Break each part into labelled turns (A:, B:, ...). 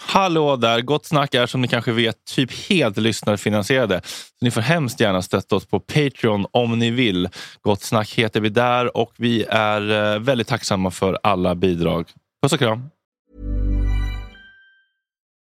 A: Hallå där! Gott Snack är som ni kanske vet typ helt lyssnarfinansierade. Så ni får hemskt gärna stötta oss på Patreon om ni vill. Gott Snack heter vi där och vi är eh, väldigt tacksamma för alla bidrag. Puss och kram!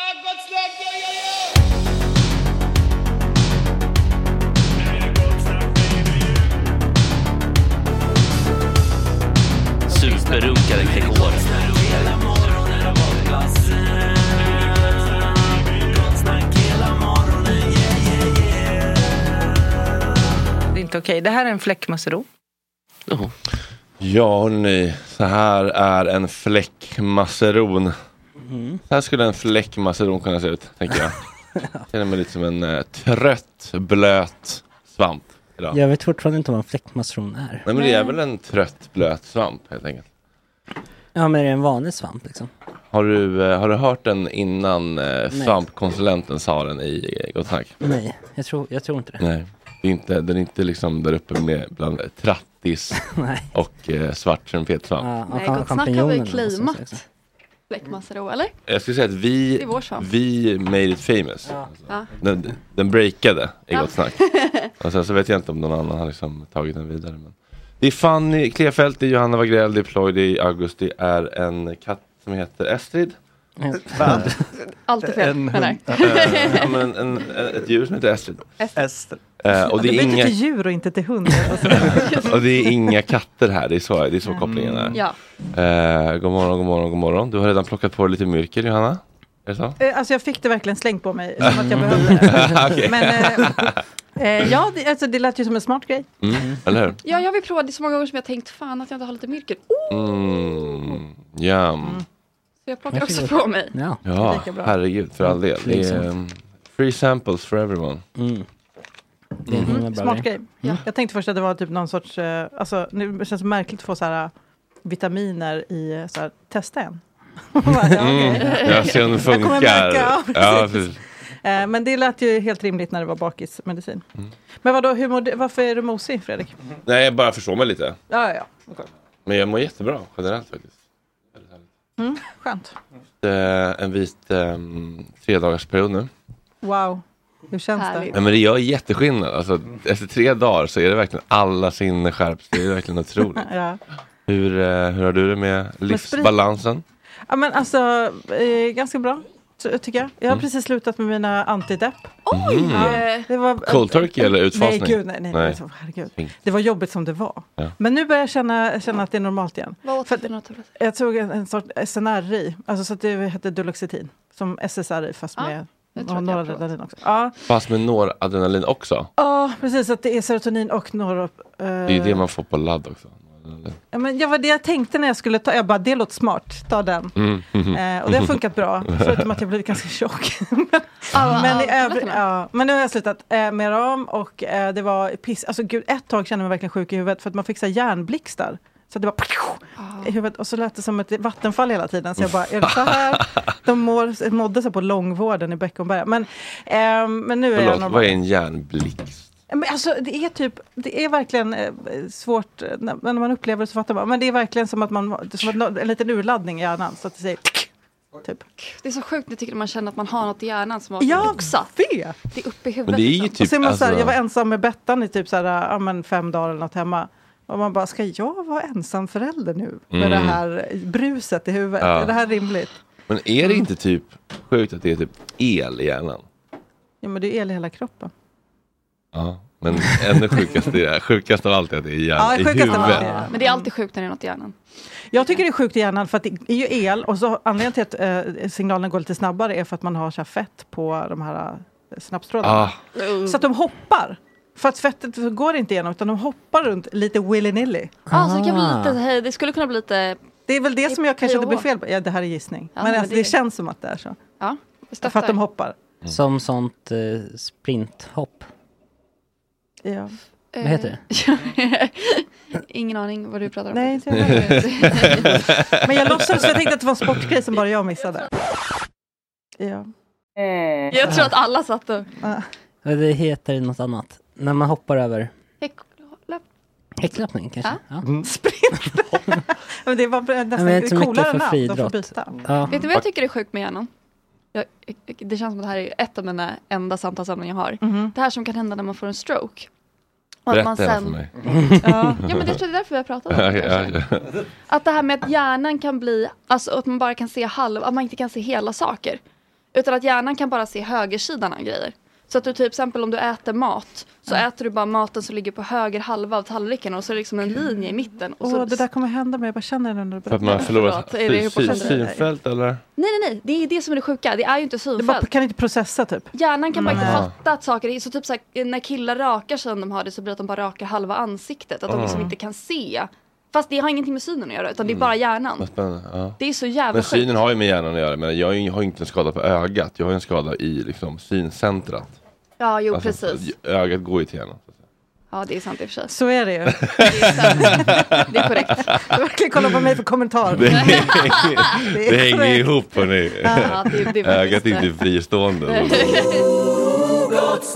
B: Ah, gott snack! Ja, ja, ja!
C: Superrunkare kring året.
D: Det är inte okej. Det här är en fläckmussero.
C: Jaha.
A: Ja, hörni. Så här är en fläckmasseron. Så här skulle en fläckmasseron kunna se ut, tänker jag. Jag känner mig lite som en eh, trött, blöt svamp idag.
E: Jag vet fortfarande inte vad en fläktmasson är.
A: Nej, men det är väl en trött, blöt svamp, helt enkelt.
E: Ja, men är det en vanlig svamp liksom?
A: Har du, eh, har du hört den innan eh, svampkonsulenten sa den i eh, Gott Snack?
E: Nej, jag tror, jag tror inte det.
A: Nej, det är inte, den är inte liksom där uppe med bland trattis
E: Nej.
A: och eh, svart trumpetsvamp.
E: Ja, och
F: Nej,
E: cham-
F: gott snack har vi
E: champinjoner och
F: claimat.
E: sånt också.
F: Fläckmassero, eller?
A: Jag skulle säga att vi,
F: Det är vår svamp.
A: vi made it famous. Alltså.
F: Ja.
A: Den, den breakade i Gott Snack. Och sen så vet jag inte om någon annan har liksom tagit den vidare. Men... Det är Fanny Klefelt, det är Johanna Wagrell, det är Ploy, det är August, det är en katt som heter Estrid.
G: Eh,
F: Allt är fel,
H: En
F: menar
H: hund.
A: Eh, ja, men en, en, ett djur som heter Estrid.
H: Ester.
A: Eh, och, det
D: Det
A: är
D: byter
A: inga,
D: till djur och inte till hund. Alltså,
A: och det är inga katter här, det är så, det är så kopplingen är.
D: Mm,
F: Ja.
A: Eh, god morgon, god morgon, god morgon. Du har redan plockat på dig lite myrker, Johanna. Är det så?
D: eh, alltså jag fick det verkligen slängt på mig, som att jag behövde det. Men eh, eh, ja, det, alltså, det lät ju som en smart grej.
A: Mm. Eller hur?
F: ja, jag vill prova. Det är så många gånger som jag har tänkt, fan att jag inte har lite myrkel. Oh,
A: Mm. Yum.
F: så jag plockar också på mig.
E: Ja.
A: Ja,
D: Lika bra.
A: herregud, för all del. Det är,
E: Liksom.
A: ehm, free samples for everyone.
E: Mm. Det är en himla bra
D: Mm, Smart
E: grej.
D: grej.
A: Mm.
D: Jag tänkte först att det var typ någon sorts, eh, alltså nu det känns det märkligt att få så här eh, vitaminer i, eh, så här, testa en. Bara, ja, okej.
A: Mm. Jag ser om det
D: Jag kommer
A: funkar.
D: märka, ja,
A: Ja,
D: precis.
A: precis.
D: Eh, Men det lät ju helt rimligt när det var bakismedicin.
A: Mm.
D: Men vadå, hur mår du, varför är du mosig Fredrik?
A: Nej, jag bara förstår mig lite.
D: Ja, ja, ja.
A: Men jag mår jättebra generellt faktiskt.
D: Mm, Skönt.
A: Eh, En vit um, tredagarsperiod
D: Mm.
A: nu.
D: Wow. Hur känns
F: Härligt.
A: Nej, men det gör jätteskillnad. Alltså, efter tre dagar så är det verkligen alla sinnen skärps. Det är verkligen otroligt.
D: det? Ja.
A: Hur, eh, hur har du det med
D: sprit.
A: livsbalansen?
D: Ja, men alltså, eh, ganska bra, ty- tycker jag.
A: Mm.
D: Jag har precis slutat med mina antidepp.
F: Oj! eh,
D: Det var,
A: Cold turkey eller utfasning?
D: Nej, gud, nej, nej,
A: Nej.
D: Alltså, herregud.
A: Fint.
D: Det var jobbigt som det var.
A: Ja.
D: Men nu börjar jag känna, känna att det är normalt igen.
F: Vad åt
D: För
F: du
D: att-
F: för något? Tobias?
D: Jag tog en, en sorts SNRI, alltså så att det hette Duloxetin, som SSRI fast
F: Ja,
D: med
F: det tror jag
D: och
F: att jag har provat.
D: noradrenalin också. Ja,
A: Fast med några adrenalin också.
D: ja precis, så att det är serotonin och norop... eh,
A: Det är ju det man får på ladd också.
D: ja, men jag var det jag tänkte när jag skulle ta, jag bara det låter smart, ta den.
A: Mm, mhm.
D: Eh, och det har funkat bra, förutom att jag blivit ganska tjock.
F: Alla-
D: men,
F: alla
D: i övrigt, ja,
F: tabletterna?
D: men nu har jag slutat eh, med dem och eh, det var piss. Alltså gud, ett tag kände jag mig verkligen sjuk i huvudet för att man fick så här hjärnblixtar. Så att det bara
A: Ah.
D: i huvudet och så lät det som ett vattenfall hela tiden. Så jag bara, är det så här? De mår, mådde sig på långvården i Beckomberga. Men, eh, men nu är jag
A: Förlåt,
D: normal.
A: vad är en hjärnblixt?
D: Men alltså, det är typ, det är verkligen eh, svårt, eh, när, när man upplever det så fattar man. Men det är verkligen som att man, som att nå- en liten urladdning i hjärnan. Så att det säger, typ.
F: Det är så sjukt, jag tycker när man känner att man har något i hjärnan som har
D: Ja.
F: boxat.
D: Fe!
F: Det är uppe i
A: Men
F: huvudet.
A: det är ju
F: liksom.
D: och
A: typ...
D: så är man så här, jag var
A: alltså,
D: ensam med Bettan i typ så här, ja, men fem dagar eller något hemma. Och man bara, ska jag vara ensam förälder nu? Med
A: Mm.
D: det här bruset i huvudet.
A: Ja.
D: Är det här rimligt?
A: men är det
D: Mm.
A: inte typ sjukt att det är typ el i hjärnan?
D: Ja, men det är el i hela kroppen.
A: Ja. Men ännu sjukast, är det, sjukast av allt är att det är hjärn,
D: Ja,
A: i
D: sjukast av allt är
A: huvudet.
D: det.
F: Men det är alltid sjukt när det är något i hjärnan.
D: Jag tycker det är sjukt i hjärnan för att det är ju el och så anledningen till att eh, signalen går lite snabbare är för att man har så här fett på de här eh, snabbstrålarna.
A: Ah,
D: Så att de hoppar. För att fettet går inte igenom utan de hoppar runt lite willy-nilly.
F: Ja, Ah, så det kan
A: Ah.
F: bli lite,
E: Ah.
F: hej, det skulle kunna bli lite,
D: Det är väl det som jag kanske
F: Jo.
D: inte blir fel på. Ja, det här är gissning.
F: Ja,
D: men
F: men
D: alltså,
F: det-
D: det känns som att det är så.
F: ja. vi
D: För att
F: stöttar.
D: de hoppar.
A: Mm.
E: Som sånt eh, sprinthopp.
D: Ja.
F: Eh,
E: Vad heter det?
F: Ingen aning vad du pratar om.
D: Nej, det
F: det
D: Men jag låtsades, jag tänkte att det var en sportgrej som bara jag missade. Ja.
F: Jag tror att alla satt och...
E: Eh, Det heter något annat. När man hoppar över häcklappning kanske?
F: Ja.
E: Ja.
D: Mm. Men det var
E: Men
D: nästan
E: det är inte så mycket
D: coolare
E: för
D: namn. De får
E: friidrott.
D: byta.
E: Ja.
F: Vet du vad jag tycker är sjukt med hjärnan? Jag, det känns som att det här är ett av mina enda samtalsämnen jag har.
D: Mhm.
F: Det här som kan hända när man får en stroke. Och att
A: berätta
F: man
A: det här för
F: sen,
A: mig.
F: ja, ja, men jag tror det är typ därför vi har pratat om det.
A: Okej,
F: kanske.
A: ja, ja.
F: Att det här med att hjärnan kan bli, alltså att man bara kan se halv, att man inte kan se hela saker. Utan att hjärnan kan bara se högersidan av grejer. Så att du till exempel om du äter mat, så äter du bara maten som ligger på höger halva av tallriken och så är det liksom en linje i mitten. Och
D: Åh,
F: så,
D: det där kommer hända mig. Jag bara känner det när du
I: För att
D: berättar.
I: man har förlorat
F: Förlåt, är det
I: sy- sy-
F: hypokondri?
I: synfält eller?
F: Nej, nej, nej, det är det som är det sjuka. Det är ju inte
D: Det bara
F: synfält.
D: kan inte processa typ.
F: Hjärnan kan bara inte
D: Nej.
F: fatta att saker är, så typ så här, när killar rakar sig om de har det så blir det att de bara rakar halva ansiktet. Att de
A: Mm.
F: liksom inte kan se. Fast det har ingenting med synen att göra utan det är bara hjärnan.
A: Vad spännande. Ja.
F: Det är så jävla
A: Mm. Men
F: sjukt.
A: synen har ju med hjärnan att göra. Men jag har ju- har ju inte en skada på ögat. Jag har ju en skada i liksom, syncentrat.
F: Ja, jo
A: Alltså,
F: precis.
A: Ögat går ju till hjärnan. så att säga.
F: Ja, det är sant i och för sig.
D: Så är det ju.
F: Det är, sant. det är korrekt.
D: Verkligen kolla på mig för kommentar.
A: Det,
D: Det är
A: det hänger ju
D: korrekt.
A: ihop hörni.
F: Ja, det, det är
A: Ögat är
F: faktiskt,
A: inte fristående.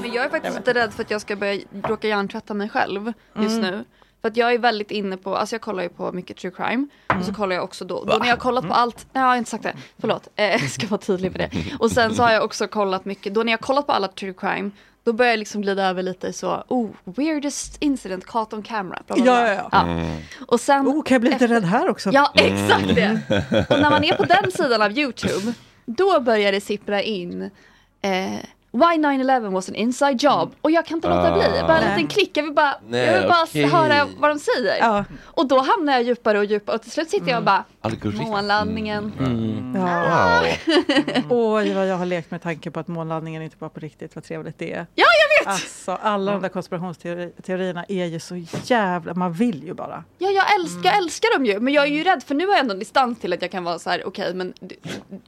F: men jag är faktiskt inte rädd för att jag ska börja råka hjärntvätta mig själv just
D: Mm.
F: nu. För att jag är väldigt inne på, alltså jag kollar ju på mycket true crime. Och
D: Mm.
F: så kollar jag också då, då när jag har kollat på allt, nej jag har inte sagt det, förlåt, eh, jag ska vara tydlig med det. Och sen så har jag också kollat mycket, då när jag har kollat på alla true crime, då börjar jag liksom glida över lite så, oh, weirdest incident, caught on camera. Bla, bla, bla.
D: Ja, ja, ja.
F: Och sen,
D: Oh, kan jag bli lite rädd här också?
F: Ja, exakt det. Och när man är på den sidan av YouTube, då börjar det sippra in eh, Why 9-11 was an inside job. Och jag kan inte låta bli. Bara en
D: Nej.
F: liten klick. Jag vill bara, jag
A: Nej,
F: vill bara
A: okej.
F: höra vad de säger.
D: Ja.
F: Och då hamnar jag djupare och djupare. Och till slut sitter
A: Mm.
F: jag och bara,
A: Algoritm. Mm.
F: månlandningen.
D: Ja.
A: Wow.
D: Oj, vad jag har lekt med tanken på att månlandningen inte var på riktigt. Vad trevligt det är.
F: Ja, jag vet!
D: Alltså, alla de där konspirationsteorierna är ju så jävla... Man vill ju bara.
F: Ja, jag älskar,
A: Mm.
F: jag älskar dem ju. Men jag är ju rädd, för nu har jag ändå en distans till att jag kan vara så här, okej, men du,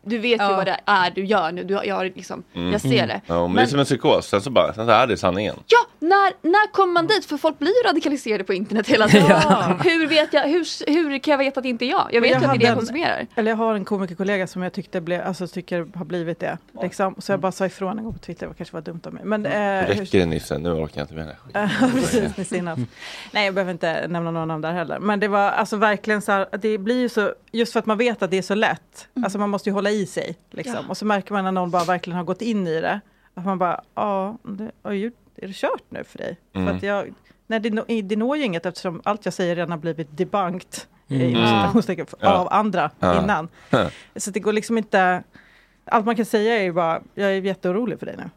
F: du vet ju
D: Ja.
F: vad det är du gör nu. Du, har- jag, har liksom, jag ser det.
A: Mm. Mm-hmm. Ja, men det är som en psykos. Sen så, bara, sen så är det sanningen.
F: Ja, när, när kommer man dit? För folk blir ju radikaliserade på internet hela tiden. Hur, vet jag, hur, hur kan jag veta att det inte är jag? Jag vet
D: jag
F: ju att det är det
D: hade
F: jag
D: en-
F: konsumerar.
D: Eller jag har en komikerkollega som jag tyckte blev, alltså, tycker har blivit det. Liksom. Så jag bara sa ifrån en gång på Twitter, det kanske var dumt av mig. Men, eh, hur-
A: Räcker Mm. det Nisse? Nu orkar jag inte med den här skiten.
D: Precis, Miss Enough. Nej, jag behöver inte nämna någon namn där heller. Men det var alltså verkligen så här, det blir ju så, just för att man vet att det är så lätt, alltså man måste ju hålla i sig. Liksom.
F: Ja.
D: Och så märker man när någon bara verkligen har gått in i det, att man bara, ja, det, har ju- är det kört nu för dig? För att jag, nej, det, nå- det når ju inget eftersom allt jag säger redan har blivit debunked eh, inom citationstecken, f- av andra innan. Så det går liksom inte, allt man kan säga är ju bara, jag är jätteorolig för dig nu.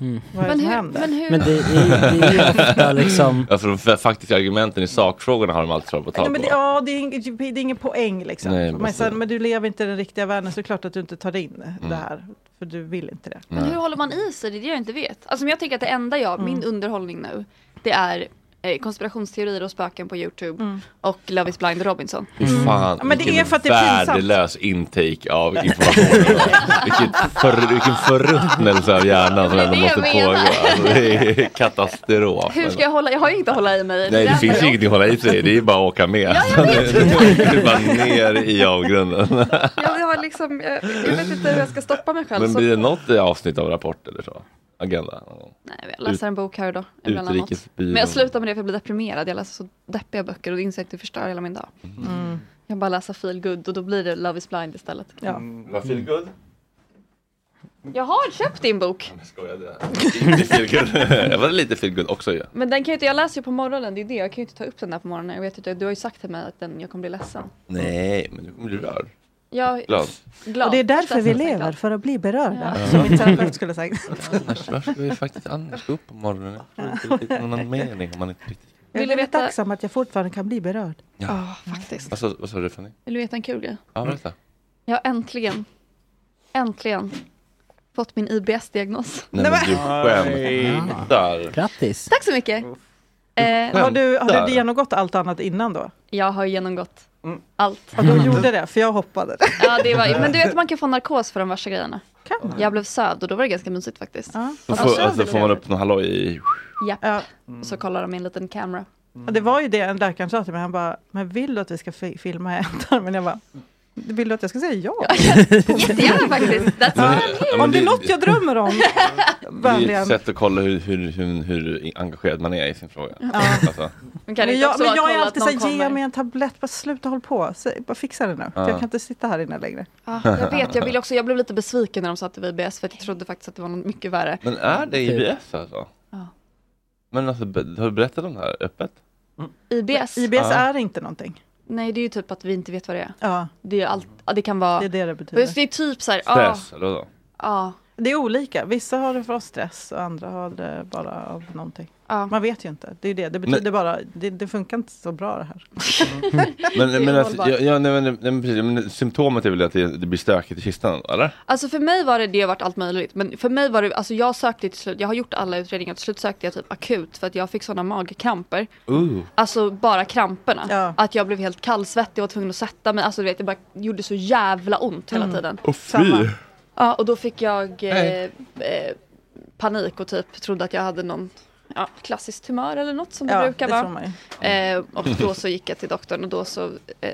E: Mm.
D: Vad är det
F: Men
D: som
F: hur,
D: händer?
F: men hur,
E: Men det är, det är ju ofta liksom,
A: Ja, för de f- faktiska argumenten i sakfrågorna har de alltid tagit på
D: Nej, men det, ja, det är, ing, det är ingen poäng liksom.
A: Nej,
D: men,
A: precis. Mm.
D: sen, men du lever inte i den riktiga världen så det är klart att du inte tar in det här. För du vill inte det.
F: men hur håller man i sig? Det är det jag inte vet. Alltså men jag tänker att det enda jag,
A: Mm.
F: min underhållning nu, det är eh, konspirationsteorier och spöken på YouTube och Love is blind och Robinson.
A: Mm. Fy fan,
D: Ja, men det är
A: vilken
D: för att det är pinsamt.
A: värdelös intake av information. Vilket för, vilken förruttnelse av hjärnan som
F: Det är
A: ändå
F: det
A: måste
F: jag
A: pågå.
F: menar.
A: Alltså, det är katastrof.
F: Hur ska jag hålla, jag har ju inte att hålla i mig.
A: Nej,
F: är
A: det
F: därför
A: finns
F: jag-
A: ingenting att hålla i sig. Det är bara att åka med.
F: Ja, jag vet.
A: Det är bara ner i avgrunden.
F: Jag, jag, har liksom, jag, jag vet inte hur jag ska stoppa mig själv.
A: Men
F: så,
A: blir det något i avsnitt av Rapport eller så? Agenda? någon gång?
F: nej, jag läser en bok här och då. emellanåt.
A: Utrikesbyrån?
F: Men jag slutar med det för jag blir deprimerad. Jag läser så deppiga böcker och det inser att det förstör hela min dag. Jag bara läser feel good och då blir det Love is blind istället.
D: Ja.
A: Vad feelgood?
F: Jag har köpt din bok,
A: Jag skojade. Inte feelgood. Jag var lite feelgood också ju.
F: men den kan ju inte, jag läser ju på morgonen, det är det. Jag kan ju inte ta upp den där på morgonen. Jag vet inte, du har ju sagt till mig att den, jag kommer bli ledsen.
A: Nej, men du kommer bli rörd.
F: Jag,
A: Glad.
F: glad.
D: Och det är därför vi
F: Ledsen,
D: lever, för att bli berörda.
A: Ja.
D: Som min terapeut skulle ha sagt.
A: Annars, varför ska vi faktiskt annars gå upp på morgonen? Jag tror inte det finns någon anledning om man inte riktigt...
D: Jag är
F: Vill du
D: väldigt
F: veta-
D: tacksam att jag fortfarande kan bli berörd.
A: Ja. Alltså-
F: faktiskt.
A: Vad sa- Vad sa du Fanny?
F: Vill du veta en kul grej?
A: Ja, berätta.
F: Jag har äntligen, äntligen fått min IBS-diagnos.
A: Nej men du skämtar.
E: Grattis!
F: Tack så mycket! Eh,
D: Har du, har
A: Där.
D: du genomgått allt annat innan då?
F: jag har genomgått allt.
D: Och du gjorde det, för jag hoppade.
F: Ja, det var, men du vet, man kan få narkos för de värsta grejerna.
D: Kan man?
F: Jag blev sövd och då var det ganska mysigt faktiskt.
D: Ja.
A: Då
D: Ja,
A: får,
D: så
A: alltså,
D: är det
A: får man
D: det.
A: upp någon halloj i...
F: Japp.
D: Ja.
F: Mm. Så kollar de i en liten kamera.
D: Och det var ju det en läkaren sa till mig. Han bara, men vill du att vi ska fi- filma ändtarmen? Jag bara, vill du att jag ska säga ja?
F: Jättegärna faktiskt! That's all I'm
A: Ja, men
D: Om det är något jag drömmer om,
A: Det är ett
D: vänligen.
A: sätt att kolla hur, hur, hur, hur engagerad man är i sin fråga. Alltså,
F: Men kan det
D: Men
F: inte
D: jag,
F: också
D: men
F: vara
D: jag är
F: kolla att
D: alltid
F: någon
D: såhär, ge
F: kommer?
D: mig en tablett, bara sluta håll på, Säg- bara fixa det nu. För Jag kan inte sitta här inne längre.
F: Ja, jag vet, jag, vill också, jag blev lite besviken när de sa att det var IBS för att jag trodde faktiskt att det var något mycket värre.
A: men är det
F: Typ.
A: IBS alltså?
F: Ja.
A: Men alltså, be- har du berättat om det här öppet?
F: Mm. IBS?
D: IBS
A: Ja.
D: är inte någonting.
F: Nej, det är ju typ att vi inte vet vad det är.
D: Ja,
F: Det, är allt, ja, det kan vara...
D: det är
F: Det
D: det det
F: är,
D: betyder.
F: det är typ såhär, ja,
A: Stress eller vadå?
F: ja,
D: Det är olika, vissa har det för stress och andra har det bara av någonting.
F: ja.
D: Man vet ju inte, det är det. Det betyder bara, det, det funkar inte så bra det här.
A: Men, men, alltså,
F: ohållbart.
A: ja, ja, nej, men, nej, men, precis, men symptomet är väl att det, det blir stökigt i kistan, eller?
F: Alltså för mig var det, det har varit allt möjligt. Men för mig var det, alltså jag sökte till slut, jag har gjort alla utredningar, till slut sökte jag typ akut för att jag fick sådana magkramper.
A: Uh.
F: Alltså bara kramperna.
D: Ja.
F: Att jag blev helt kallsvettig och var tvungen att sätta mig. Alltså du vet, det bara gjorde så jävla ont hela tiden.
A: Och
D: Mm. Samma.
F: Ja, och då fick jag eh,
A: Nej.
F: eh, panik och typ trodde att jag hade någon ja, klassisk tumör eller något som det
D: Ja, det
F: brukar
D: tror
F: vara.
D: man ju.
F: Eh, och då så gick jag till doktorn och då så eh,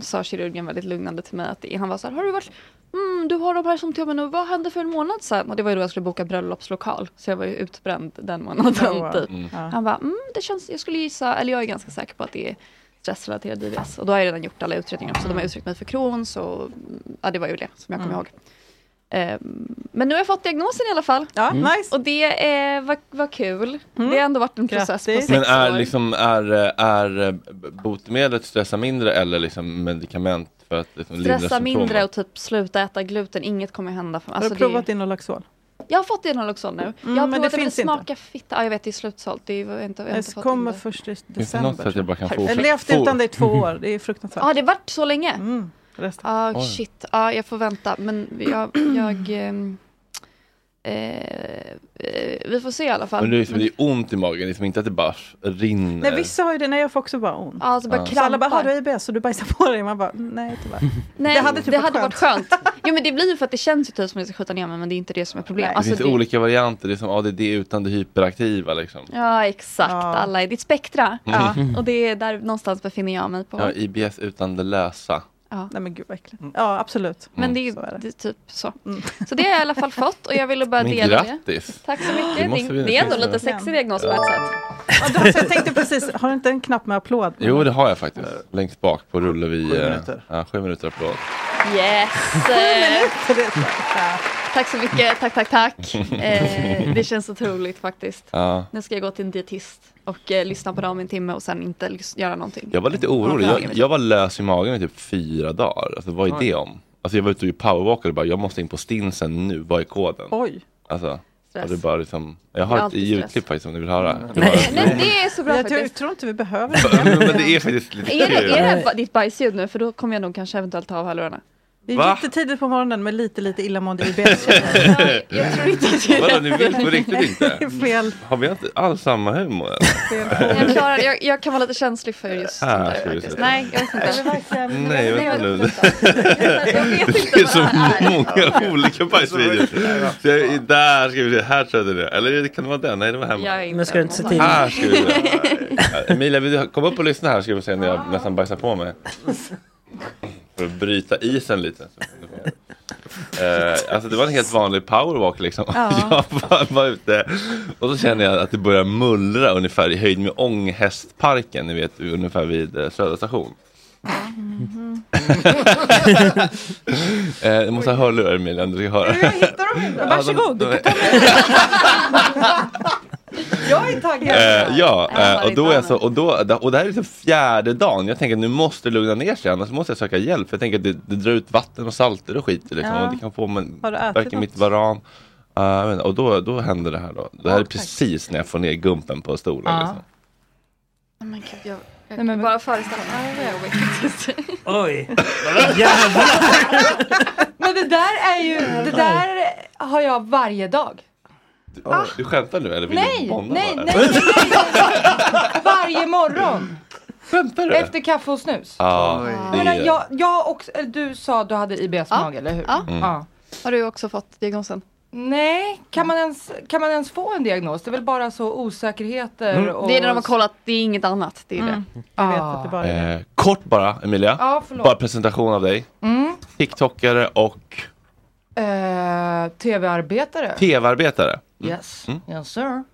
F: sa kirurgen väldigt lugnande till mig att det, han var så här, har du varit, mm, du har de här symptomen och vad hände för en månad sedan? Och det var ju då jag skulle boka bröllopslokal, så jag var ju utbränd den månaden
D: Oh, wow.
F: typ.
D: Ja.
F: Han bara, mm, det känns, jag skulle gissa, eller jag är ganska säker på att det är stressrelaterad IBS. Och då har jag redan gjort alla utredningar också. De har uttryckt mig för Crohns och ja, det var ju det som jag
D: Mm.
F: kommer ihåg. Ehm, men nu har jag fått diagnosen i alla fall.
D: Ja,
A: Mm.
D: nice. Mm.
F: Och det eh, var, var kul. Det har ändå varit en process
D: Grattis.
F: på
A: Men
F: sex
A: är,
F: år.
A: liksom, är, är eh, botemedlet stressa mindre eller liksom medicament för att liksom, lindra
F: Stressa mindre
A: symptomen?
F: och typ sluta äta gluten, inget kommer hända. För mig.
D: Har du
F: Alltså,
D: provat
F: det...
D: Inolaxol?
F: Jag har fått det också nu. jag har
D: Mm, men det
F: provat att
D: finns inte.
F: smaka fitta. Ja, jag vet, det är slutsålt. Det är, jag har inte, jag har inte
D: Det
F: fått in
D: kommer
F: det.
D: först i
A: Finns det något sätt att
D: december.
A: jag bara kan få...
F: Perfekt.
D: Jag har
A: få-
D: levt
A: få-
D: utan dig i två år, det är fruktansvärt.
F: Ja, ah, det vart så länge.
D: Mm, resten.
F: Ah,
A: Oj.
F: shit, ah, jag får vänta. Men jag... jag ehm, eh, eh, vi får se i alla fall.
A: Men det är, liksom, det är ont i magen, liksom inte att det bara rinner.
D: Nej, vissa har ju det, nej jag får också bara ont.
F: Ja, alltså bara
D: Så alla bara, har
F: krampar.
D: du IBS och du bajsar på dig? Man bara, nej tyvärr.
F: Nej,
D: Det hade typ varit
F: varit skönt. Jo men det blir ju för att det känns ju typ som att jag ska skjuta ner mig men det är inte Alltså, det som är problemet.
D: Nej.
A: det finns olika varianter, det är som ADD utan det hyperaktiva liksom.
F: Ja exakt,
D: Ja.
F: alla är ditt spektra.
D: Ja.
F: Och det är där någonstans befinner jag mig på.
A: Mm. Ja, IBS utan det lösa.
D: Nej men gud vad äckligt. Mm. Ja absolut.
F: Men det är ju
D: Så är det. Mm.
F: det är typ så. Så det har jag i alla fall fått och jag ville bara
A: Men
F: dela det.
A: grattis!
F: Tack så
A: Det
F: mycket.
A: måste
F: Det,
A: vi
F: det är ändå
A: fixa.
F: lite sexig diagnos på ett sätt.
D: Ja, då, så jag tänkte precis, har du inte en knapp med applåd?
A: Jo det har jag faktiskt, längst bak på rulle vi...
I: Sju
A: eh,
I: minuter.
A: Ja, sju minuter applåd.
F: Yes! Eh, Tack så mycket, tack, tack, tack. Eh, det känns otroligt faktiskt.
A: Ja.
F: Nu ska jag gå till en dietist och eh, lyssna på dem i en timme och sen inte lys- göra någonting.
A: Jag var lite orolig,
F: Ja.
A: jag, jag var lös i magen i typ fyra dagar. Alltså, vad är det om? Alltså, jag var ute och powerwalkade och bara, jag måste in på stinsen nu, vad är koden?
D: Oj,
A: Alltså,
F: Stress.
A: och det bara liksom, jag
F: Det är
A: har ett
F: alltid
A: ljudklipp
F: stress.
A: faktiskt om ni vill höra. Det var-
F: Nej, nej, det är så bra
D: jag tror,
F: faktiskt.
D: tror inte vi behöver det.
A: Men det är faktiskt lite
F: Är det, är det
A: kul.
F: här ba- ditt bajsljud nu? För då kommer jag nog kanske eventuellt ta av hörlurarna.
D: Det
A: Va?
D: är jättetidigt på morgonen med lite, lite illamående IBS.
F: Jag, jag tror inte att jag-
A: Vadå, ni vill på riktigt
D: Det är
A: inte?
D: fel.
A: Har vi inte alls samma humor? eller?
F: jag, klarar, jag, jag kan vara lite känslig för just sånt
A: Ah,
F: där
A: ska vi
F: faktiskt.
A: se.
F: Nej, jag vet inte.
A: Nej, vänta nu.
F: Jag vet
A: Det är
F: inte
A: så
F: vad det är.
A: många olika bajsvideor. Så jag- Där ska vi se, här tror jag det är. Eller kan det vara den? Nej, det var hemma.
F: Jag är
E: Men ska du inte se
F: någon-
E: till?
A: Här ska vi se. Ja, Emilia, vill du komma upp och lyssna här ska vi se när jag nästan bajsar på mig. För att bryta isen lite. Eh, alltså det var en helt vanlig powerwalk liksom. Jag var, var ute och så känner jag att det börjar mullra ungefär i höjd med Ånghästparken, ni vet ungefär vid eh, Södra station. eh, du måste ha hörlurar Emilia om du ska höra.
D: Jag hittar dem inte. Varsågod.
A: Ja, de- de-
D: Jag är taggad.
A: Eh, ja, eh, och, då är jag så, och, då, och det här är liksom fjärde dagen. Jag tänker att nu måste det lugna ner sig annars måste jag söka hjälp. För jag tänker att det, det drar ut vatten och salter och skit. Liksom,
D: Ja.
A: och det kan få men,
D: Har du ätit
A: verkar mitt
D: något?
A: varan. Eh, jag vet inte, och då, då händer det här då. Det här är precis när jag får ner gumpen på stolen.
J: Ja.
A: Liksom.
F: Oh men gud, jag, jag kan bara föreställa mig. Nej, jag vet inte.
A: liksom.
J: Oj. Jävlar.
K: Men det där är ju, det där har jag varje dag.
A: Ja, Du skämtar nu eller vill du
K: Ah. Nej,
A: bonda
K: nej,
A: bara?
K: nej, nej, Varje morgon.
A: Skämtar du?
K: Efter kaffe och snus.
A: Ja, det
K: Men
A: är-
K: jag, jag också, eller eh, du sa du hade IBS-mag, eller hur?
F: Ja.
A: Mm.
F: Har du också fått diagnosen?
K: Nej, kan man, ens, kan man ens få en diagnos? Det är väl bara så osäkerheter
A: Mm.
K: och...
F: Det är när de har kollat, det är inget annat. Det är
K: Mm.
F: det.
K: Jag
F: vet
K: att det bara
A: Eh, kort bara Emilia.
K: Ja, förlåt.
A: bara presentation av dig.
K: Mm.
A: TikTokare och
K: Eh, Tv-arbetare.
A: tv-arbetare.
K: Yes,
A: Mm.
K: yes sir.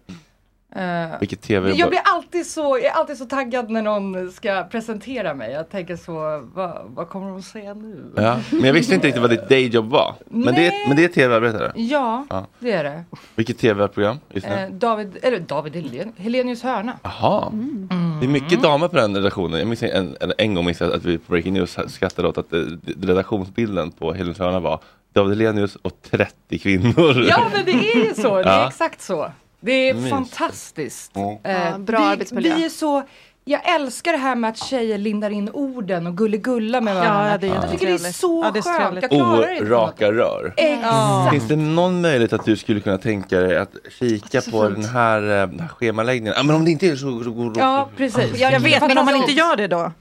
K: Eh,
A: Vilket tv
K: jag blir alltid så, jag är alltid så taggad när någon ska presentera mig. Jag tänker så, vad, vad kommer de säga nu?
A: Ja, men jag visste inte riktigt vad ditt dayjob var. Men det,
K: Nej.
A: men det är tv-arbetare.
K: Ja,
A: Ja.
K: det är det.
A: Vilket tv-program just nu?
K: Eh, David, eller David Helen, Helenius hörna.
A: Jaha.
K: mm.
A: Det är mycket damer på den redaktionen. Jag minns en, en, en gång minns jag att vi på Breaking News skrattade åt att eh, redaktionsbilden på Helens hörna var David Hellenius och 30 kvinnor.
K: Ja, men det är ju så. Det är
A: Ja.
K: exakt så. Det är
A: Mysigt.
K: fantastiskt. Eh,
A: Mm.
F: Ja, bra
K: vi,
F: arbetsmiljö.
K: Vi är så, jag älskar det här med att tjejer lindar in orden och gulligulla med
D: Ja,
K: varandra.
D: det är
K: jag tycker det är
D: jättetrevligt.
K: så
D: Ja, det är så
K: skönt.
D: trevligt.
K: Jag klarar det.
A: Oraka rör.
K: Exakt.
A: Finns det någon möjlighet att du skulle kunna tänka dig att kika
K: så
A: på
K: fint.
A: den här, eh, den här schemaläggningen? Ja, men om det inte är så, så går
K: Ja, precis.
D: Jag vet, men om man inte
K: Fantastiskt.
D: gör det då?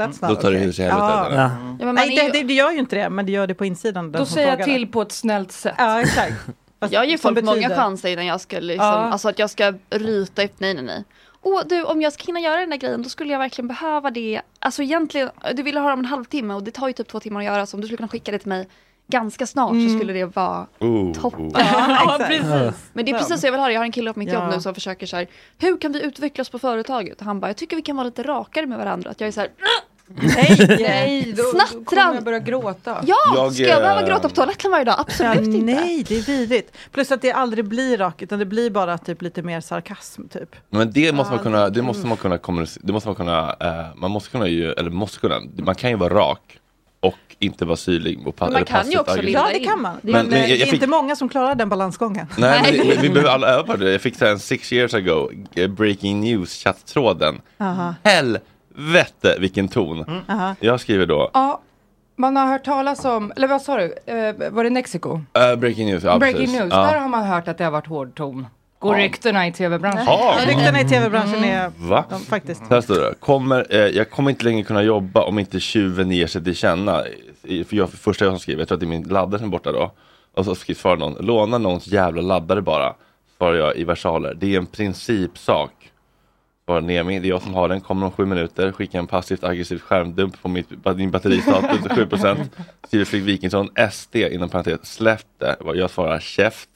D: That's
A: Mm. Då tar det hus i helvete.
D: Ja.
A: eller?
F: Ja, men man
D: Nej,
F: är
D: det,
F: ju-
D: det, det gör ju inte det, men det gör det på insidan.
K: Då säger jag till på ett snällt sätt.
D: Ja, exakt.
F: Jag ger
D: Som
F: folk många
D: betyder-
F: chanser innan jag ska liksom,
D: Ja.
F: alltså att jag ska ryta upp, nej nej nej. Åh du, om jag ska hinna göra den där grejen då skulle jag verkligen behöva det. Alltså egentligen, du ville ha det om en halvtimme och det tar ju typ två timmar att göra så om du skulle kunna skicka det till mig ganska snart
D: Mm.
F: så skulle det vara
A: Oh,
F: toppen.
K: Ja, precis.
F: Men det är precis så jag vill ha det. Jag har en kille på mitt
K: Ja.
F: jobb nu som försöker så här, hur kan vi utvecklas på företaget? Och han bara, jag tycker vi kan vara lite rakare med varandra. Att jag är så här,
K: Nej, nej, då, då kommer
F: Snattran!
K: jag börja gråta.
F: ja,
A: Jag,
F: ska jag behöva
A: eh,
F: gråta på toaletten varje dag?
D: Ja,
F: Absolut inte.
D: nej, det är vidrigt. Plus att det aldrig blir rakt, utan det blir bara typ lite mer sarkasm. Typ.
A: Men det måste man
D: Ah,
A: kunna,
D: det-
A: det måste man kunna, kommunicera- det måste man kunna, eh, man måste kunna ju, eller måste kunna, man kan ju vara rak och inte vara syrlig och pa-
D: Men man
A: eller
D: kan ju
A: passivt
D: också
A: aggressiv.
D: linda Ja, det in. kan man.
A: Men, men,
D: Men,
A: jag,
D: det
A: jag
D: är
A: fick,
D: inte många som klarar den balansgången.
A: nej, men vi, vi behöver alla öva på det. Jag fick så här en six years ago, eh, breaking news chatttråden.
D: Aha.
A: Helvete vilken ton.
K: Aha.
A: Jag skriver då,
K: Ja, man har hört talas om, eller vad sa du, eh, var det Mexiko?
A: eh, breaking news, ja,
K: Breaking
A: precis.
K: news,
A: Ja.
K: där har man hört att det har varit hård ton. Går
A: Ja.
K: ryktena i tv-branschen? Mm.
A: Ja. Ja, ryktena
D: i tv-branschen är...
A: Va?
D: De, faktiskt.
A: Så här står det. Kommer, eh, jag kommer inte längre kunna jobba om inte tjuven ger sig till känna. I- För jag, för första jag som skriver, jag tror att det är min laddare som är borta då. Och så skriver svarar någon, låna någons jävla laddare bara. Svarar jag i versaler. Det är en principsak. Svarar Nemi, det är jag som har den, kommer om sju minuter. Skicka en passivt aggressiv skärmdump på mitt, din batteristatus, 7%. Skriver Fredrik Wikingsson, SD inom parentes, släpp det. Jag svarar käft.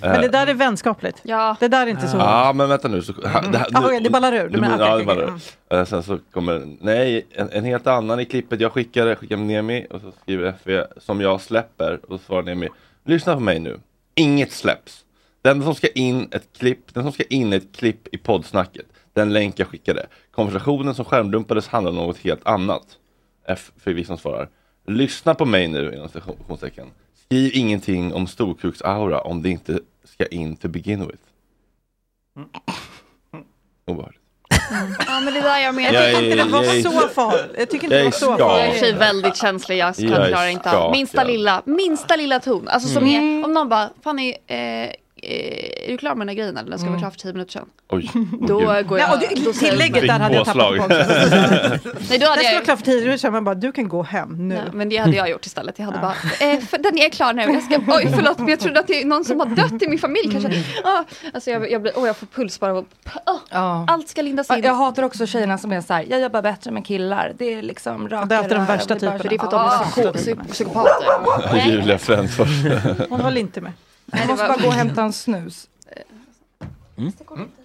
D: Men
A: Eh,
D: det där är vänskapligt. Det där är inte så...
A: Ja, men vänta nu. Så, ha- det,
D: Ah, okej, det ballar ur. Du
A: Nu-
D: menar-
A: ja,
D: okej,
A: det ballar
D: okej,
A: ur. Eh, Sen så kommer, nej, en, en helt annan i klippet jag skickade, skickade Nemi och så skriver FV som jag släpper och så svarar Nemi, lyssna på mig nu, inget släpps. Den som ska in ett klipp, den som ska in ett klipp i poddsnacket, den länk jag skickade. Konversationen som skärmdumpades handlar om något helt annat. F för vi som svarar, lyssna på mig nu inom citationstecken. Skriv ingenting om storkuksaura om det inte ska in to begin with. Obehagligt.
F: Ja men det där jag menar.
A: Jag Jag tycker inte är- det var jag är- så
D: farligt. Jag tycker
A: inte det jag är var så skakad. farligt.
F: Jag är i och för sig väldigt känslig. Jag
A: Jag är
F: klarar inte av minsta
A: skakad.
F: lilla, minsta lilla ton. Alltså som
K: Mm.
F: är, om någon bara, Fanny, eh, eh, är du klar med den här grejen eller? Den ska vara klar för tio minuter sedan.
A: Oj.
F: Då går jag...
D: Ja, och det-
F: då säger jag
D: tillägget
F: upp mig.
D: där hade jag tappat bort.
A: Påslag.
F: Nej, då
D: Det
F: hade
D: skulle vara
F: jag...
D: klart för tio minuter sedan, man bara du kan gå hem nu.
F: Nej, men det hade jag gjort istället. Jag hade bara, eh, för, den är klar nu. Jag ska, oj, förlåt, men jag trodde att det är någon som har dött i min familj
D: Mm.
F: kanske. Ah, alltså jag, jag, blir, åh, jag får puls bara av att- ah, Allt ska lindas in.
K: Jag hatar också tjejerna som är så här, jag jobbar bättre med killar. Det är liksom rakare.
D: Det är alltid de värsta
K: det är bara- "Ah."
D: typerna.
F: Det är för att de är psyko- psy- psykopater.
A: Julia Frändfors.
D: Hon håller inte med.
K: Jag måste bara gå och hämta en snus.
D: Mm.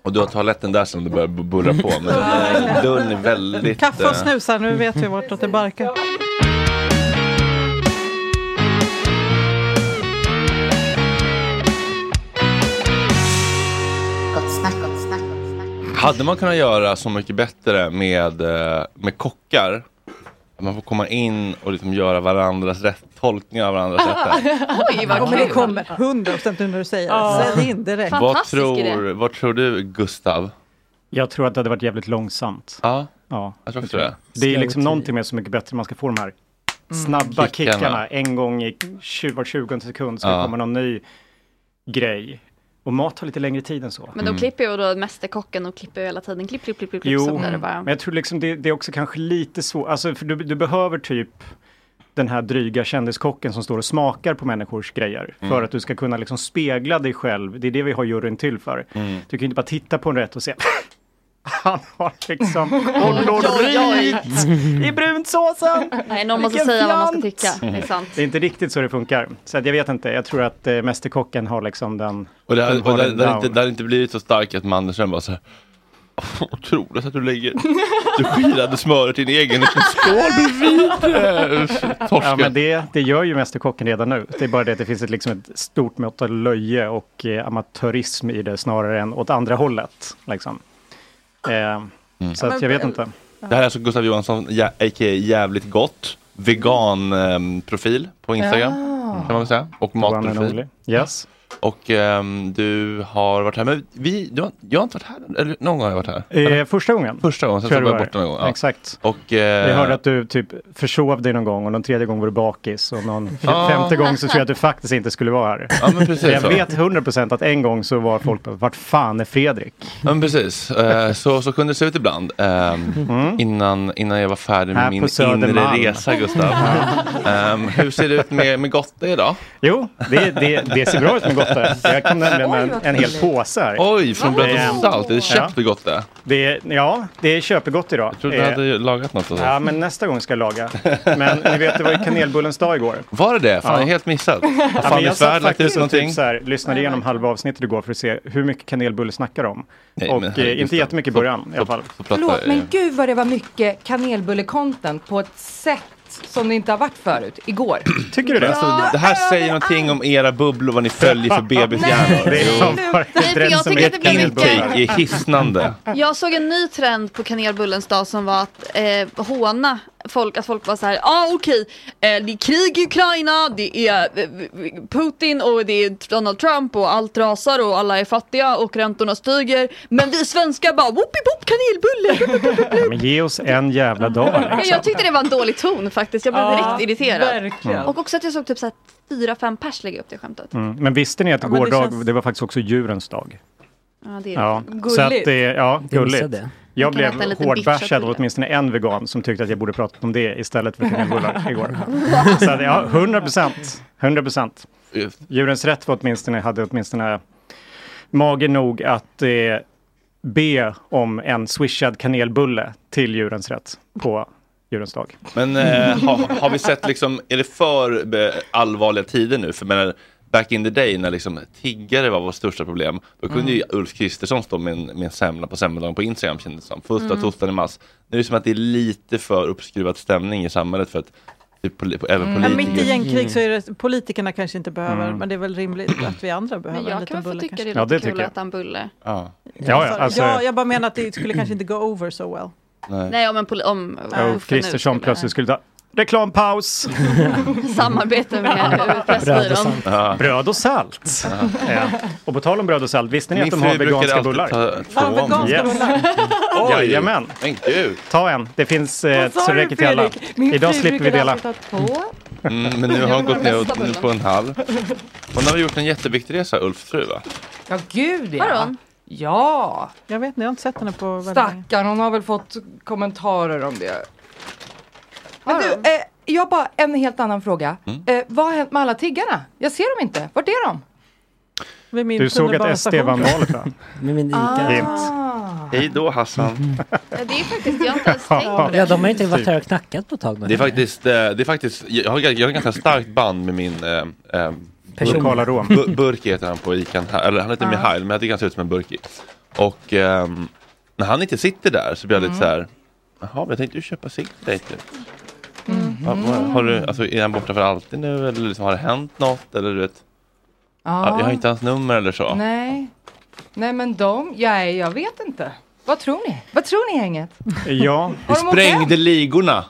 A: Och du har toaletten där som du börjar bu- bullra på. Men dörren är väldigt...
D: Kaffe och
A: eh,
D: snusar, nu vet vi vartåt det barkar.
A: Hade man kunnat göra så mycket bättre med, eh, med kockar? Att man får komma in och liksom göra varandras rätt, tolkningar av varandras rätter.
F: Oj, vad
D: Ja, men det
F: kul.
D: kommer 100 procent när du säger det. Sälj in direkt.
A: Vad tror, vad tror du Gustav?
G: Jag tror att det hade varit jävligt långsamt.
A: Ja,
G: ja
A: jag tror också
G: det.
A: det.
G: Det är
A: Slow
G: liksom
A: tea.
G: någonting med Så mycket bättre man ska få de här
F: Mm.
J: Mm.
G: snabba
A: Kickarna.
G: kickarna. En gång i 20, var 20 sekund ska
A: Ja.
G: det komma någon ny grej. Och mat tar lite längre tid än så.
F: Men
A: Mm.
F: de klipper ju då mästerkocken och klipper ju hela tiden. Klipp, klipp, klipp, klipp. klipp,
G: Mm. Jo,
F: så blir det bara.
G: men jag tror liksom det, det är också kanske lite svårt, alltså för du, du behöver typ den här dryga kändiskocken som står och smakar på människors grejer
L: Mm.
G: för att du ska kunna liksom spegla dig själv. Det är det vi har juryn till för.
A: Mm.
G: Du kan ju inte bara titta på en rätt och se han har liksom kolorit i brunsåsen.
F: Nej, någon måste
G: Vilken
F: säga vad man ska
G: fjant!
F: tycka. Det är sant.
G: Mm. Det är inte riktigt så det funkar. Så att jag vet inte, jag tror att eh, Mästerkocken har liksom den...
A: Och det,
G: den
A: hade-
G: har
A: och det,
G: den
A: det, hade
G: down.
A: inte, det hade inte blivit så starkt att Mandelsen bara så här. Otroligt att du lägger du skirade smöret i din egen liten skål bredvid eh, torsken.
G: Ja, men det, det gör ju Mästerkocken redan nu. Det är bara det att det finns ett, liksom ett stort mått av löje och eh, amatörism i det snarare än åt andra hållet. Liksom. Eh, Så att jag vet inte.
A: Mm. Det här är alltså Gustav Johansson, ja, a.k.a. jävligt gott. Vegan-profil på Instagram.
G: Ja.
A: Kan man väl säga. Och
G: The one and
A: matprofil.
G: only. Yes.
A: Och ehm, du har varit här. Men vi, du har, jag har inte varit här. Eller någon gång har jag varit här.
G: Eh, första gången.
A: Första gången, sen
G: tror
A: så
G: jag
A: var jag
G: det var.
A: borta någon gång. ja.
G: Exakt.
A: Och,
G: Jag
A: eh,
G: hörde att du typ försov dig någon gång och någon tredje gång var du bakis och någon f-
A: Ja.
G: femte gång så tror jag att du faktiskt inte skulle vara här.
A: Ah. Ja, men precis
G: jag
A: så.
G: vet 100% att en gång så var folk bara, vart fan är Fredrik?
A: Ja, men precis. Eh, så, så kunde det se ut ibland. Ehm, innan, innan jag var färdig med
G: Mm. Här
A: min
G: på
A: inre
G: Södermalm.
A: resa, Gustav. Ehm, hur ser det ut med, med Gotte idag?
G: Jo, det, det, det ser bra ut med Gotte. Jag kan nämligen
A: Oj,
G: en,
A: vad
G: en hel
A: trevligt.
G: påse här.
A: Oj, från Bröd och
G: Ehm,
A: Salt. Är det köpt
G: ja.
A: Gotte?
G: Det är, ja, det är köpegott idag.
A: Jag trodde du
G: Eh,
A: hade lagat något. Alltså.
G: Ja, men nästa gång ska jag laga. Men ni vet, det var ju kanelbullens dag igår.
A: Var det det? Fan,
G: Ja.
A: jag har helt missat. Har
G: Ja, men
A: Fanny
G: jag
A: Svärd
G: satt
A: lagt ut
G: faktiskt och
A: någonting?
G: typ så här, lyssnade igenom halva avsnittet igår för att se hur mycket kanelbulle snackar om.
A: Nej,
G: och
A: men
G: eh,
A: herregud,
G: inte jättemycket i början i alla fall.
K: Förlåt,
A: eh.
K: men gud vad det var mycket kanelbulle-content på ett sätt som det inte har varit förut, igår.
G: Tycker
A: Men Alltså, det här säger någonting om era bubblor, vad ni följer för bebishjärnor.
G: Nej,
A: Jo.
F: Nej, för jag tycker att det blir
A: Intake är
F: mycket.
A: hisnande.
F: Jag såg en ny trend på kanelbullens dag som var att eh, håna folk, att folk var så här, ja ah, okej, eh, det är krig i Ukraina, det är eh, Putin och det är Donald Trump och allt rasar och alla är fattiga och räntorna stiger, men vi svenskar bara whoopie boop kanelbulle.
G: Ja, men ge oss en jävla dag.
F: Men jag tyckte det var en dålig ton faktiskt, jag blev
K: Ja,
F: direkt irriterad.
K: verkligen.
F: Och också att jag såg typ så här fyra, fem pers lägga upp det skämtet.
G: Mm. Men visste ni att
F: Ja, men
G: igår
F: det
G: dag,
F: känns-
G: det var faktiskt också djurens dag?
F: Ja, det är
G: Ja,
F: gulligt.
G: så att det, ja,
E: Jag
G: gulligt.
E: missade det.
F: Man
G: Jag
F: kan äta en
G: blev
F: liten
G: hårdbashad
F: biffköttbulle.
G: av åtminstone en vegan som tyckte att jag borde prata om det istället för kanelbullar igår. Så att, ja, 100 procent. 100 procent. Djurens rätt var åtminstone, hade åtminstone mage nog att eh, be om en swishad kanelbulle till djurens rätt på djurens dag.
A: Men eh, har, har vi sett liksom, är det för be- allvarliga tider nu? För jag menar, back in the day när liksom tiggare var vårt största problem, då kunde
I: Mm.
A: ju Ulf Kristersson stå med en, med en semla på semmeldagen på Instagram kändes det som. Första
I: Mm.
A: torsdagen i mars. Nu är det som att det är lite för uppskruvad stämning i samhället för att typ, poli- på- även
F: Mm.
D: Men
A: politiker.
D: mitt i gängkrig så är det, politikerna kanske inte behöver,
A: Mm.
D: men det är väl rimligt att vi andra behöver
F: Men jag
D: en
F: kan
D: liten
F: väl få
D: bulle.
F: tycka
D: kanske.
F: det är lite kul att äta en bulle.
A: Ja.
G: Ja, ja,
D: Sorry.
G: alltså,
D: ja, jag bara menar att det skulle kanske inte gå over so well.
F: Nej, om en poli- om
G: Ja, Ulf Oh, Kristersson plötsligt skulle ta reklampaus.
F: Samarbete med Pressbyrån.
G: Bröd och salt. Ja. Och på tal om bröd och salt, visste ni
A: Min
G: att de
A: fru
G: har
A: brukar
G: veganska
A: alltid
G: bullar?
A: ta- ta om. Ja, veganska bullar.
G: Oh,
A: Oj,
G: Jajamän.
A: Men gud.
G: Ta en, det finns eh,
K: Vad sa
G: så
K: du,
G: räcker till alla.
K: Fredrik? Min
G: Idag
K: fru
G: slipper vi
K: brukar
G: dela.
K: alltid ta två.
A: Mm, men nu har hon
K: Jag vill
A: gått ner
K: ha
A: och-
K: nästa
A: nu
K: bullen.
A: på en halv. Hon har gjort en jätteviktig resa, Ulfs fru va?
K: Ja, gud
D: Har
K: ja.
D: hon?
K: Ja.
D: Jag vet inte, jag har inte sett henne på väldigt länge.
K: Stackarn, hon har väl fått kommentarer om det. Men du, eh, jag har bara en helt annan fråga. Eh, vad har hänt med alla tiggarna? Jag ser dem inte. Vart är de?
D: Vid min
G: Du såg att SD
D: tunnelbanestation.
G: vann valet va?
E: Med min
K: Ah.
A: Hej då Hassan.
F: Ja, Det är faktiskt, jag har inte ens tänkt på det.
E: Ja, typ. de har inte varit här och knackat på ett tag nu.
A: Det är faktiskt, eh, det är faktiskt jag, har, jag har ett ganska starkt band med min eh, eh,
E: Person.
G: Lokala rom.
A: Bu- Burki heter han på Ican, här, eller han heter
I: Ah.
A: Mihail men jag tycker han ser ut som en Burki. Och ehm, när han inte sitter där så blir jag lite så här, jaha men jag tänkte ju köpa cigg till dig typ. Ja, vad- har du, alltså, är han borta för alltid nu eller liksom, har det hänt något eller du vet?
K: Ja.
A: Jag har inte hans nummer eller så.
K: Nej. Nej men de, nej jag vet inte. Vad tror ni? Vad tror ni gänget?
G: Ja.
A: Vi
K: Har de åkt
A: sprängde ligorna.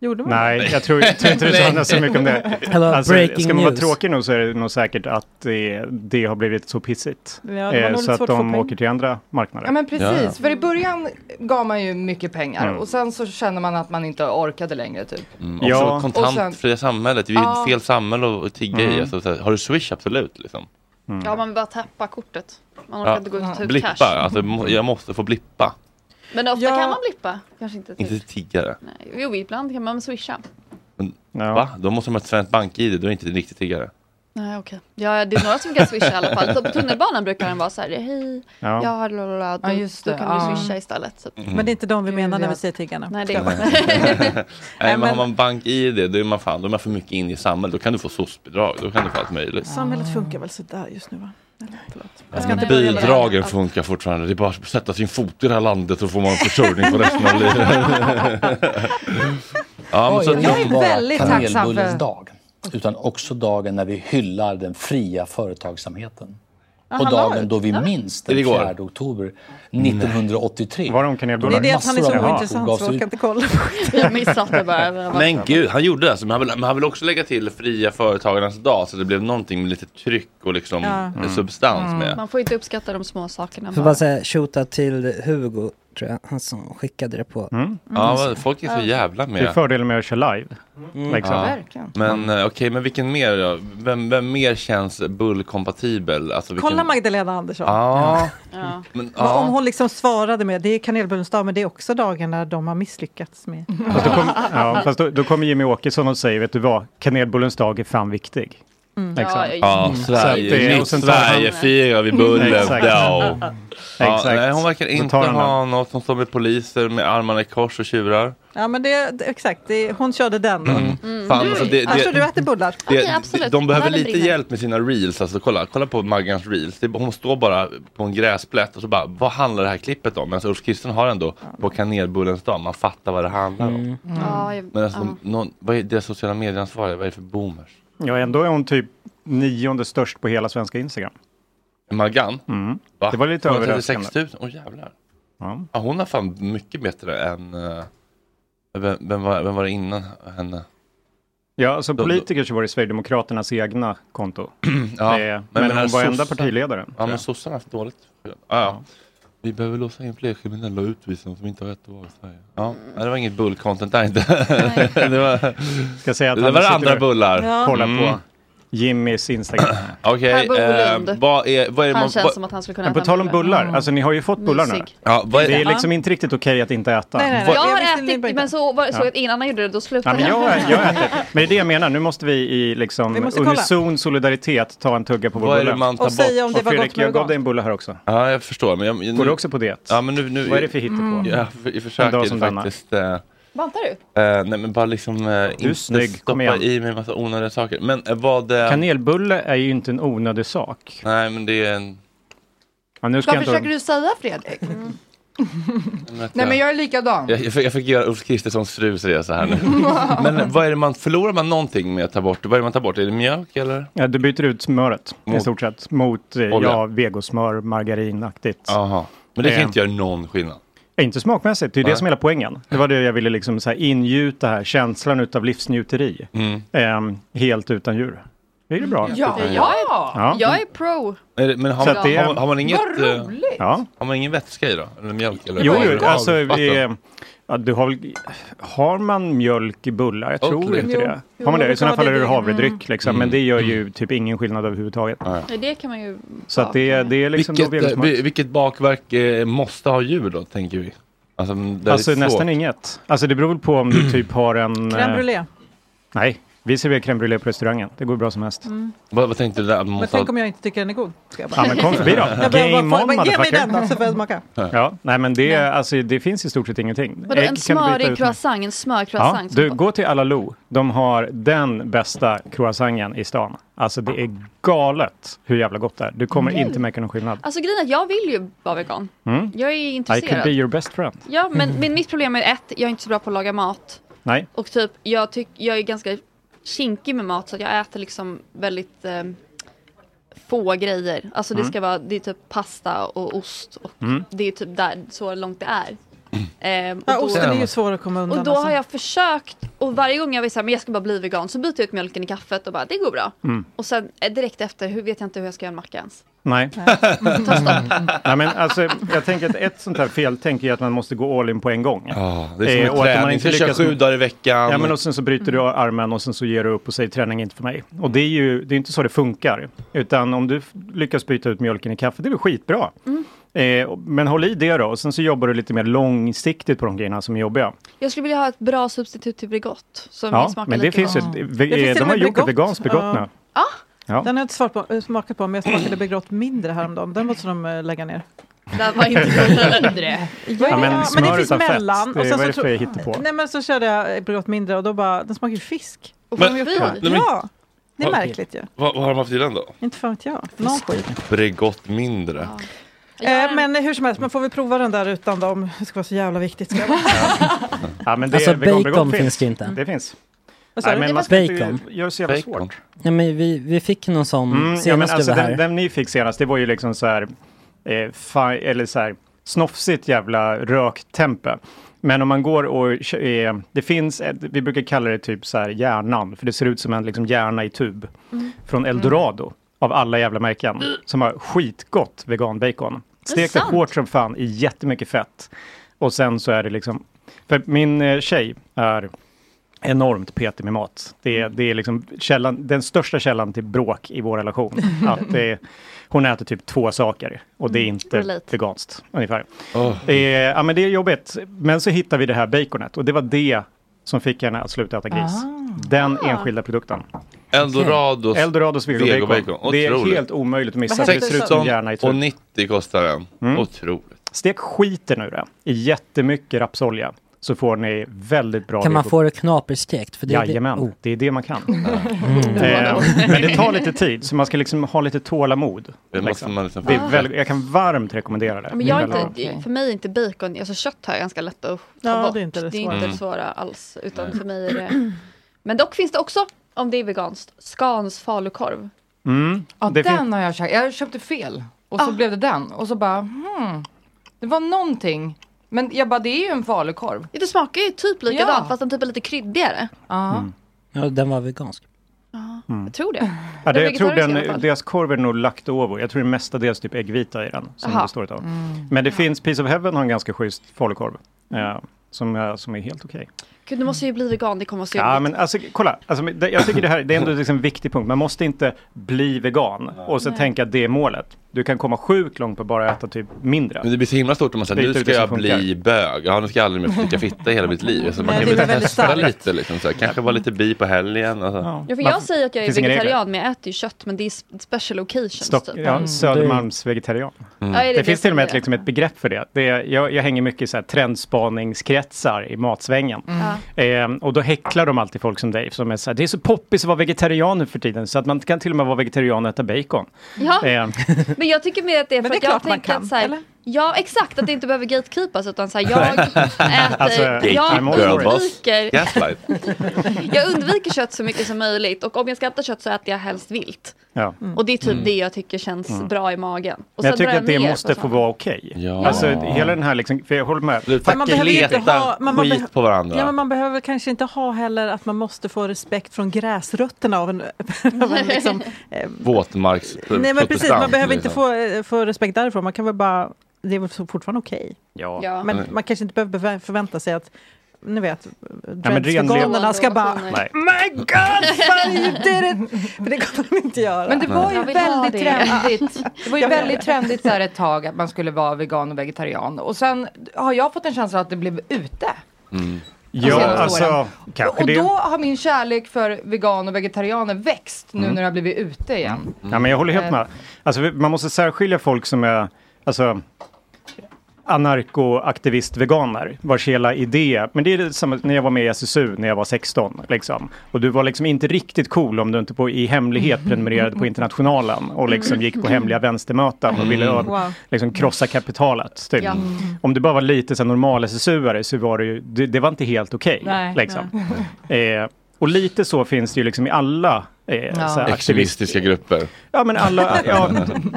K: Gjorde man?
G: Nej, jag tror, jag tror inte det
A: Nej.
G: handlar så mycket om det. Alltså,
A: Eller breaking
G: ska man vara
A: news.
G: tråkig nog så är det nog säkert att det, det har blivit så pissigt. Eh,
K: Ja, det var nog lite
G: så att
K: svårt att få
G: de
K: pengar.
G: åker till andra marknader.
K: Ja men precis, för i början gav man ju mycket pengar
G: Mm.
K: och sen så känner man att man inte orkade längre typ.
A: Mm,
G: Ja.
A: Också
K: Och sen-
A: kontantfria samhället. Vi är
F: Ja.
A: fel samhälle att att tigga i.
F: Mm.
A: Alltså, så här, har du swish? Absolut. Liksom.
F: Ja, man bara tappa kortet. Man orkar inte gå ut och ta ut
A: blippa.
F: cash.
A: Alltså, må- jag måste få blippa.
F: Men ofta kan man blippa. Kanske inte. Typ.
A: Inte tiggare.
F: Jo, ibland kan man swisha.
A: Va? Då måste de ha ett svenskt bank-id. Då är inte riktigt tiggare.
F: Nej, okej. Ja, det är några som kan swisha i alla fall. Så på tunnelbanan brukar den vara så här, hej,
A: Ja.
F: jag har lalala, då,
D: Ja, just
F: då
D: det.
F: kan
D: Ja.
F: du swisha istället. Så.
A: Mm. Men det är
D: inte de vi menar när vi säger tiggarna.
F: Nej, det
A: Nej,
F: är
A: men,
D: men-
A: har man bank-id, då är man fan, då är man för mycket in i samhället. Då kan du få soc-bidrag. Då kan du få allt möjligt.
D: Samhället funkar väl sådär just nu va? Eller, förlåt. Jag ska
A: Men
D: inte börja med det.
A: Bidragen funkar fortfarande. Det är bara att sätta sin fot i det här landet och får man försörjning för resten av livet. ja, men så att-
K: Jag är väldigt tacksam för-
L: kanelbullens dag. Utan också dagen när vi hyllar den fria företagsamheten.
D: Ja,
L: och
D: han har
L: dagen
D: det.
L: då vi
D: Ja.
L: minns den
D: Är det igår?
L: 4 oktober 1983. Var
G: de
D: Det är det att han är så ointressant så jag kan inte kolla.
F: Jag missat det bara.
A: Men gud, han gjorde det. Alltså, men, han vill, men han vill också lägga till fria företagarnas dag så det blev någonting med lite tryck och liksom
F: Ja. Mm.
A: eh, substans med.
F: Man får inte uppskatta de små sakerna.
E: Jag får bara säga shootout till Hugo, tror jag, han som skickade det på.
G: Mm.
A: Ja, vad- folk är så jävla
G: Det är
A: med. Mm.
G: fördelen med att köra live. Liksom.
A: Ja. Men eh, okej, men vilken mer då? Vem, vem mer känns bullkompatibel? Alltså, vilken...
D: Kolla Magdalena Andersson.
A: Ja. Men,
D: Vad Om
A: ja.
D: hon liksom svarade med, det är kanelbullens dag, men det är också dagen när de har misslyckats med.
G: Fast, då kom, ja, fast då, då kommer Jimmy Åkesson och säger, vet du vad, kanelbullens dag är fan viktig.
D: Mm.
G: Liksom.
A: Ja,
G: Mm. Så att det-
A: Sverige,
G: och
A: nytt
G: sen tar han-
A: Sverige firar vi bullen.
G: Exakt.
A: Ja. Ja,
G: Exakt.
A: nej, hon verkar
G: Då
A: inte
G: tar hon
A: ha något som står med poliser med armarna i kors och tjurar.
D: Ja men det, det- exakt, det, hon körde den.
A: Mm. Fan, alltså, det-
D: Alltså
A: det-
D: du äter bullar.
A: Det, De behöver lite hjälp med sina reels. Alltså, kolla, kolla på Maggans reels. Det, hon står bara på en gräsplätt och så bara, vad handlar det här klippet om? Men alltså, Ulf Kristersson har ändå på kanelbullens dag, man fattar vad det handlar om.
G: Mm.
F: Ja, jag,
A: Men alltså,
F: ja.
A: någon, vad är deras sociala medieransvariga? Vad är det för boomers?
G: Ja, ändå är hon typ nionde störst på hela svenska Instagram.
A: Maggan?
G: Mm.
A: Va?
G: Det var lite överraskande.
A: 136 000, åh jävlar. Ja, hon är fan mycket bättre än, eh, vem, vem, var, vem var det innan henne?
G: Ja, alltså politiker så var det Sverigedemokraternas egna konto.
A: Ja,
G: det, men
A: men jag menar,
G: hon var enda
A: sossar-
G: partiledaren. tror
A: Ja,
G: jag.
A: men sossarna har haft dåligt. Ja, ja. Vi behöver låsa in fler kriminella och utvisa dem som inte har rätt att vara i Sverige. Ja, nej, det var inget bull-content där inte. det var,
G: Ska säga att
A: det
G: han
A: var
G: sitter
A: andra
G: och
A: bullar.
G: Kollar
A: Mm.
G: på Jimmys Instagram.
A: Okej,
F: Per
A: eh,
F: Bolund.
A: vad är, vad är det
F: Han
A: man...
F: känns
A: vad-
F: som att han skulle kunna
G: Men på
F: äta Mm.
G: tal om
F: mycket.
G: bullar, alltså ni har ju fått bullar nu.
A: Ja, vad är
G: det är
A: det?
G: liksom inte riktigt okej att inte äta.
F: Nej, nej, nej.
G: Vad-
F: Jag har
D: visste ni
F: ätit,
D: började.
F: men så var det så
G: Ja.
F: att innan han gjorde det, då
G: Ja,
F: slutade
G: men jag, jag äter. Men det är det jag menar, nu måste vi i liksom
D: Vi måste kolla.
G: unison solidaritet ta en tugga på vår
A: Vad är det
G: bulle.
A: man tar Och säga bort? om det
G: Och
A: var gott
G: Fredrik,
A: med
G: jag gav
A: organ.
G: dig en bulle här också.
A: Ja, jag förstår. Men jag, nu,
G: Går du också på diet?
A: Ja, men nu, nu,
G: Vad är det för hittepå?
A: Mm. Ja, jag
G: En dag som
A: försöker
G: denna.
A: faktiskt... eh,
F: Bantar du?
A: Eh, nej men bara liksom eh, inte
G: snygg, kom
A: stoppa
G: igen.
A: i mig en massa onödiga saker. Men eh, vad... Eh,
G: Kanelbulle är ju inte en onödig sak.
A: Nej men det är en...
G: Ja, nu ska
K: Vad
G: jag inte...
K: försöker du säga Fredrik?
F: Mm.
K: Nej
A: Mm, jag-
K: Mm. men jag är likadan.
A: Jag, jag, fick, jag fick göra Ulf Kristerssons frus resa här nu. men vad är det man, förlorar man någonting med att ta bort? Vad är det man tar bort? Är det mjölk eller?
G: Ja, du byter ut smöret i
A: Mot-
G: stort sett mot eh,
A: Olja.
G: ja, vegosmör, margarinaktigt.
A: Jaha. Men det kan
G: Eh,
A: inte göra någon skillnad.
G: Inte smakmässigt, det är
A: Nej.
G: det som är hela poängen. Det var det jag ville liksom så här ingjuta här, känslan utav livsnjuteri.
A: Mm.
G: Ehm, helt utan djur. Det är det bra.
F: Ja, jag är,
G: Ja.
F: jag är pro.
A: Är det, men har,
G: Så att
A: man,
G: det-
A: har, man- har man inget...
F: Vad
A: eh,
F: roligt!
G: Ja.
A: Har man ingen vätska i då? Eller mjölk? Eller
G: Jo,
A: vad är
G: jo
A: det?
G: alltså,
A: Vatten?
G: eh, ja, du har, väl- har man mjölk i bullar? Jag
A: Och
G: tror
A: gluten.
G: inte det.
F: Jo,
G: Har man det? I
F: jo,
G: sådana fall är det
F: det-
G: havredryck,
F: mm.
G: liksom, men det gör ju typ ingen skillnad överhuvudtaget.
F: Nej, Det kan man ju...
G: Så att det, det är liksom då
A: vilket, eh,
G: vegosmak.
A: vi- vilket bakverk eh, måste ha djur då, tänker vi? Alltså, där
G: Alltså
A: det är svårt.
G: nästan inget. Alltså det beror väl på om du typ har en... eh,
D: Crème brûlée.
G: Nej, vi serverar crème brûlée på restaurangen. Det går bra som helst.
D: Mm.
A: Vad, vad tänkte du där?
D: Men
A: Måste
D: tänk
A: ha...
D: om jag inte tycker den är god? Ska jag
G: Ja, men kom förbi då.
D: Jag behöver
G: Game
D: bara få, men
G: on,
D: ge mig
G: motherfucker.
D: den då så får jag smaka.
G: Ja, nej men det, alltså, det finns i stort sett ingenting.
F: Vadå,
G: Ägg
F: en
G: kan du byta ut
F: smörig
G: med.
F: croissant? En
G: Ja,
F: smörcroissant?
G: du, gå till Alalou. De har den bästa croissangen i stan. Alltså det är galet hur jävla gott det är. Du kommer
F: Mm.
G: inte märka någon skillnad.
F: Alltså grejen är att jag vill ju vara vegan.
G: Mm.
F: Jag är
G: I could be
F: intresserad.
G: your Mm. best friend.
F: Ja, men, men mitt problem är ett, jag är inte så bra på att laga mat.
G: Nej.
F: Och typ, jag, tyck, jag är ganska kinkig med mat så att jag äter liksom väldigt eh, få grejer. Alltså det
G: Mm.
F: ska vara, det är typ pasta och ost och
G: Mm.
F: det är typ där, så långt det är. Ehm, och
D: Ja,
F: då-
D: osten är ju svår att komma undan.
F: och då
D: alltså.
F: har jag försökt och varje gång jag vill säga men jag ska bara bli vegan så byter jag ut mjölken i kaffet och bara det går bra.
G: Mm.
F: Och sen eh, direkt efter hur vet jag inte hur jag ska göra en macka ens.
G: Nej.
F: Mm.
G: Nej, men alltså, jag tänker att ett sånt här feltänk är att man måste gå all in på en gång. Eh,
A: Ja, det är som en
G: och att
A: träning. Du kör
G: lyckas-
A: sju dagar i veckan.
G: Ja, men och sen så bryter du
F: Mm.
G: armen och sen så ger du upp och säger träning är inte för mig. Och det är ju det är inte så det funkar. Utan om du f- lyckas byta ut mjölken i kaffet, det är väl skitbra.
F: Mm.
G: Eh, och- men håll i det då och sen så jobbar du lite mer långsiktigt på de grejerna som är jobbiga.
F: Jag skulle vilja ha ett bra substitut till Bregott som
G: Ja,
F: smakar
G: men det
F: lika
G: finns ju,
F: gott.
G: ett-
D: Det finns
G: eh,
D: till
G: de
D: och
G: har
D: med
G: gjort ett
D: Bregott.
G: veganskt Bregott nu.
F: Ja.
G: Ja.
D: Den har jag inte svart på, smakat på, men jag smakade Begrått mindre häromdagen. Den måste de eh, lägga ner.
F: Den var inte mindre.
D: Ja,
G: Ja, men smör
D: men det finns
G: utan fett,
D: mellan.
G: det- vad är det
D: så
G: för
D: tro-
G: hittepå?
D: Nej, men så körde jag eh, Begrått mindre och då bara, den smakar ju fisk. Och
A: Men-
D: de gjort
A: fy.
D: det?
A: Nej, men-
D: Ja, det är
A: Okej.
D: märkligt ju.
A: Vad, vad har de haft i den då?
D: Inte fan vet jag. Någon skit.
A: Bregott mindre.
D: Eh, men hur som helst, man får väl prova den där utan dem. Det ska vara så jävla viktigt. Ska jag vara.
G: Ja, men det
E: Alltså,
G: vegan Bregott
E: bacon finns det inte.
G: Det finns.
D: Vad sa du?
G: men man ska inte
E: Bacon.
G: göra det så jävla svårt.
E: Ja, men vi, vi fick någon sån
G: Mm,
E: senast
G: ja, men alltså,
E: du var här.
G: den, den ni fick senast, det var ju liksom så här, eh, fa- eller så här snofsigt jävla röktempe. Men om man går och, kö- eh, det finns, ett, vi brukar kalla det typ så här hjärnan, för det ser ut som en liksom hjärna i tub.
J: Mm.
G: Från Eldorado, av alla jävla märken, som har skitgott veganbacon.
J: Det är
G: Stekt det
J: sant.
G: hårt som fan i jättemycket fett. Och sen så är det liksom, för min eh, tjej är enormt petig med mat. Det är, det är liksom källan, den största källan till bråk i vår relation. Att det är, hon äter typ två saker och det är inte
J: Mm, Relate.
G: veganskt ungefär. Eh, ja, men det är jobbigt. Men så hittar vi det här baconet och det var det som fick henne att sluta äta gris.
J: Ah.
G: Den enskilda produkten.
A: Eldorados,
G: Eldorados vegobacon. Det är helt omöjligt att missa. för Det ser ut som hjärna i
A: och
G: tur. Mm.
A: 90 kostar den. Otroligt.
G: Stek skiten ur det i jättemycket rapsolja så får ni väldigt bra
E: Kan man
G: vegobacon.
E: få det knaperstekt? För det, är det-
G: Jajamän,
E: oh.
G: det är det man kan.
E: Mm.
G: Eh, men det tar lite tid, så man ska liksom ha lite tålamod.
A: Det måste
G: liksom.
A: man liksom-
G: det är väldigt, jag kan varmt rekommendera det.
F: Men jag
G: Det är
F: är
G: väldigt bra.
F: inte, för mig är inte bacon, alltså kött har jag ganska lätt att ta
D: Ja,
F: bort.
D: det är inte det
F: är
D: svåra.
G: Mm.
F: inte det svåra alls. Utan för mig är det... Men dock finns det också, om det är veganskt, Scans falukorv.
G: Mm.
K: Ja,
G: Det
K: den
G: fin-
K: har jag köpt. Jag köpte fel och
F: Ah.
K: så blev det den. Och så bara, hmm, det var någonting. Men jag bara, det är ju en falukorv.
F: Ja, det smakar ju typ likadant
K: Ja.
F: fast den typ är lite kryddigare.
K: Ja.
E: Ja, den var vegansk.
G: Mm.
F: Jag tror det.
G: Ja, det,
F: Den
G: jag tror
F: vegetariska i alla
G: den,
F: fall.
G: deras korv är nog laktovo. Jag tror det är mestadels typ äggvita i den.
F: Aha.
G: Som
F: Mm.
G: det består av. Men det finns, Piece of Heaven har en ganska schysst falukorv. Eh, som, är- som är helt okej.
F: Gud, du måste ju bli vegan, det kommer vara så
G: Ja,
F: jobbigt.
G: men alltså, kolla, alltså, det- jag tycker det här det är ändå liksom en viktig punkt. Man måste inte bli vegan och sen
F: Nej.
G: tänka att det är målet. Du kan komma sjukt långt på bara att äta typ mindre.
A: Men det blir så himla stort om man säger
G: Byter
A: nu
G: ut
A: ska
G: det som
A: jag bli bög. Ja, nu ska jag aldrig mer få dricka fitta i hela mitt liv. Alltså, man
G: Nej,
A: kan
G: det är
A: väl
G: väldigt
A: testa
G: starkt.
A: lite liksom. Så här. Kanske vara lite bi på helgen. Alltså.
F: Ja, för jag säger att jag är vegetarian men jag äter ju kött men det är sp- special occasions
G: Stock,
F: typ.
D: Mm.
G: ja, Södermalms vegetarian.
F: Ja, är det
G: det,
F: det
G: finns till och med ett,
F: som är-
G: liksom ett begrepp för det. det är, jag, jag hänger mycket i så här trendspaningskretsar i matsvängen.
D: Mm.
G: Eh, och då häcklar de alltid folk som dig som är så här, det är så poppis att vara vegetarian nu för tiden så att man kan till och med vara vegetarian och äta bacon.
F: Ja.
G: Eh,
F: Men jag tycker mer att det är för
D: det är
F: att jag
D: klart man
F: tänker
D: kan,
F: att så här, ja exakt att det inte behöver gatekeepas utan så här, jag äter,
G: Alltså,
F: jag
G: I'm all for it.
F: undviker,
A: Gaslight.
F: jag undviker kött så mycket som möjligt och om jag ska äta kött så äter jag helst vilt.
G: ja.
F: Och det är typ
G: Mm.
F: det jag tycker känns
G: Mm.
F: bra i magen. Och sen
G: Men jag
F: drar
G: tycker att det
F: ner på
G: måste få
F: sånt.
G: vara okej.
A: Ja.
G: Alltså hela den här liksom, för jag håller med.
D: Men man behöver ju inte ha, man, man beh-
A: på varandra.
D: Ja, men man behöver kanske inte ha heller att man måste få respekt från gräsrötterna av en... av en liksom, eh,
A: Våtmarks...
D: nej, men precis, man
A: protestant,
D: behöver inte
A: liksom.
D: få, eh, få respekt därifrån. Man kan väl bara... Det är väl så fortfarande okej.
G: Ja. Mm.
A: Ja.
D: Men man kanske inte behöver bevä- förvänta sig att, ni vet,
G: men ren-
D: dreadsveganerna ska bara...
G: Nej.
D: My God, fan, you did it! För det kommer de inte göra.
K: Men det var ju
F: Jag vill ha
K: väldigt
F: det.
K: trendigt. Det var ju
D: Jag vet.
K: väldigt trendigt där ett tag att man skulle vara vegan och vegetarian. Och sen har jag fått en känsla att det blev ute.
A: Mm.
G: Ja,
K: Alltså,
G: alltså, kanske
K: Och
G: det.
K: då har min kärlek för vegan och vegetarianer växt nu
G: Mm.
K: när jag har blivit ute igen.
G: Ja, men jag håller helt
K: Eh.
G: med. Alltså, vi- man måste särskilja folk som är alltså, anarkoaktivist-veganer, vars hela idé... Men det är det samma när jag var med i SSU när jag var 16. Liksom. Och du var liksom inte riktigt cool om du inte på, i hemlighet prenumererade på Internationalen och liksom gick på hemliga vänstermöten och ville
J: Mm.
G: ö- liksom, krossa kapitalet. Typ.
J: Ja. Mm.
G: Om du bara var lite så här normal SSU-are så var det ju... Det, det var inte helt okej.
J: Nej.
G: liksom. Eh, Och lite så finns det ju liksom i alla eh,
A: Ja.
G: så här aktivist-
A: Extremistiska grupper.
G: Ja, men alla, ja,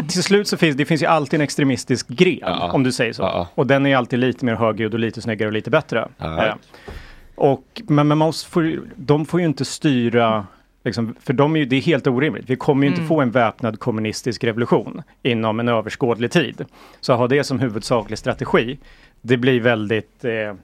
G: till slut så finns det finns ju alltid en extremistisk gren, om du säger så. Och den är ju alltid lite mer högljudd och lite snyggare och lite bättre.
A: Ja.
G: Eh, och, men men man måste får, ju- de får ju inte styra, liksom, för de är ju, det är helt orimligt. Vi kommer ju
M: Mm.
G: inte få en väpnad kommunistisk revolution inom en överskådlig tid. Så att ha det som huvudsaklig strategi, det blir väldigt... Eh, liksom,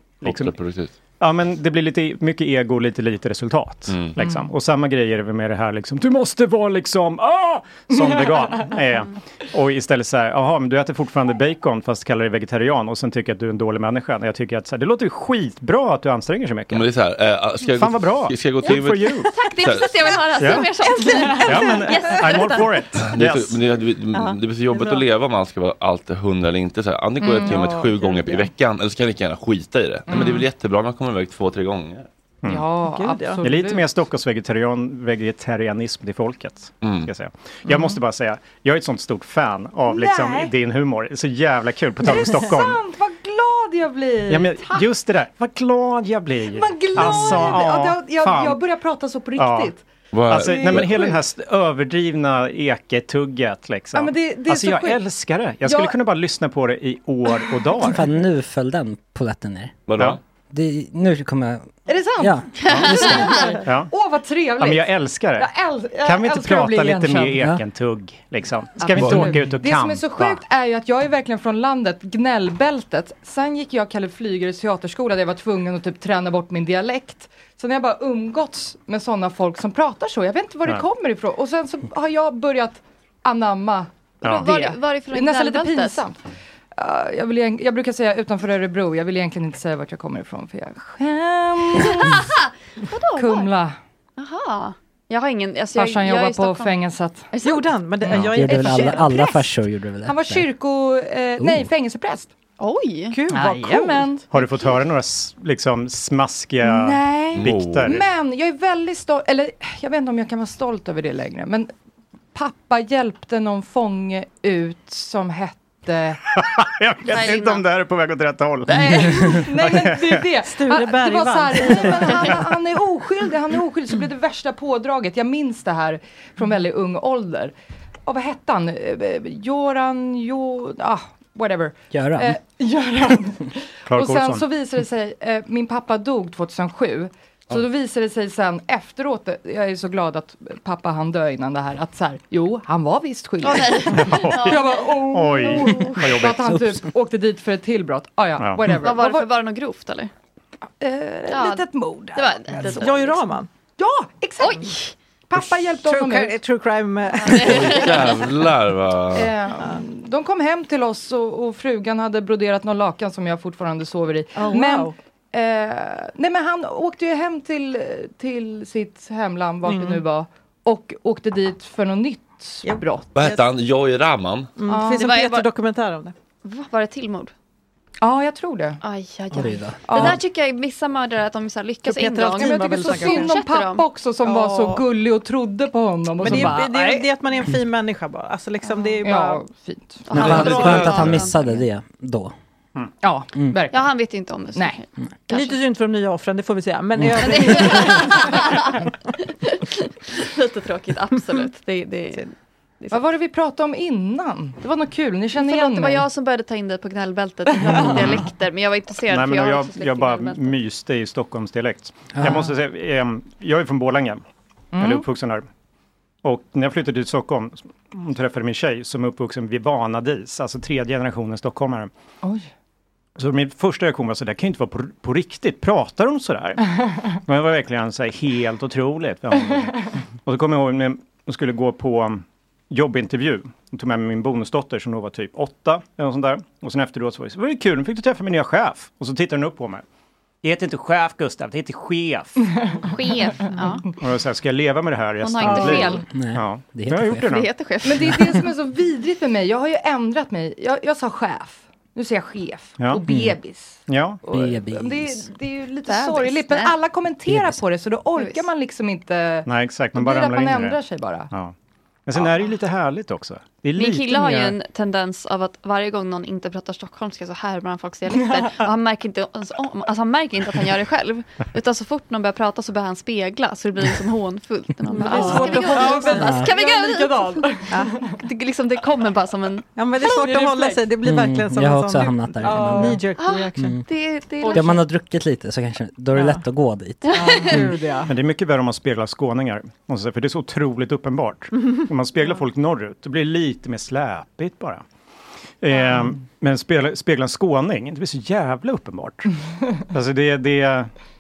A: Kontraproduktivt.
G: Ja, men det blir lite mycket ego och lite lite resultat.
A: Mm.
G: Liksom.
A: Mm.
G: Och samma grej är det väl med det här liksom, du måste vara liksom, ah! Som vegan. Eh, och istället så här, jaha, men du äter fortfarande bacon fast kallar dig vegetarian och sen tycker jag att du är en dålig människa. Och Jag tycker att så här, det låter ju skitbra att du anstränger så mycket.
A: Men det är så här, eh, ska jag
G: Fan
A: gå,
G: vad bra!
A: Ska jag gå
G: Good
A: till
G: for you!
F: Tack, det är precis det jag vill höra. Säg
A: Ja.
F: mer sånt.
G: Ja, men, I'm all for it.
A: Det är,
G: Yes.
A: så, men det, det,
F: Ja.
A: det blir så jobbigt
F: Det är bra.
A: att leva om man ska vara alltid hundra eller inte. Så här, antingen går jag till
K: Mm.
A: gymmet
K: Ja,
A: sju gånger i veckan eller så kan jag lika gärna skita i det. Nej, men det är väl jättebra om man kommer iväg två, tre gånger.
G: Mm.
K: Ja,
G: Gud, ja. Det är
K: absolut.
G: lite mer Stockholmsvegetarian vegetarianism till folket. Ska jag säga. jag
K: Mm.
G: måste bara säga, jag är ett sånt stort fan av liksom,
K: Nej.
G: din humor. Det är Så jävla kul, på tal
K: Är
G: om
K: det
G: Stockholm.
K: sant? Vad glad jag blir!
G: Ja, men,
K: Tack!
G: just det där, vad glad jag blir.
K: Vad glad
G: Alltså,
K: jag blir!
G: ja,
K: Ja, det- jag,
G: fan.
K: jag börjar prata så på
G: Ja.
K: riktigt.
G: Alltså,
K: Det är
G: nej, men hela
K: sjukt.
G: den här st- överdrivna eketugget liksom.
K: Ja, men det- det är
G: alltså
K: så
G: jag
K: sjukt.
G: älskar det.
K: Jag-
G: Jag skulle kunna bara lyssna på det i år och dagar.
E: Fan, nu föll den polletten ner.
A: Vadå?
E: Det, nu kommer jag...
K: Är det sant?
E: Ja. Ja, just det.
G: Ja.
K: Åh, vad trevligt!
G: Ja, men jag älskar det.
K: Jag äl- jag
G: kan vi inte
K: älskar att bli
G: prata lite mer
K: igenkänd. Ja.
G: ekentugg? Liksom? Ska vi inte
K: Absolut.
G: åka ut och
K: Det som är
G: campa?
K: så sjukt är ju att jag är verkligen från landet, gnällbältet. Sen gick jag Kalle Flygares teaterskola där jag var tvungen att typ träna bort min dialekt. Sen har jag bara umgåtts med sådana folk som pratar så. Jag vet inte var det
G: Nej.
K: kommer ifrån. Och sen så har jag börjat anamma
G: Ja.
K: det.
G: Var-
F: varifrån
K: det är nästan lite
F: gnällbältet?
K: pinsamt. Uh, jag, vill, egent- jag brukar säga utanför Örebro. Jag vill egentligen inte säga vart jag kommer ifrån för jag skäms.
F: Vadå?
K: Kumla.
F: Jaha. Jag har ingen... Alltså jag,
K: Farsan
F: jag är i
K: jobbar på
F: Stockholm.
K: fängelset.
D: Gjorde han? Men det,
E: Ja.
D: jag
E: gjorde väl alla,
D: är
E: alla farsor gjorde väl det.
K: Han var kyrko... Eh, nej,
E: Oh.
K: fängelsepräst.
F: Oj!
D: Gud
K: vad Jajamän.
G: Har du fått höra några s- liksom, smaskiga
K: Nej.
G: dikter?
K: Men jag är väldigt stolt, eller jag vet inte om jag kan vara stolt över det längre, men pappa hjälpte någon fånge ut som hette
G: Jag vet inte om det här är på väg åt rätt håll.
K: Nej men det är det.
D: Sture
K: Han- det var
D: Bergvall.
K: så här, nej, men han, han är oskyldig, han är oskyldig. Så blev det värsta pådraget. Jag minns det här från väldigt ung ålder. Och vad hette han? Eh, eh, Göran, Jo... Ah, whatever.
E: Göran.
K: Eh, Göran.
E: Clark
K: och sen
E: Olsson.
K: så visade det sig, eh, min pappa dog 2007. Så då visade det sig sen efteråt, eh, jag är så glad att pappa han dö innan det här, att så här, jo, han var visst skyldig. jag bara, oh,
G: Oj, vad
K: Så att han
G: jobbigt.
K: typ åkte dit för ett till brott. Ah, ja,
G: Ja.
K: whatever.
F: Vad var det för? Var det något grovt eller?
K: Eh, litet mord. Alltså.
F: Det var ett litet
D: Jojje Raman.
K: Ja, exakt! Pappa hjälpte
D: True,
K: honom
D: cri-
K: ut.
D: true crime. eh,
A: Jävlar vad...
K: Eh, de kom hem till oss och, och frugan hade broderat någon lakan som jag fortfarande sover i.
D: Oh,
K: men,
D: wow.
K: eh, nej men han åkte ju hem till, till sitt hemland, vart det
A: Mm.
K: nu var, och åkte dit för något nytt brott.
A: Vad hette han? Joy Rahman?
D: Mm, det finns en Peter-dokumentär om det.
F: Var det tillmord?
K: Ja, jag tror det.
F: Aj, aj,
K: Oj då.
F: aj. Det
K: Ja.
F: där tycker jag är vissa mördare att de så här lyckas
K: Peter
F: en dag.
K: Altman var väl snackad om. Jag tycker så synd om pappa också som var så gullig och trodde på honom. Och
D: Men
K: så
D: det är,
K: bara,
D: det, är,
K: nej.
D: det är att man är en fin människa bara. Alltså liksom, det är ju bara...
K: Ja, fint.
E: Men vad skönt att han missade det då.
K: Ja,
E: Mm.
F: Ja, han vet ju inte om det. Nej.
D: Lite synd för de nya offren, det får vi säga. Men i
E: Mm.
D: övrigt...
F: Lite tråkigt, absolut. Det, det, det är
K: Vad var det vi pratade om innan? Det var något kul, ni känner igen
F: Förlåt, det var
K: mig.
F: jag som började ta in dig på gnällbältet. Jag pratade om dialekter, men jag var intresserad
G: Nej, men
F: för jag, har
G: jag,
F: också släkt
G: jag
F: i
G: bara
F: gnällbältet.
G: myste i Stockholmsdialekt.
M: Ah.
G: Jag måste säga, ehm, jag är från Borlänge. Jag är
M: Mm.
G: uppvuxen här. Och när jag flyttade till Stockholm och träffade min tjej som är uppvuxen vid Vanadis, alltså tredje generationen stockholmare.
K: Oj.
G: Så min första reaktion var så där kan ju inte vara på, på riktigt, pratar de så där? Men det var verkligen så här, helt otroligt. Ja, Och så kommer jag ihåg när jag skulle gå på um, jobbintervju. Då tog jag med min bonusdotter som då var typ åtta eller något sånt där. Och sen efteråt så var det, så, var det kul, nu fick du träffa min nya chef. Och så tittade hon upp på mig. Jag heter inte chef Gustav, jag heter chef.
F: Chef, ja.
G: Och jag sa, ska jag leva med det här
F: Hon har inte fel.
G: Nej, ja.
E: det
G: jag har gjort det nu.
F: chef.
K: Men det är det som är så vidrigt med mig. Jag har ju ändrat mig. Jag, jag sa chef. Nu säger jag chef.
G: Ja.
K: Och
F: Mm.
K: bebis.
G: Ja.
K: Det, är- det är ju lite
F: Bebis.
K: sorgligt. Men
F: Nej.
K: alla kommenterar
G: Bebis.
K: på det så då orkar man liksom inte.
G: Nej, exakt,
K: Då
G: man bara
K: blir det att
G: ramlar in
K: man
G: i det.
K: ändrar sig bara.
G: Ja. Men sen är det ju lite härligt också. Det är
F: Min
G: lite
F: kille har ju
G: mer-
F: en tendens av att varje gång någon inte pratar stockholmska så härmar han folks dialekter. Och han märker inte ens om, alltså han märker inte att han gör det själv. Utan så fort någon börjar prata så börjar han spegla så det blir liksom hånfullt. När någon bara,
D: Det är
F: "Ah,
D: svårt
F: ska vi
D: att hålla
F: gå dit?"
D: sig.
F: Ska vi
D: Jag är
F: gå dit? Det, liksom, det kommer bara som en...
D: Ja, men det är svårt att hålla sig. Det blir
E: Mm,
D: verkligen som
E: jag
D: en
E: har
D: sån-
E: också hamnat där
D: Ja.
E: ibland.
D: Knee jerk reaction.
E: Mm.
F: Det, det är
E: Ja, man har druckit lite så kanske, då är det lätt att gå dit.
G: Men det är mycket värre om man speglar skåningar, måste jag säga, för det är så otroligt uppenbart. Om man speglar folk norrut, det blir lite mer släpigt bara. Eh, men spegla, spegla en skåning, det blir så jävla uppenbart. Alltså det, det,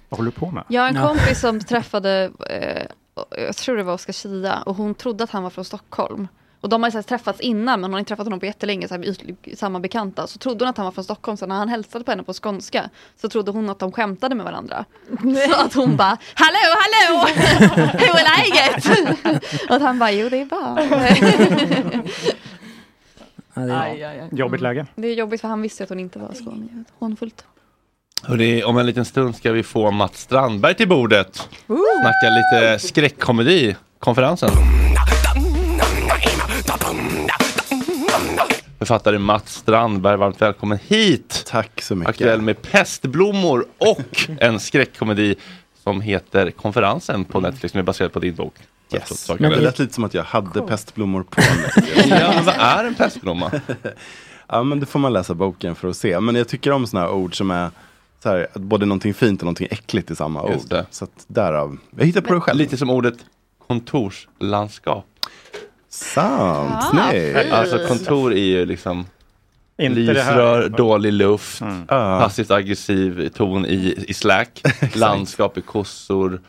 G: vad håller du på med?
F: Jag har en kompis som träffade, eh, jag tror det var Oskar Schia, och hon trodde att han var från Stockholm. Och de har ju så här träffats innan, men hon har inte träffat honom på jättelänge, så här, ytlig- samma bekanta. Så trodde hon att han var från Stockholm, så när han hälsade på henne på skånska, så trodde hon att de skämtade med varandra. Så att hon bara, hallå, hallå, hur är läget? och att han bara, jo det är bra.
E: Ja,
F: det är- Aj, aj, aj.
G: Jobbigt läge.
F: det är jobbigt för han visste ju att hon inte var skåning. Hånfullt.
A: Hörrni, om en liten stund ska vi få Mats Strandberg till bordet.
F: Ooh.
A: Snacka lite skräckkomedi, konferensen. Författare Mats Strandberg, varmt välkommen hit!
M: Tack så mycket.
A: Aktuell med pestblommor och en skräckkomedi som heter Konferensen på Netflix, som är baserad på din bok.
M: Mm. Yes.
A: Saker
M: Men
A: väl?
M: det lät lite som att jag hade pestblommor på mig.
A: Ja, men vad är en pestblomma?
M: ja, men det får man läsa boken för att se. Men jag tycker om sådana här ord som är så här, att både någonting fint och någonting äckligt i samma
A: Just
M: ord. Så att därav, jag hittar på det själv. Lite
A: som ordet kontorslandskap.
M: Sant,
A: Ah,
M: snyggt.
A: Alltså kontor är ju liksom
G: Inte det här. Mm.
A: lysrör, dålig luft,
M: Ah.
A: passivt aggressiv ton i, i slack, landskap i kossor,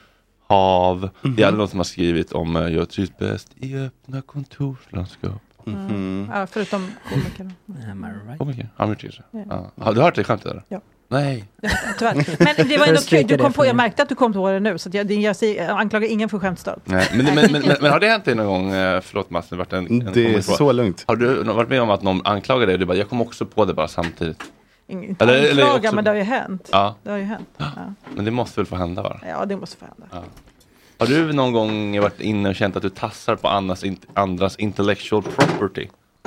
A: hav. Det
M: Mhm.
A: är aldrig någon som har skrivit om eh, jag trivs bäst i öppna kontorslandskap.
M: Mhm.
D: Mm. Ja, förutom komiker.
E: Am I right?
A: Komiker, han har gjort det.
D: Ja.
A: Ja. Har du hört det skämtet? eller?
D: Ja.
A: Nej.
D: Tyvärr. Men det var
A: För
D: ändå
A: att stryka
D: kul. Du
A: det
D: kom på,
A: från-
D: jag märkte att du kom på det nu, så att jag, jag, säger- jag anklagar ingen för skämtstöld.
A: Nej. Men, men, men, men, men har det hänt dig någon gång, eh, förlåt Mats, det, varit en, en
M: Det är
A: komiker-
M: så lugnt.
A: Har du varit med om att någon anklagar dig och du bara, jag kom också på det bara samtidigt?
D: Ingen
A: Eller- eller
D: anklagar,
A: också-
D: men det har ju hänt.
A: Ja.
D: Det har ju hänt. Ja,
A: Men det måste väl få hända va?
D: ja det måste få hända.
A: Ja. Har du någon gång varit inne och känt att du tassar på andras, in, andras intellectual property?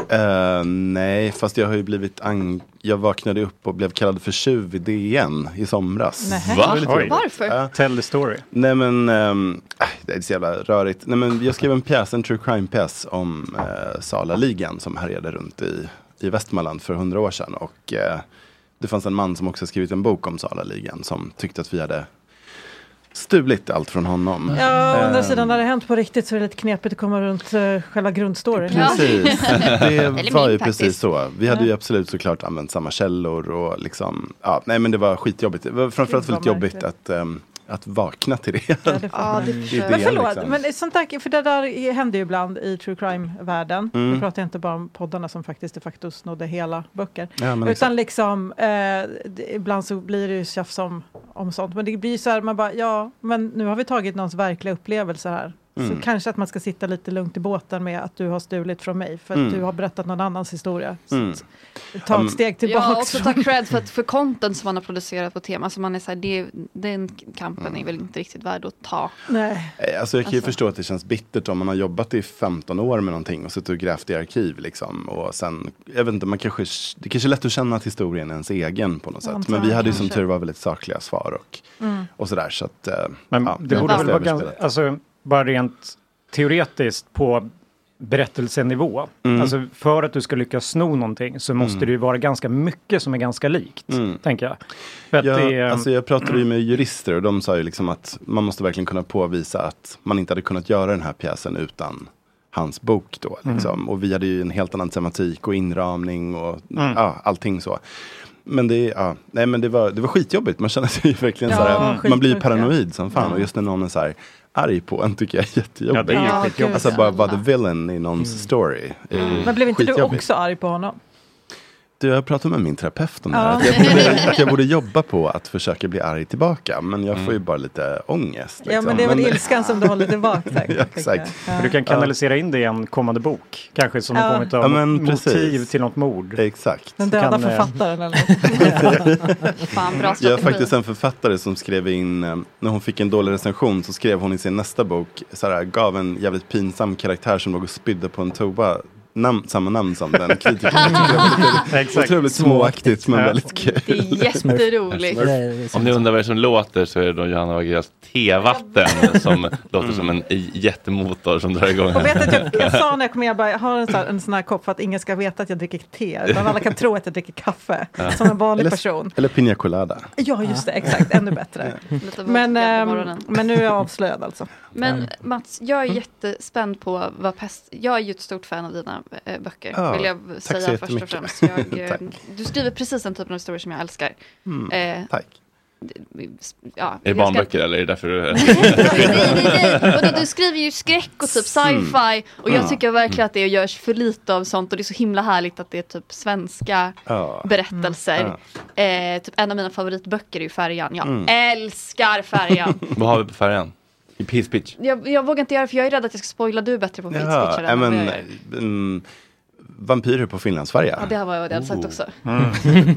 M: Eh, nej, fast jag har ju blivit ang- Jag vaknade upp och blev kallad för tjuv i DN i somras.
D: Nähä.
M: Det var lite roligt.
D: Alltså.
G: Varför? Tell the story.
M: Nej men, ehm, aj, det är så jävla rörigt. Nej men jag skrev en pjäs, en true crime-pjäs om eh, Salaligan som härjade runt i, i Västmanland för hundra år sedan. Och eh, det fanns en man som också skrivit en bok om Salaligan som tyckte att vi hade stulit allt från honom.
D: Ja, å andra
M: Ehm,
D: sidan, när det hänt på riktigt så är det lite knepigt att komma runt eh, själva grundstoryn.
M: Precis, det var ju precis så. Vi hade ju
D: Ja.
M: absolut såklart använt samma källor och liksom, ja, nej men det var skitjobbigt. Det var framförallt
D: Gud,
M: väldigt
D: vad
M: jobbigt att, ehm, att vakna till det. Ja, det liksom.
D: Ja, det förstår jag. Men förlåt, men sånt där, för det där händer ju ibland i true crime-världen.
M: Mm.
D: Nu pratar jag inte bara om poddarna som faktiskt de facto snodde hela böcker.
M: Ja, men
D: utan
M: exakt.
D: liksom, eh, det, ibland så blir det ju tjafs om, om sånt. Men det blir ju så här, man bara, ja, men nu har vi tagit någons verkliga upplevelse här.
M: Mm.
D: Så kanske att man ska sitta lite lugnt i båten med att du har stulit från mig för att
M: Mm.
D: du har berättat någon annans historia.
M: Mm.
D: Ta
M: Mm.
D: ett steg tillbaka.
F: Ja, och också ta cred för, att, för content som man har producerat på tema. Alltså man är så här, det, den kampen är väl inte riktigt värd att ta.
D: Nej.
M: Eh, Alltså jag kan ju
F: Alltså.
M: förstå att det känns bittert om man har jobbat i 15 år med någonting och suttit och grävt i arkiv. Liksom. Och sen, jag vet inte, man kanske, det kanske är lätt att känna att historien är ens egen på något sätt. Men vi
G: Antagligen,
M: hade ju som
G: kanske.
M: tur var väldigt sakliga svar och,
G: Mm.
M: och sådär. Så att, eh,
G: Men
M: ja,
G: det borde väl vara ganska, alltså bara rent teoretiskt på berättelsenivå.
M: Mm.
G: Alltså för att du ska lyckas sno någonting så måste
M: Mm.
G: det ju vara ganska mycket som är ganska likt, tänker jag. För att
M: jag,
G: det är, Mm.
M: alltså jag pratade ju med jurister och de sa ju liksom att man måste verkligen kunna påvisa att man inte hade kunnat göra den här pjäsen utan hans bok då.
G: Mm.
M: Liksom. Och vi hade ju en helt annan tematik och inramning och
G: Mm.
M: ja, allting så. Men, det, ja, nej, men det, var, det var skitjobbigt, man känner sig ju verkligen
G: Ja,
M: så här, man blir ju
G: skitjobbigt, ja.
M: paranoid som fan.
G: Ja.
M: Och just när någon är så här arg på en tycker jag är jättejobbigt.
G: Ja, det är ju Ja, skitjobbigt. Mm.
M: Alltså
G: gud,
M: bara vara the villain i någons story. är ju
D: Men blev inte du
M: skitjobbigt.
D: också arg på honom?
M: Du, jag har pratat med min terapeut om det här.
D: Ja.
M: Att jag, borde, att jag borde jobba på att försöka bli arg tillbaka. Men jag får ju bara lite ångest.
D: Ja,
M: liksom.
D: men det är väl ilskan som du håller tillbaka. säkert,
M: Ja,
D: tänker jag.
M: exakt.
D: Ja.
G: Mm. För du kan kanalisera in det i en kommande bok, kanske som
D: Ja.
G: en form av
M: Ja, men
G: motiv
M: precis.
G: till något mord.
M: Exakt.
D: Den döda
G: Kan, eh,
D: författaren eller något.
M: jag är faktiskt en författare som skrev in, eh, när hon fick en dålig recension så skrev hon i sin nästa bok, så här, gav en jävligt pinsam karaktär som låg och spydde på en toa nam samma namn som den kritikern. Exakt. Otroligt småaktigt men
I: Ja.
M: väldigt kul.
F: Det är jätteroligt.
I: Om ni undrar vad det är liksom som låter så är det då Johanna Wagrells T-vatten som låter som en i- jättemotor som drar igång.
D: Och vet att jag, jag sa när jag kom med, jag, bara, jag har en sån, här, en sån här kopp för att ingen ska veta att jag dricker te, utan alla kan tro att jag dricker kaffe,
M: Ja.
D: som en vanlig
M: eller,
D: person.
M: Eller Pina Colada.
D: Ja, just det, exakt, ännu bättre. Men, ehm, men nu är jag avslöjad alltså.
F: Men Mats, jag är
D: Mm.
F: jättespänd på vad pest... Jag är ju ett stort fan av dina eh, böcker,
D: Ja,
F: vill jag
D: tack så
F: säga först och
D: jättemycket.
F: främst. Jag, eh,
D: Tack.
F: du skriver precis den typen av historier som jag älskar.
I: Mm,
F: tack. Ja,
I: Är det
F: jag
I: barnböcker
F: ska-
I: eller är det därför du...
F: nej, nej, nej, nej. Vadå, du skriver ju skräck och typ sci-fi och jag
I: Mm.
F: tycker verkligen att det görs för lite av sånt och det är så himla härligt att det är typ svenska
M: Ja.
F: berättelser.
I: Mm.
F: Eh, typ en av mina favoritböcker är ju Färjan. Jag
I: Mm.
F: älskar Färjan.
I: Vad har vi på färjan? I Piss Pitch.
F: Jag, jag vågar inte göra det, för jag är rädd att jag ska spoila. Du är bättre på
M: Jaha,
F: pitch-pitcher
M: ja,
F: än vad
M: men,
F: jag är.
M: mm, vampyrer på Finlandsfärja.
F: Ja, det här var vad jag hade
M: Oh.
F: sagt också.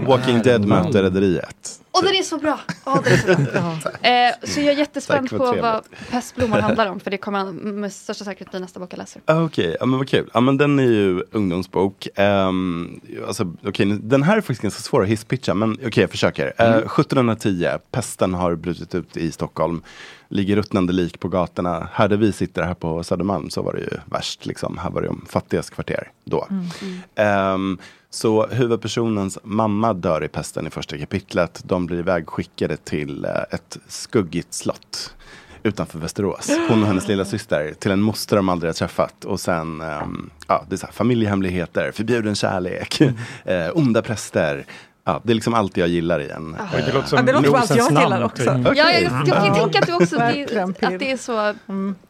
M: Walking Dead möter Rederiet.
F: Och den är så bra! Ja, den är så bra. eh, så jag är jättespänd
M: Tack, vad
F: på
M: trevligt.
F: vad Pestblommor handlar om, för det kommer han med största säkerhet bli nästa bok jag läser.
M: Ah, Okej, ja, men vad kul. Ja, men den är ju ungdomsbok. Um, alltså, okej, nu- den här är faktiskt ganska svår att hisspitcha, men okej, jag försöker. Eh, 1710, pesten har brutit ut i Stockholm. Ligger ruttnande lik på gatorna. Här där vi sitter här på Södermalm så var det ju värst. Liksom. Här var det om fattigas kvarter då.
F: Mm.
M: Ehm, så huvudpersonens mamma dör i pesten i första kapitlet. De blir ivägskickade till eh, ett skuggigt slott utanför Västerås. Hon och hennes lilla syster till en moster de aldrig har träffat. Och sen, ehm, ja, det är så här, familjehemligheter, förbjuden kärlek,
D: Mm.
M: eh, onda präster. Ja, det är liksom allt jag gillar i en.
D: Oj, det låter som Ah. Ja, det låter som allt jag Rosens gillar namn, också. typ.
F: Ja, jag, jag kan
D: Ja.
F: tänka att du också det,
D: Verkligen,
F: att det är så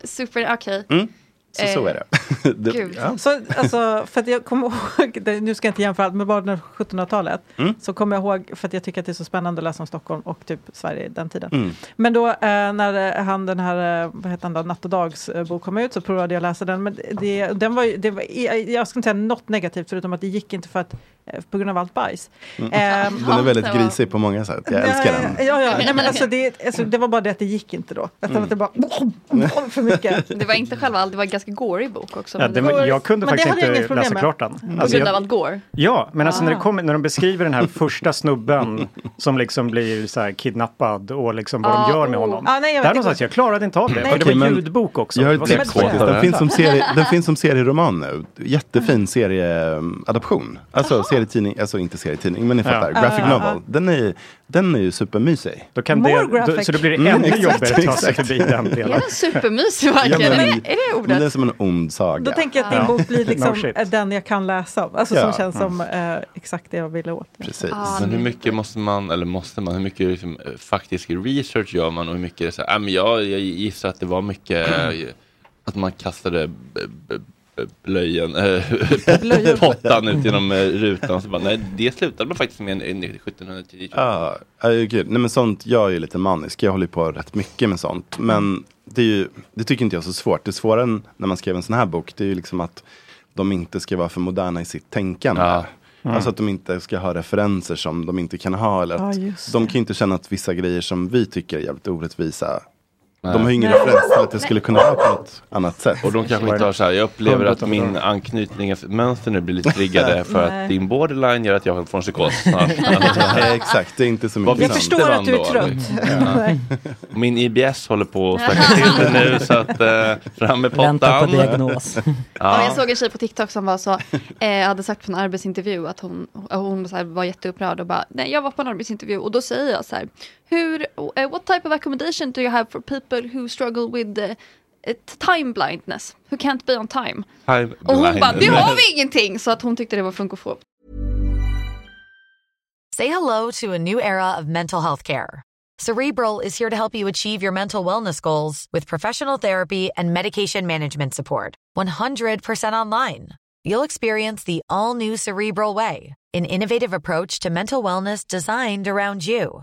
F: super... Okej.
M: Mm. Så,
F: Eh,
M: så är det. det
F: gud.
M: ja.
D: Så, alltså, för att jag kommer ihåg, det- nu ska jag inte jämföra allt, men bara det 1700-talet.
M: Mm.
D: Så kommer jag ihåg, för att jag tycker att det är så spännande att läsa om Stockholm och typ Sverige den tiden.
M: Mm.
D: Men då eh, när eh, han, den här, eh, vad heter han då, Natt och dags eh, bok kom ut så provade jag att läsa den. Men det, den var, ju- det var, jag ska inte säga något negativt förutom att det gick inte för att, eh, på grund av allt bajs.
M: Mm.
D: Ehm,
M: Den är väldigt
D: det var-
M: grisig på många sätt. Jag älskar den.
D: Ja, ja. Nej, men alltså, det, alltså, det var bara det att det gick inte då. Utan
M: Mm.
D: att det bara för mycket.
F: Det var inte själva allt, det var en ganska gory bok också.
G: Ja,
F: men
G: det var, jag kunde
F: men det
G: faktiskt
F: hade jag
G: inte
F: inget problem
G: läsa
F: med.
G: klart den.
F: På
G: Alltså,
F: grund av
G: jag,
F: allt gore?
G: ja, men alltså när, det
F: Ah.
G: kommer, när de beskriver den här första snubben som liksom blir så här kidnappad och liksom vad
D: Ah,
G: de gör med
D: oh.
G: honom.
D: Ah, nej, jag vet,
G: Där
D: det-
G: någonstans, jag klarade inte av det.
D: Nej.
G: Och det
D: Okej,
G: var
D: men-
G: ljudbok också.
M: Jag har
G: Det
M: ett
G: var så
M: tips faktiskt.
G: jävla-
M: Den finns, som serie, den finns som serieroman nu. Jättefin serieadaption. Alltså serietidning, alltså inte serietidning, men ni
G: Ja.
M: fattar.
G: Ja,
M: Graphic
G: ja, ja.
M: novel. Den är, den är ju supermysig. Mm,
G: Då kan More det- då- graphic. så det blir ännu jobbigare att ta sig förbi den
F: Är den supermysig verkligen?
M: Ja, men-
F: är, det, är det
M: Men
F: ordet?
M: det är som en ond saga.
D: Då tänker jag att din
M: Ja.
D: bok blir
M: No
D: liksom
M: shit.
D: eh, den jag kan läsa. om. Alltså
I: Ja.
D: som känns som eh, exakt det jag ville åt.
M: Precis.
A: Ah,
D: Ah,
I: Men hur mycket måste man, eller måste man, hur mycket liksom, eh, faktisk research gör man och hur mycket är det så här, "Ah, men jag, jag gissar att det var mycket eh, att man kastade b- b- b- blöjen, eh, pot- pottan ut genom eh, rutan. Så bara, nej, det slutade man faktiskt med en, en 1710.
M: Ja, ja, det är kul. Nej, men sånt, jag är ju lite manisk, jag håller ju på rätt mycket med sånt. Men det, är ju, det tycker inte jag är så svårt. Det svåra än när man skrev en sån här bok, det är ju liksom att de inte ska vara för moderna i sitt tänkande.
I: Mm.
M: Alltså att de inte ska ha referenser som de inte kan ha. Eller att
I: Ja, just
M: de kan ju inte känna att vissa grejer som vi tycker är jävligt orättvisa,
I: Nej.
M: de har ju ingen
I: Nej.
M: referens till att det skulle kunna vara på något annat sätt.
I: Och de kanske inte har så här, jag upplever att min anknytningsmönster nu blir lite triggade för
D: Nej.
I: att din borderline gör att jag får en psykos snart.
M: Exakt, det är inte så
I: Vad
D: mycket
I: finns
D: sant.
I: det bland
D: Jag förstår att
I: då,
D: du är
I: Alex?
D: trött.
I: Ja.
D: Nej.
I: Min IBS håller på att stacka till det nu så att eh, fram med pottan.
E: Vänta på diagnos.
F: Ja.
I: ja.
F: Jag såg en tjej på TikTok som var så, eh, hade sagt på en arbetsintervju att hon, hon så här var jätteupprörd och bara, nej jag var på en arbetsintervju och då säger jag så här, hur, eh, what type of accommodation do you have for people who struggle with eh, eh, time blindness, who can't be on time?
I: Time
F: Och hon
I: blind.
F: bara, det har vi ingenting! Så att hon tyckte det var funkofobt.
N: Say hello to a new era of mental health care. Cerebral is here to help you achieve your mental wellness goals with professional therapy and medication management support. 100% online. You'll experience the all new Cerebral Way, an innovative approach to mental wellness designed around you.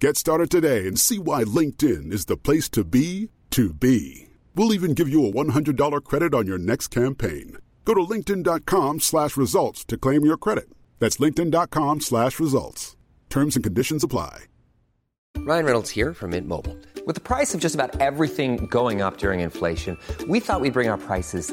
O: Get started today and see why LinkedIn is the place to be to be. We'll even give you a $100 credit on your next campaign. Go to linkedin.com slash results to claim your credit. That's linkedin.com slash results. Terms and conditions apply.
P: Ryan Reynolds here from Mint Mobile. With the price of just about everything going up during inflation, we thought we'd bring our prices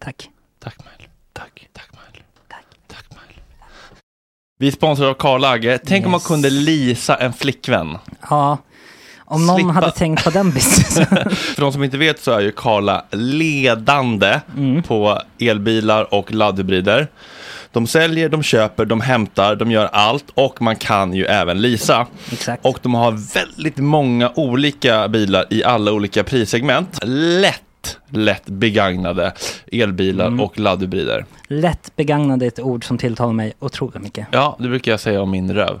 E: Tack.
A: Tack Mindler. Tack. Tack Mindler. Tack. Tack Mindler. Vi är sponsrade av Karl Agge. Tänk om man
E: Yes.
A: kunde lisa en flickvän.
E: Ja, om någon
A: Slippa.
E: hade tänkt på den businessen.
A: För de som inte vet så är ju Karla ledande på elbilar och laddhybrider. De säljer, de köper, de hämtar, de gör allt och man kan ju även leasa. Och de har väldigt många olika bilar i alla olika prissegment. Lätt, lätt begagnade elbilar och laddhybrider.
E: Lätt begagnade är ett ord som tilltalar mig otroligt mycket.
A: Ja, det brukar jag säga om min röv.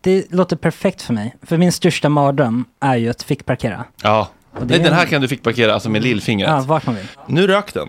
E: det låter perfekt för mig. För min största mardröm är ju att fickparkera.
A: Ja.
E: det
A: Nej,
E: är-
A: den här kan du fick parkera alltså med lillfingret.
E: Ja, vart man vill.
A: Nu rök den.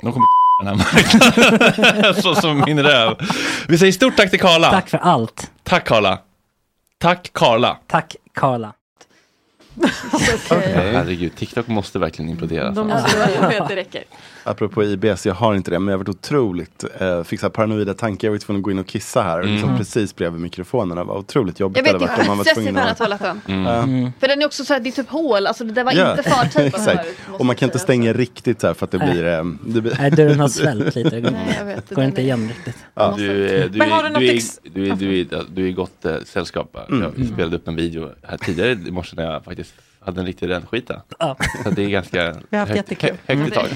I: De kommer den här marknaden. Så som min röv. Vi säger stort tack till Karla.
E: Tack för allt.
I: Tack Karla. Tack Karla.
E: Tack Karla.
I: Herregud, TikTok måste verkligen implodera.
E: De
F: Ja, jag vet, det räcker.
M: Apropå IBS, jag har inte det, men jag har varit otroligt, eh, fick så här paranoida tankar, jag var tvungen att gå in och kissa här, liksom
F: Mm.
M: precis bredvid mikrofonerna. Det var otroligt jobbigt
F: Jag
M: det
F: vet,
M: hade
F: det
M: varit om man
F: är
M: var
F: stressigt
M: tvungen
F: med den här
M: att... Mm.
F: toaletten.
E: Mm.
M: Ja.
F: För den är också så här, det är typ hål, alltså det där var
M: Ja,
F: Mm. inte förtejpat
M: Exakt.
F: förut, måste
M: Och man kan
F: jag
M: inte
F: säga.
M: stänga riktigt så här för att det
E: Nej.
M: blir... eh, Det blir...
E: Nej, dörren har svällt lite. Det går-
F: Nej, jag vet, det
E: går
F: där
E: inte
F: är-
E: igen riktigt.
A: Ja, du, är- du,
F: Men har
A: är-
F: du något
A: du, är-
F: ex-
A: du, är- du, är- du är i gott eh, sällskap.
M: Mm.
A: Jag spelade upp en video här tidigare i morse när jag faktiskt hade en riktig rännskita.
E: Ja.
A: Så det är ganska
D: Vi har haft
A: högt,
D: jättekul.
A: hö- högt i tak.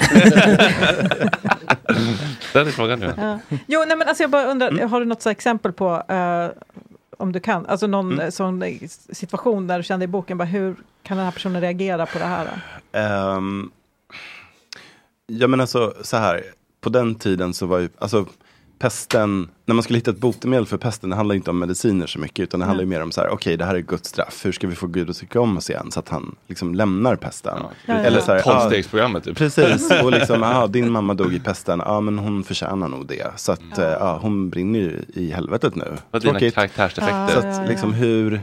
A: Den är frågan nu.
D: Ja. Jo, nej, men alltså jag bara undrar, har du något så här exempel på, eh, om du kan, alltså någon
M: Mm.
D: eh, sån eh, situation där du kände i boken, bara, hur kan den här personen reagera på det här? då?
M: Ehm, ja men alltså så här, på den tiden så var ju, alltså pesten, när man skulle hitta ett botemedel för pesten, det handlar ju inte om mediciner så mycket, utan det handlar ju mer om så här, okej det här är Guds straff, hur ska vi få Gud att tycka om oss igen, så att han liksom lämnar pesten.
A: Ja, ja, ja.
M: ah,
A: Tolvstegsprogrammet, typ.
M: Precis, och liksom, aha, din mamma dog i pesten, ja men hon förtjänar nog det, så att eh, ja, hon brinner ju i helvetet nu.
A: Vad dina karaktärsdefekter.
M: Så att,
A: Ja, ja, ja.
M: liksom, hur,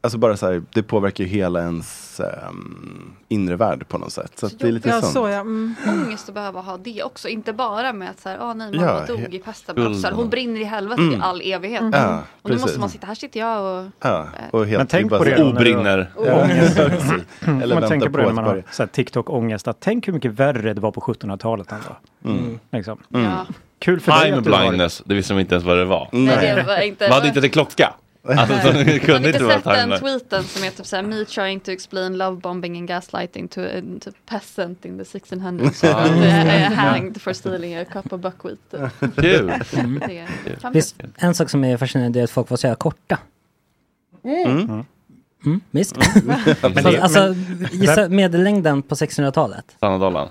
M: alltså bara så här, det påverkar ju hela ens ehm, inre värld på något sätt. Så att det är lite
F: Ja,
M: sånt.
F: så, ja. Mm. Ångest att behöva ha det också, inte bara med att så här, ah, nej, mamma
M: Ja,
F: dog
M: he-
F: i pesten, men också så här, hon
M: skulden.
F: brinner i helvetet i
M: Mm.
F: all evighet.
M: Mm. Ja,
F: och nu måste
M: precis.
F: man sitta, här sitter jag och...
M: Ja, och helt typ
G: Men tänk
M: bara
G: på
M: så
G: det.
M: här,
G: då när du-
M: obrinner.
G: Ångest.
M: Ja, precis. Eller
G: Mm. man
M: vänta
G: tänker på det
M: på
G: när
M: att
G: man har
M: börja.
G: så här TikTok-ångest. Att tänk hur mycket värre det var på 1700-talet. Ändå.
A: Mm.
G: Liksom.
A: Mm. Ja.
G: Kul för dig
A: Time
G: att du har
A: blindness, det visste man inte ens vad det var.
F: Nej, det var inte-
A: Man hade inte en klocka. Alltså, så det
F: Har ni
A: kunde
F: inte
A: inte vara
F: sett den
A: time
F: tweeten som är typ såhär, me trying to explain love bombing and gaslighting to a to peasant in the 1600s who
E: Ja.
F: was hanged for stealing a cup of buckwheat.
E: Kul. Mm.
F: Det är
E: Visst, en sak som är fascinerande är att folk var så jävla korta.
F: Mm.
E: Mm, visst.
A: Men det-
E: Fast, alltså,
A: men-
E: gissa medellängden på 1600-talet.
A: Sannadalen.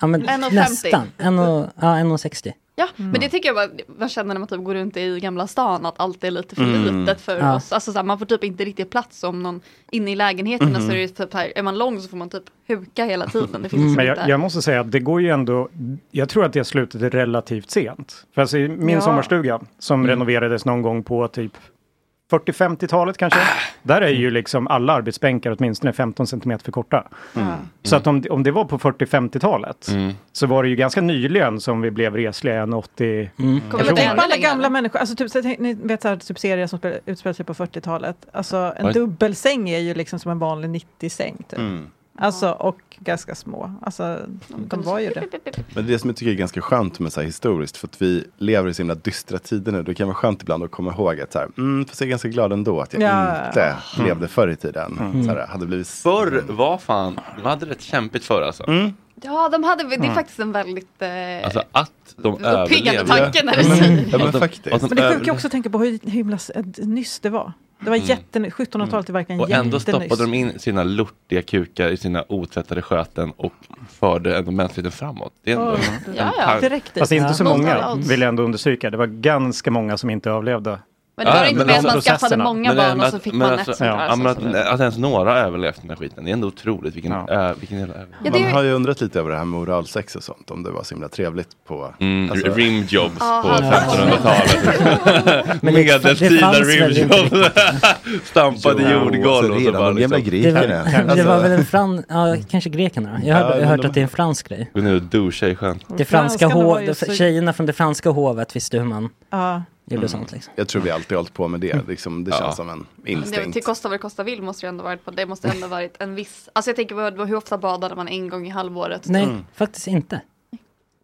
E: Ja, men
F: 1,50.
E: nästan. En och- ja, 1,60.
F: Ja,
G: Mm.
F: men det tycker jag bara, man känner när man typ går runt i Gamla stan att allt är lite för
E: Mm.
F: litet för
E: Ja.
F: oss. Alltså så här, man får typ inte riktigt plats om någon inne i lägenheterna
G: Mhm.
F: så är det typ här, är man lång så får man typ huka hela tiden. Det finns
G: Mm.
F: liksom
G: Men jag,
F: inte.
G: jag måste säga att det går ju ändå, jag tror att det slutet är relativt sent. För alltså i min
F: Ja.
G: sommarstuga som
A: Mm.
G: renoverades någon gång på typ 40-50-talet kanske. Där är ju liksom alla arbetsbänkar åtminstone 15 centimeter för korta.
A: Mm.
G: Så att om, om det var på 40-50-talet
A: Mm.
G: så var det ju ganska nyligen som vi blev resliga 1,80
A: Mm.
G: personer.
D: Alla gamla människor, alltså typ, så här, tänk- ni vet så här, typ serier som spelar- utspelar sig på 40-talet. Alltså en
G: Oj.
D: dubbelsäng är ju liksom som en vanlig 90-säng typ. Alltså och ganska små. Alltså de var ju det.
M: Men det är det som jag tycker är ganska skönt med så här historiskt, för att vi lever i så himla dystra tider nu. Det kan vara skönt ibland att komma ihåg att så här, mm, fast jag är ganska glad ändå att jag
A: Ja.
M: inte
A: Mm.
M: levde förr i tiden.
A: Mm.
M: Så här, hade blivit...
A: Förr var fan, de hade rätt kämpigt förr alltså.
F: Ja, de hade, det är
A: Mm.
F: faktiskt en väldigt... Eh,
A: Alltså att de
F: Det var piggande
A: överlevde.
F: tanken när du säger det.
A: Att de-
F: Ja, men
A: att de
D: Men det sjuka är
A: överlevde.
D: också att tänka på hur himla s- eh, nyss det var. Det var
A: Mm.
D: jätten, 1700-talet är verkligen
A: Och ändå stoppade
D: jättenyss.
A: de in sina lortiga kukar i sina otvättade sköten och förde ändå mänskligheten framåt. Det är ändå
D: Oj.
A: en Mm.
D: Ja,
A: tank.
G: Fast inte så
F: Mot alla
G: många
F: odds.
G: vill jag ändå understryka. Det var ganska många som inte överlevde.
F: Men det var inte
A: alltså-
F: med att man skaffade många
A: Men
F: barn och så
A: att-
F: fick
A: men
F: man
A: alltså,
F: ett sånt
A: ja,
F: här.
A: men
F: som-
A: att,
F: som-
A: att ens några har överlevt den här skiten, det är ändå otroligt. Vilken, ö, vilken jävla överlevnad.
F: Ja, det är-
M: Man har ju undrat lite över det här med oralsex och sånt, om det var så himla trevligt på... alltså-
A: Mm, rimjobs
M: Ja,
A: på
F: alltså-
M: han-
A: 1500-talet.
M: Men det- det
A: Medeltida
M: fanns väl
A: rimjobs. Stampade
M: Jo,
A: jordgolv och
M: alltså,
A: så
M: redan
A: bara liksom- Alltså,
M: de jävla
E: Det var,
A: grekerna.
E: det var väl en fran... Ja, kanske grekerna. då. Jag har,
A: Ja,
E: jag har
A: men
E: hört
A: de-
E: att det är en fransk grej.
A: Gå ner och duscha i sjön.
E: Det franska
D: Franskarna var
E: hov...
D: ju
E: det-
D: så-
E: Tjejerna från det franska hovet visste hur man
D: Ja.
E: gjorde
M: Mm.
E: sånt liksom.
M: Jag tror vi alltid har hållit på med det, liksom, det känns som en
F: Men det,
M: instinkt.
F: till kosta vad det kosta vill måste det ändå varit på. Det måste ändå varit en viss. Alltså jag tänker på hur ofta badade man en gång i halvåret?
E: Nej,
F: typ?
E: faktiskt inte.
A: Mm.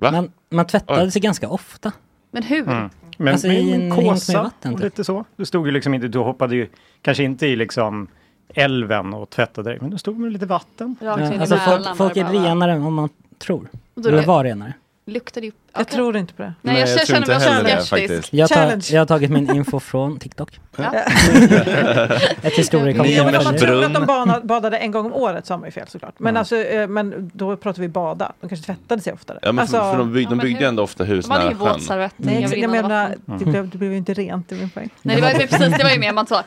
A: Va?
E: Man, man tvättade sig ganska ofta.
F: Men hur?
G: Mm. Men
E: Alltså, i
G: i
E: en
G: en
E: hink med
G: kåsa
E: vatten,
G: och
E: typ.
G: lite så. Du stod ju liksom inte, du hoppade ju kanske inte i liksom älven och tvättade dig, men du stod med lite vatten.
F: Rakt in i
E: alltså folk,
F: Mälaren
E: folk är
F: var det bara.
E: renare än vad man tror.
F: Och då
E: Eller
F: le-
E: var renare.
F: Luktar det upp?
D: Jag tror inte på det.
F: Nej, jag, känner mig också skeptisk.
E: Jag, tar, jag har tagit min info från TikTok.
D: Ja.
E: Ett historikum.
D: Ja, men man tror att de bana- badade en gång om året så har man ju fel såklart. Men, alltså, eh, men då pratar vi bada. De kanske tvättade sig oftare.
A: Ja, men
D: alltså,
A: för, för de, bygg, de byggde ändå ofta hus
F: Man är
A: nära
F: ju
A: sjön.
F: våtservett.
D: Nej,
F: Jag
D: exakt,
F: vill
D: jag
F: innan
D: menar,
F: vatten.
D: det blev, det blev ju inte rent, det är min poäng.
F: Nej, det var ju precis, det var ju mer man sa.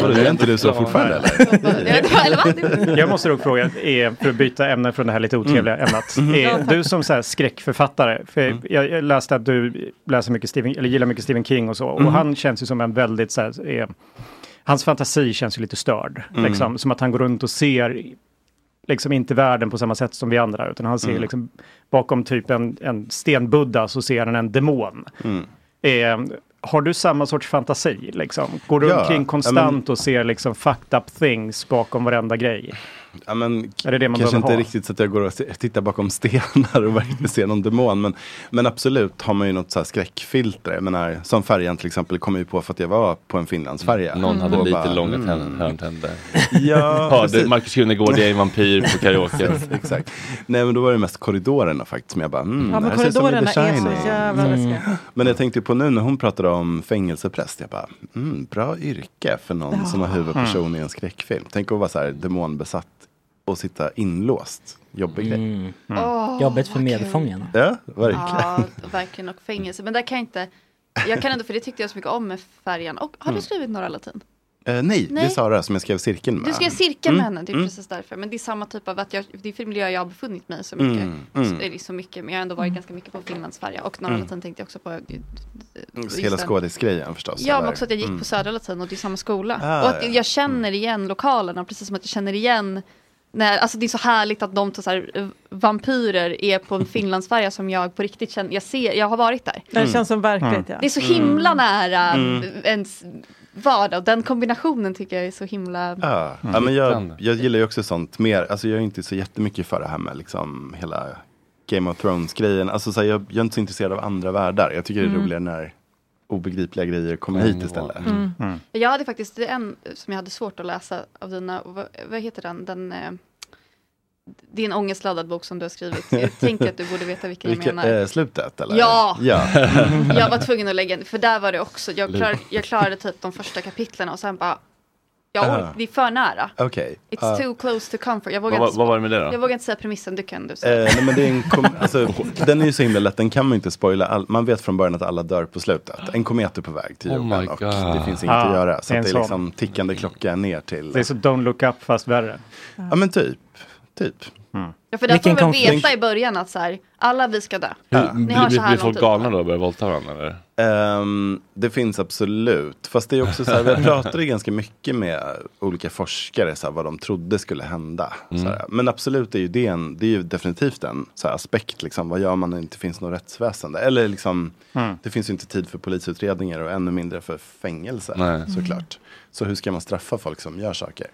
M: Vadå, är inte du så fortfarande
F: eller?
G: Jag måste dock fråga, är, för att byta ämne från det här lite otrevliga
M: Mm.
G: ämnet. Är du som så här skräckförfattare, för jag, jag läste att du läser mycket Stephen, eller gillar mycket Stephen King och så, och
M: Mm.
G: han känns ju som en väldigt så här, eh, hans fantasi känns ju lite störd,
M: Mm.
G: liksom, som att han går runt och ser liksom inte världen på samma sätt som vi andra, utan han ser
M: Mm.
G: liksom bakom typ en, en stenbudda så ser han en demon. Eh, har du samma sorts fantasi? Liksom? Går du
M: Ja,
G: omkring
M: ja,
G: konstant och ser liksom fucked up things bakom varenda grej?
M: Ja, men,
G: är det det man
M: Kanske
G: behöver
M: inte
G: ha?
M: riktigt så att jag går och se- tittar bakom stenar och verkligen ser någon demon. Men, men absolut har man ju något så här skräckfilter. Jag menar, som färjan till exempel kom jag ju på för att jag var på en Finlandsfärja.
A: Mm. Någon hade
M: Och
A: lite
M: bara,
A: långa
M: mm.
A: tänder, hörntänder.
M: Ja,
A: Hörde
M: precis.
A: Marcus Krunegård är en vampyr på karaoke.
M: Exakt. Nej men då var det mest korridorerna faktiskt. Som jag bara, mm,
D: Ja,
M: det
D: men
M: här ser ut som i The
D: korridorerna är
M: Shining.
D: så jävla läskiga.
M: Men jag tänkte ju på nu när hon pratade om fängelsepress. Jag bara, mm, bra yrke för någon
D: Ja.
M: som har huvudperson
E: Mm.
M: i en skräckfilm. Tänk att vara så här demonbesatt och sitta inlåst. Jobbig grej.
F: Åh,
E: Mm. Jobbigt för medfångarna.
M: Ja, verkligen.
F: Ja, verkligen. Och fängelse. Men där kan jag inte. Jag kan ändå, för det tyckte jag så mycket om med färjan. Och har du
M: Mm.
F: skrivit några latin?
M: Eh, nej, det är
F: Nej.
M: Sara som jag skrev cirkeln med.
F: Du skrev cirkeln med
M: Mm,
F: henne, det är
M: mm.
F: precis därför. Men det är samma typ av att jag, det är för miljö jag har befunnit mig så
M: Mm,
F: mycket.
M: mm.
F: Så, eller så mycket men jag har ändå varit ganska mycket på Finlandsfärja. Och norra
M: Mm.
F: latin tänkte jag också på. eh, just
M: Hela
F: den-
M: skådisgrejen förstås.
F: Ja, men
M: eller?
F: också att jag gick
M: Mm.
F: på Södra latin och det är samma skola.
M: Ah,
F: och att
M: ja.
F: jag känner igen lokalerna, precis som att jag känner igen när, alltså det är så härligt att de tar så här, eh, vampyrer är på en Finlandsfärja som jag på riktigt känner, jag ser, jag har varit där.
D: Det känns som verkligt, ja.
F: Det är så himla nära
M: Mm.
F: ens vardag. Den kombinationen tycker jag är så himla...
M: Ja, ja, men jag, jag gillar ju också sånt mer. Alltså jag är inte så jättemycket för det här med liksom hela Game of Thrones-grejen. Alltså så här, jag, jag är inte så intresserad av andra världar. Jag tycker det är
F: Mm.
M: roligare när obegripliga grejer kommer hit istället.
F: Mm. Jag hade faktiskt det är en som jag hade svårt att läsa av dina, vad, vad heter den? den eh, det är en ångestladdad bok som du har skrivit. Jag tänker att du borde veta vilken jag
M: Vilka-
F: menar.
M: eh, slutet eller?
F: Ja!
M: ja.
F: Jag var tvungen att lägga in, för där var det också, jag, klar, jag klarade typ de första kapitlen och sen bara, jag,
M: Ah.
F: or- det är för nära.
M: Okej.
F: It's
M: Ah.
F: too close to comfort. Jag vågar
M: Vad var-
F: inte,
M: vad var det med det då?
F: Jag vågar inte säga premissen, du kan du säga.
M: Eh, nej, men det är en kom- alltså, den är ju så himla lätt, den kan man ju inte spoila. All- man vet från början att alla dör på slutet. En komet är på väg till
A: Oh
M: jorden
A: my
M: och
A: God.
M: det finns inget
G: Ah,
M: att göra. Så
G: det är
M: att det
G: en
M: är
G: sån.
M: liksom tickande klocka ner till...
G: Det är så Don't Look Up fast värre. Mm.
M: Ja men typ. Typ.
F: Ja, för där får
G: Vilken
F: man väl
G: konflikt?
F: veta i början att så här, alla vi ska dö.
M: Ja.
F: Ni har så här typ lång tid.
M: galna då och börjar våldta varandra? Eller? Ehm, det finns absolut. Fast det är också så här, vi pratade ganska mycket med olika forskare, så här, vad de trodde skulle hända. Så här. Men absolut är ju det, en, det är ju definitivt en så här, aspekt, liksom, vad gör man när det inte finns något rättsväsende? Eller liksom,
A: Mm.
M: det finns ju inte tid för polisutredningar och ännu mindre för fängelse,
A: Nej.
M: såklart. Så hur ska man straffa folk som gör saker?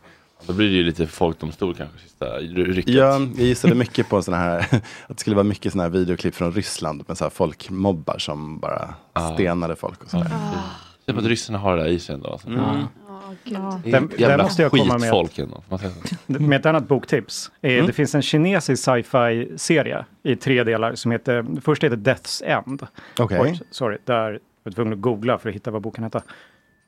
A: Då blir det ju lite folkdomstol kanske, sista rycket.
M: Ja, jag gissade mycket på såna här, att det skulle vara mycket såna här videoklipp från Ryssland med så här folkmobbar som bara
A: Ah.
M: stenade folk och sådär.
A: Typ att ryssarna har det där i sig ändå. Alltså.
M: Mm.
D: Ja.
A: Det är ett jävla skitfolk
G: ett,
A: ändå, får man säga så?
G: med ett annat boktips. Eh,
A: Mm.
G: Det finns en kinesisk sci-fi serie i tre delar som heter, först heter Death's End.
M: Okej.
G: Oj, sorry, där jag var tvungen att googla för att hitta vad boken hette.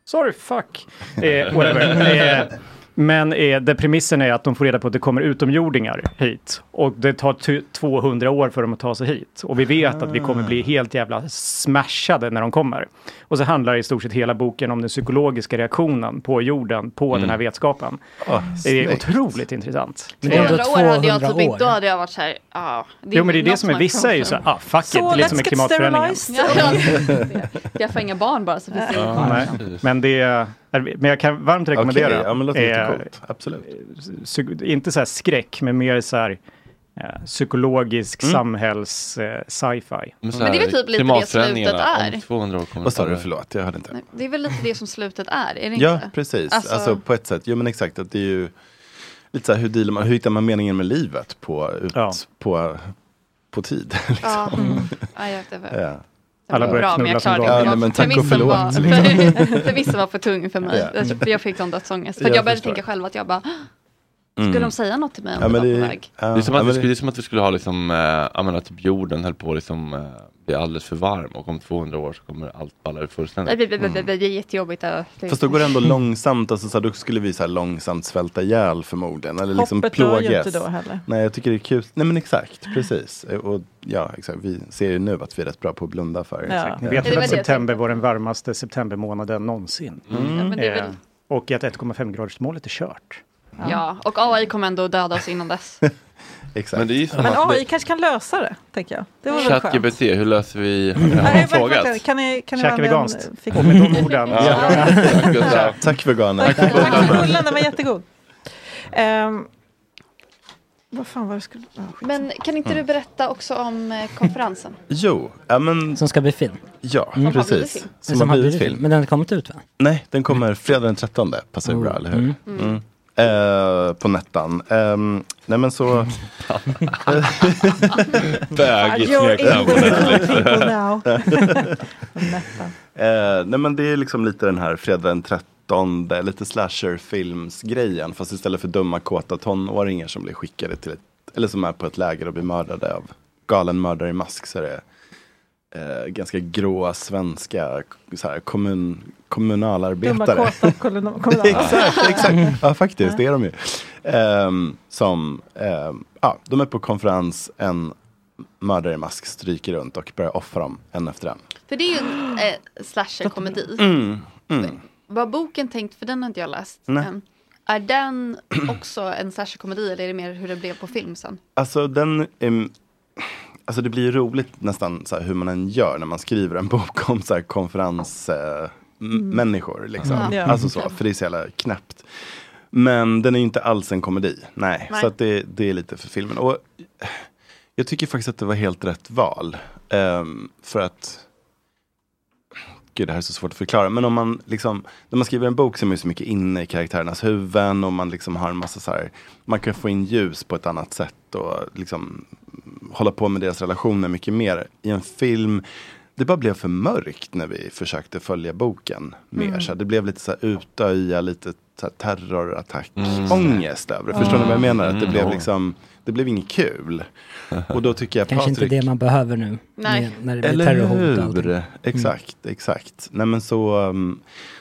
G: Sorry, fuck. Eh, whatever. Eh, men eh, där premissen är att de får reda på att det kommer utomjordingar hit. Och det tar ty- 200 år för dem att ta sig hit. Och vi vet att vi kommer bli helt jävla smashade när de kommer. Och så handlar i stort sett hela boken om den psykologiska reaktionen på jorden, på den här vetskapen. det är
M: snyggt.
G: otroligt intressant.
F: I 200 år hade jag typ inte, då hade jag varit så här, ja.
G: Jo men det är det
F: något
G: som är,
F: har
G: vissa är ju
F: kommit
G: så här, ah fuck
F: So
G: it, det är som
F: let's
G: är
F: get
G: klimatförändringen.
F: sterilized. Ja, ja. Jag får inga barn bara så finns det inget barn.
G: Nej, men, det, är- men jag kan varmt rekommendera.
M: Okej, ja, men låter lite
G: Eh,
M: coolt. Absolut.
G: psyk- inte så här skräck, men mer så här eh, psykologisk
M: Mm.
G: samhälls eh, sci-fi.
F: så Men det är väl här, typ lite det klimatförändringarna, slutet är. om
M: 200 år kommer Vad sa du, förlåt, jag hörde inte.
F: Det är väl lite det som slutet är, är det inte?
M: Ja, precis. Alltså, på ett sätt, jo men exakt, att det är ju lite så här, hur, dealar man, hur hittar man meningen med livet på, ut, på, på tid?
F: ja.
M: liksom.
F: Mm. Ja, jag vet inte.
M: Ja.
F: Alla börjar bra, knulla som galningar.
M: Ja, nej, men tack och
F: Premissen
M: förlåt.
F: var-
M: liksom.
F: För vissa var för tung för mig.
M: Ja.
F: Jag- Jag fick sån dödsångest. För
M: Jag
F: jag började
M: förstår.
F: tänka själv att jag bara, Skulle
A: Mm.
F: de säga något till mig om
A: Ja,
F: jag var
A: men
F: på
A: det-
F: väg?
A: Det är som att,
M: ja,
A: vi
M: men
A: skulle, det är som att vi skulle ha liksom, eh, ja, men att typ jorden höll på att liksom, eh, bli alldeles för varm och om 200 år så kommer allt balla ur
F: Det
A: fullständigt.
F: blir- blir- blir- blir jättejobbigt. äh, det-
M: Fast då går det ändå långsamt, alltså, så här, då skulle vi så här långsamt svälta ihjäl förmodligen. Eller liksom
D: Hoppet dör
M: plågas.
D: ju inte då heller.
M: Nej, jag tycker det är kul. Nej men exakt, precis. Och ja, exakt. vi ser ju nu att vi är rätt bra på att blunda för.
D: Ja.
M: Exakt.
G: Ni vet
D: Det var
G: väl
D: det
G: att
D: jag
G: september var den varmaste septembermånaden någonsin.
F: Ja, men det är
G: Eh,
F: väl-
G: Och att 1,5-gradersmålet är kört.
F: Ja, och AI kommer ändå döda oss innan dess.
M: Mm. Exakt.
A: Men det är ju som
D: Men
A: att
D: AI kanske kan lösa det, tänker jag. Det vore väl skönt.
A: ChatGPT, hur löser vi...
M: Mm.
A: Har någon frågat?
D: Kan ni, kan ni
G: Käka
D: vara med
G: veganskt.
D: om- fick-
G: Och med de orden.
A: Ja.
M: Ja. Tack veganer.
D: Tack för bullen, den var jättegod. Ehm, vad fan var det skulle... ah, skitsamma.
F: Men kan inte
M: Mm.
F: du berätta också om eh, konferensen?
M: Jo, ja men...
E: Som ska bli film.
M: Ja,
E: Mm. Som har blivit
M: precis.
E: film. Som har blivit film. Men den har inte kommit ut va?
M: Nej, den kommer fredag den 13. Passar ju bra, eller hur?
E: Mm.
M: Mm. Eh, på Nettan. Ehm, nej men så...
A: Bögigt You're smeknamn
D: på Netflix. people now. Nettan.
M: Eh, nej men det är liksom lite den här fredag den 13, lite slasherfilmsgrejen. Fast istället för dumma kåta tonåringar som blir skickade till ett, eller som är på ett läger och blir mördade av galen mördare i mask så är det eh, ganska gråa svenska så här, kommun,
D: Dumma
M: kommunalarbetare.
D: kåta kolon- Mm. kolonal.
M: exakt, Mm. exakt. Ja, faktiskt, det är de ju. Ehm, som, ehm, ja, de är på konferens, en mördare i mask stryker runt och börjar offra dem en efter en.
F: För det är ju
D: Mm.
F: en eh, slasherkomedi.
M: Mm, mm.
F: Var boken tänkt, för den har inte jag läst
M: Nej.
F: än. Är den också en slasherkomedi eller är det mer hur det blev på film sen?
M: Alltså den, ehm, alltså det blir ju roligt nästan så här, hur man än gör när man skriver en bok om så här, konferens, eh, m-
A: Mm.
M: människor liksom.
A: Mm. Ja.
M: Alltså så, för det är så jävla knäppt. Men den är ju inte alls en komedi, nej.
A: Nej.
M: Så att det, det är lite för filmen. Och jag tycker faktiskt att det var helt rätt val. Ehm, för att Gud, det här är så svårt att förklara. Men om man liksom, när man skriver en bok så är man ju så mycket inne i karaktärernas huvuden och man liksom har en massa så här, man kan få in ljus på ett annat sätt och liksom hålla på med deras relationer mycket mer. I en film, det bara blev för mörkt när vi försökte följa boken mer.
A: Mm.
M: Så här, det blev lite så här utöja, lite så här terrorattack,
A: Mm.
M: ångest över det. Förstår ni vad jag menar? Att det
A: Mm.
M: blev liksom, det blev inget kul. Och då tycker jag
E: Kanske
M: Patrik,
E: inte det man behöver nu.
F: Nej.
E: När det blir terrorhot och allting. Mm.
M: hur? Exakt, exakt. Nej, men så, um,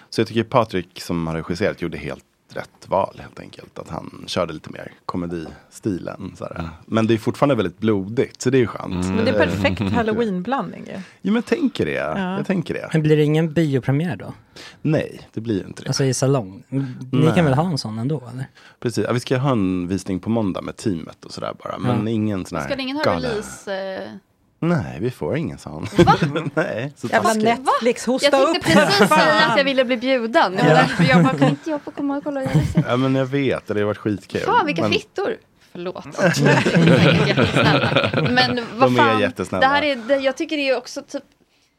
M: så jag tycker Patrik som har regisserat gjorde helt rätt val helt enkelt. Att han körde lite mer komedistilen. Så här. Men det är fortfarande väldigt blodigt, så det är ju skönt.
F: Mm.
D: Men det är perfekt
M: Eh,
D: halloween-blandning ju.
M: Jo, men jag tänker det.
D: Ja.
M: Jag tänker det.
E: Men blir det ingen biopremiär då?
M: Nej, det blir ju inte det.
E: Alltså i salong? Ni
M: Nej.
E: kan väl ha en sån ändå eller?
M: Precis. Ja, vi ska ha en visning på måndag med teamet och sådär bara. Men
E: Ja.
M: ingen sån här
F: Ska det ingen ha
M: galen-
F: release? Eh...
M: Nej, vi får ingen sån. Nej, så
D: Jävla
M: taskigt.
D: Netflix,
F: Jag
D: hosta
F: tänkte
D: upp
F: precis säga att jag ville bli bjuden. Det var
M: Ja.
F: därför jag bara, kan inte jag få komma och kolla? och göra det?"
M: Ja, men jag vet, det har varit skitkul.
F: Fan vilka
M: men...
F: fittor! Förlåt. Det är säkert jättesnälla. Men vad
M: De är
F: fan,
M: jättesnälla.
F: Det här är, det, jag tycker det är också typ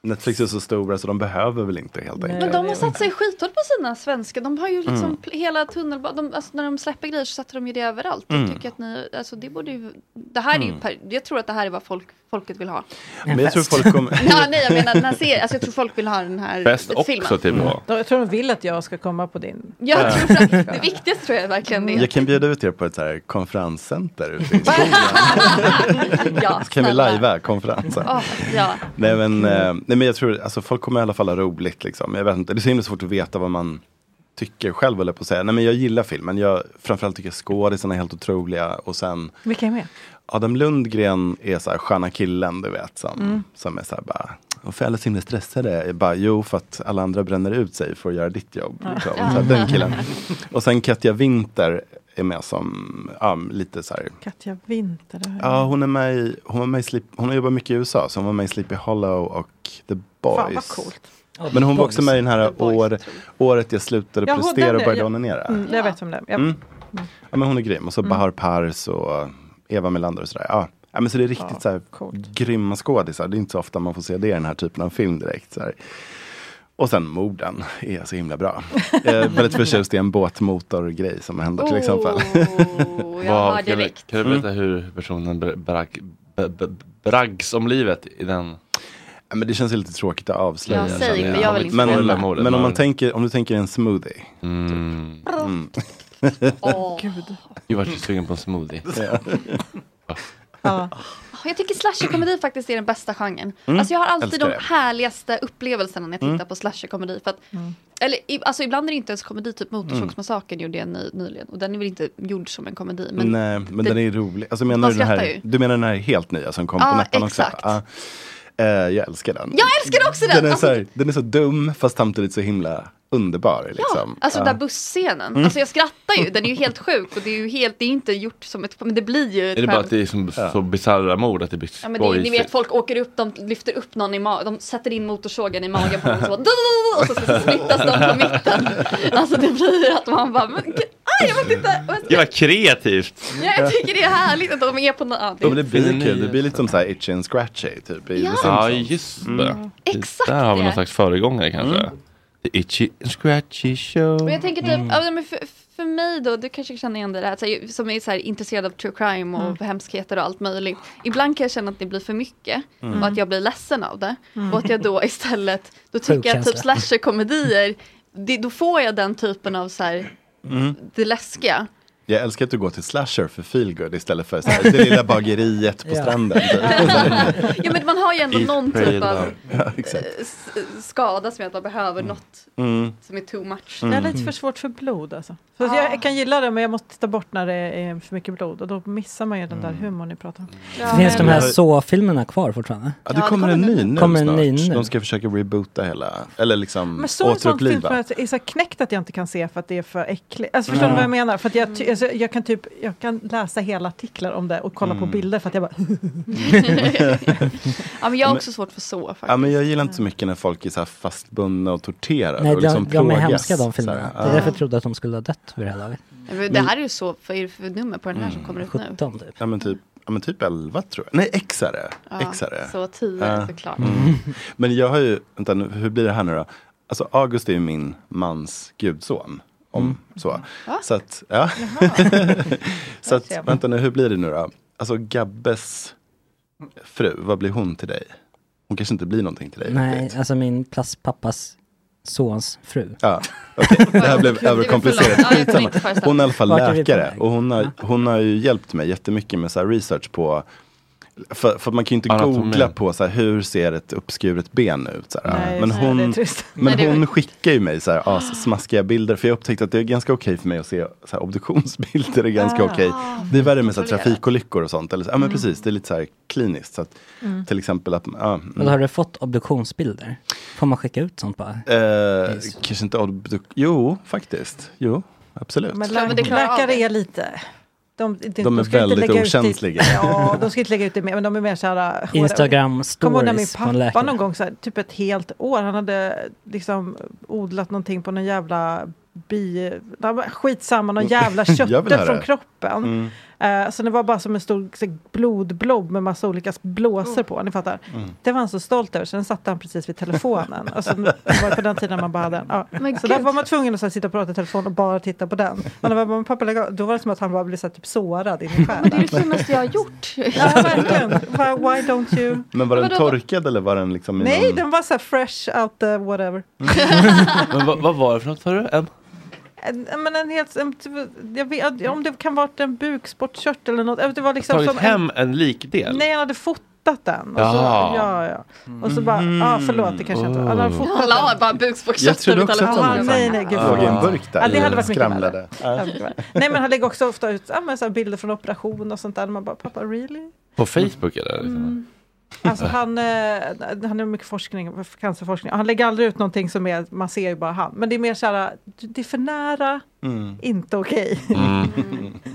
M: Netflix är så stora så de behöver väl inte helt enkelt.
F: Men de har satt sig skithårt på sina svenska. De har ju liksom
M: Mm.
F: pl- hela tunnelbanan. Alltså när de släpper grejer så sätter de ju det överallt. Jag
M: Mm.
F: tycker att ni, alltså det borde ju, det här är ju,
M: Mm.
F: per, jag tror att det här är vad folk, folket vill ha.
M: Men jag tror folk kommer...
F: Ja, nej, jag menar den här serien. Alltså jag tror folk vill ha den här filmen.
D: Då- Jag tror de vill att jag ska komma på din.
F: Jag tror så, det viktigaste tror jag är verkligen det.
M: Jag kan bjuda ut er på ett så här konferenscenter ute i skogen.
F: ja,
M: Så kan vi
F: snälla.
M: lajva konferensen.
F: Åh, ja.
M: Nej men, eh, nej men jag tror, alltså folk kommer i alla fall ha roligt liksom. Jag vet inte, det är så himla svårt att veta vad man tycker själv eller på att säga. Nej men jag gillar filmen, jag framförallt tycker skådisarna är helt otroliga och sen
D: Vilka är med?
M: Adam Lundgren är så här sköna killen du vet som,
D: Mm.
M: som är så här bara Varför är alla så himla stressade? Jag bara, jo för att alla andra bränner ut sig för att göra ditt jobb.
A: Ja.
M: Liksom.
A: Ja.
M: Så här, den killen. Och sen Katja Winter är med som ja, lite så här
D: Katja Winter. det här.
M: Ja, hon är med i, hon var med i Sleep, hon har jobbat mycket i USA, så hon var med i Sleepy Hollow och The Boys.
D: Fan vad coolt.
M: Men hon var också med i den här år, året jag slutade
D: Jaha,
M: prestera
D: den
M: och
D: är-
M: började
D: ja.
M: onanera.
D: Mm, jag vet om det. Ja.
M: Mm. Ja, men hon är grym. Och så
D: Mm.
M: Bahar Pars och Eva Melander och sådär. Ja. Ja, men så det är riktigt så här grymma skådisar. Det är inte så ofta man får se det i den här typen av film direkt. Så här. Och sen morden är så himla bra. Jag är väldigt förtjust i en båtmotorgrej som händer till exempel.
F: jag Vad- hör kan vi- Oh, direkt.
A: Kan du berätta hur personen br- brag, b- b- braggs om livet i den?
M: Ja, men det känns ju lite tråkigt att avslöja.
F: Ja, säg,
M: känner
F: för jag vill inte
M: men,
F: veta.
M: men om, man tänker, om du tänker en smoothie. typ. Mm.
F: Åh.
A: Jag vart ju sugen på en smoothie.
F: Ah, Jag tycker slasherkomedi faktiskt är den bästa genren.
A: Mm,
F: Alltså jag har alltid
A: älskar
F: de
A: det.
F: härligaste upplevelserna när jag tittar
A: Mm.
F: på slasherkomedi. För att, eller, i- alltså ibland är det inte ens komedi, typ Motorsågsmassakern gjorde jag ny, nyligen. Och den är väl inte gjord som en komedi. Men
M: Nej, men
F: det-
M: den är ju rolig. Alltså,
F: Man
M: menar du, den
F: skrattar
M: här,
F: ju.
M: du menar den här helt nya som kom
F: Ja,
M: på nätterna också?
F: exakt.
M: Ja, Eh, jag älskar den.
F: Jag älskar också den!
M: Den är,
F: alltså,
M: så här, den är så dum fast samtidigt så himla underbar. Liksom.
F: Alltså
M: Ja.
F: den där busscenen.
M: Mm.
F: Alltså jag skrattar ju. Den är ju helt sjuk. Och det är ju helt, det är inte gjort som ett Men det blir ju ett
A: Är det bara
F: skämt.
A: att det är som, så bisarra mord att det blir
F: Ja men det, är- ni vet
A: skojigt?
F: folk åker upp, de lyfter upp någon i magen, de sätter in motorsågen i magen på någon så bara, och så ska splittas de på mitten. Alltså det blir att man bara, men, gud, aj, jag vet inte. Men,
A: Det var kreativt.
F: ja, jag tycker det är härligt att de är på något annat.
M: Ja, men det blir kul. Det blir lite som så här itchy and scratchy. Typ, i
F: Ja.
M: The Simpsons.
A: Ja, just det.
F: Mm. Exakt
A: Där har vi
F: det.
A: någon slags föregångare kanske. The itchy and scratchy show.
F: Mm.
A: Mm.
F: Men jag tänker typ,
D: Mm.
F: ja, men för, för mig då, du kanske känner igen det där, så här, som är så här intresserad av true crime och
D: Mm.
F: hemskheter och allt möjligt. Ibland kan jag känna att det blir för mycket
K: Mm.
F: och att jag blir ledsen av det.
K: Mm.
F: Och att jag då istället, då tycker jag att typ
K: Sjukkänsla.
F: slasherkomedier, det- då får jag den typen av så här,
M: Mm.
F: det läskiga.
M: Jag älskar att du går till slasher för feelgood istället för så här, det lilla bageriet på
F: Ja.
M: stranden. typ.
F: ja men man har ju ändå
M: Eat,
F: någon
M: pray,
F: typ av
M: love. Ja, exakt.
F: eh, s- skada som gör att man behöver något
M: Mm.
F: som är too much.
D: Det är lite för svårt för blod alltså. Så
F: Ah.
D: jag kan gilla det men jag måste titta bort när det är för mycket blod och då missar man ju den
M: Mm.
D: där humorn ni pratar om.
E: Det finns de här
M: Jag-
E: så-filmerna kvar fortfarande?
M: Ja, det kommer en ny nu
E: Kommer en
M: snart.
E: ny nu.
M: De ska försöka reboota hela, eller liksom
D: Men så är det sånt film som
M: återuppliva.
D: jag är så här knäckt att jag inte kan se för att det är för äckligt. Alltså förstår
M: Mm.
D: du vad jag menar? För att jag, ty- alltså, jag kan typ, jag kan läsa hela artiklar om det och kolla på
M: Mm.
D: bilder för att jag bara
F: Ja men jag har också svårt för så faktiskt.
M: Ja, men jag gillar inte så mycket när folk är så här fastbundna och torterade.
E: Nej,
M: och
E: de,
M: liksom
E: de är
M: plågas.
E: hemska de
M: Så här,
E: filmerna.
M: ja.
E: Det är därför jag trodde att de skulle ha dött vid det här laget.
F: Men Det här är ju så, vad är det för nummer på den
M: Mm,
F: här som kommer ut nu?
E: typ.
M: Ja men typ, ja, men typ 11 tror jag. Nej, X är det.
F: Ja,
M: X är det.
F: så 10
M: Ja. Mm.
F: såklart.
M: Men jag har ju, vänta nu, hur blir det här nu då? Alltså August är ju min mans gudson. Om så.
F: Va?
M: Så att, ja. så att,
F: ser man.
M: vänta nu, hur blir det nu då? Alltså Gabbes fru, vad blir hon till dig? Hon kanske inte blir någonting till dig.
E: Nej, alltså min plastpappas sons fru.
M: Ja, okej. Det här blev
E: Gud, det var
M: överkomplicerat.
E: för långt. Ja, jag kunde
M: Skitsamma.
E: inte föreställa mig.
M: Hon är i alla fall
E: Vart är vi på
M: läkare
E: väg?
M: och hon har, hon har ju hjälpt mig jättemycket med så här research på för, för man kan ju inte
A: Anatomi.
M: googla på så här, hur ser ett uppskuret ben ut. Så här.
A: Nej,
M: men
A: just det. Det är
M: hon,
A: trist. Nej,
M: men
A: det är
M: hon
A: verkligen.
M: skickar ju mig så här, "Ah, smaskiga bilder. För jag upptäckte att det är ganska okej för mig att se så här, obduktionsbilder. Är ganska
A: Ah.
M: okej. Det är värre med så här,
A: Kontrollerat.
M: trafikolyckor och sånt. Eller, så- ja, men
E: Mm.
M: precis, det är lite så här, kliniskt. Så att,
E: Mm.
M: Till exempel att... Ja, mm.
E: Och då har du fått obduktionsbilder? Får man skicka ut sånt bara?
M: Eh, kanske inte obduk... Jo, faktiskt. Jo, absolut.
D: Men, lä- läkare är lite... De, de, de,
M: är
D: ska inte
M: väldigt
D: lägga ut det-
M: okänsliga.
D: ja, de ska inte lägga ut det mer, men de är mer så här... äh,
E: Instagram
D: Kommer ihåg när min
E: stories på en
D: pappa
E: läkare.
D: någon gång, så här, typ ett helt år, han hade liksom odlat någonting på någon jävla bi... nej, men Skitsamma, någon jävla
M: Mm. Jag vill
D: köttet
M: höra
D: från
M: det.
D: kroppen.
G: Mm.
D: Eh, så det var bara som en stor så, här, blodblob med massa olika
F: Oh.
D: blåsor på, ni fattar.
M: Mm.
D: Det var han så stolt över, så den satte han precis vid telefonen. alltså, det var på den tiden man bara hade en. Ja.
F: Men
D: Så
F: gud.
D: där var man tvungen att så här, sitta och prata i telefon och bara titta på den. Men när man bara, pappa lägg av", då var det som att han bara blev så här, typ sårad in i själen. Men
F: det är det finaste jag har gjort.
D: ja, verkligen. Va- Why don't you?
M: Men var
D: Ja,
M: den
D: men då-
M: torkad eller var den liksom i Mm.
D: Nej,
M: någon...
D: den var så här fresh out the whatever.
A: Men vad, vad var det för något sa du? En?
D: En- Men en helt, en, jag vet, om det kan vara en bukspottkörtel eller något. Det var liksom
A: Tagit
D: som
A: hem
D: en,
A: en likdel?
D: Nej, han hade fotat den. Och så,
A: Jaha.
D: ja, ja. Och så bara, ja ah, förlåt, det kanske inte var. Han hade
A: Oh.
D: fotat
F: Han la bara bukspottkörteln
M: Jag trodde också att de liksom
D: Ah, nej, nej, gud.
M: låg i en burk där.
D: Ja, det hade varit mycket värre.
M: skramlade.
D: Ja, mycket värre. Nej, men han lägger också ofta ut ja, men så här bilder från operation och sånt där. Man bara, pappa, really?
A: På Facebook eller? Liksom.
D: Mm. Alltså han, eh, han har mycket forskning, cancerforskning. Han lägger aldrig ut någonting som är, man ser ju bara han. Men det är mer så här, det är för nära,
M: Mm.
D: inte okej.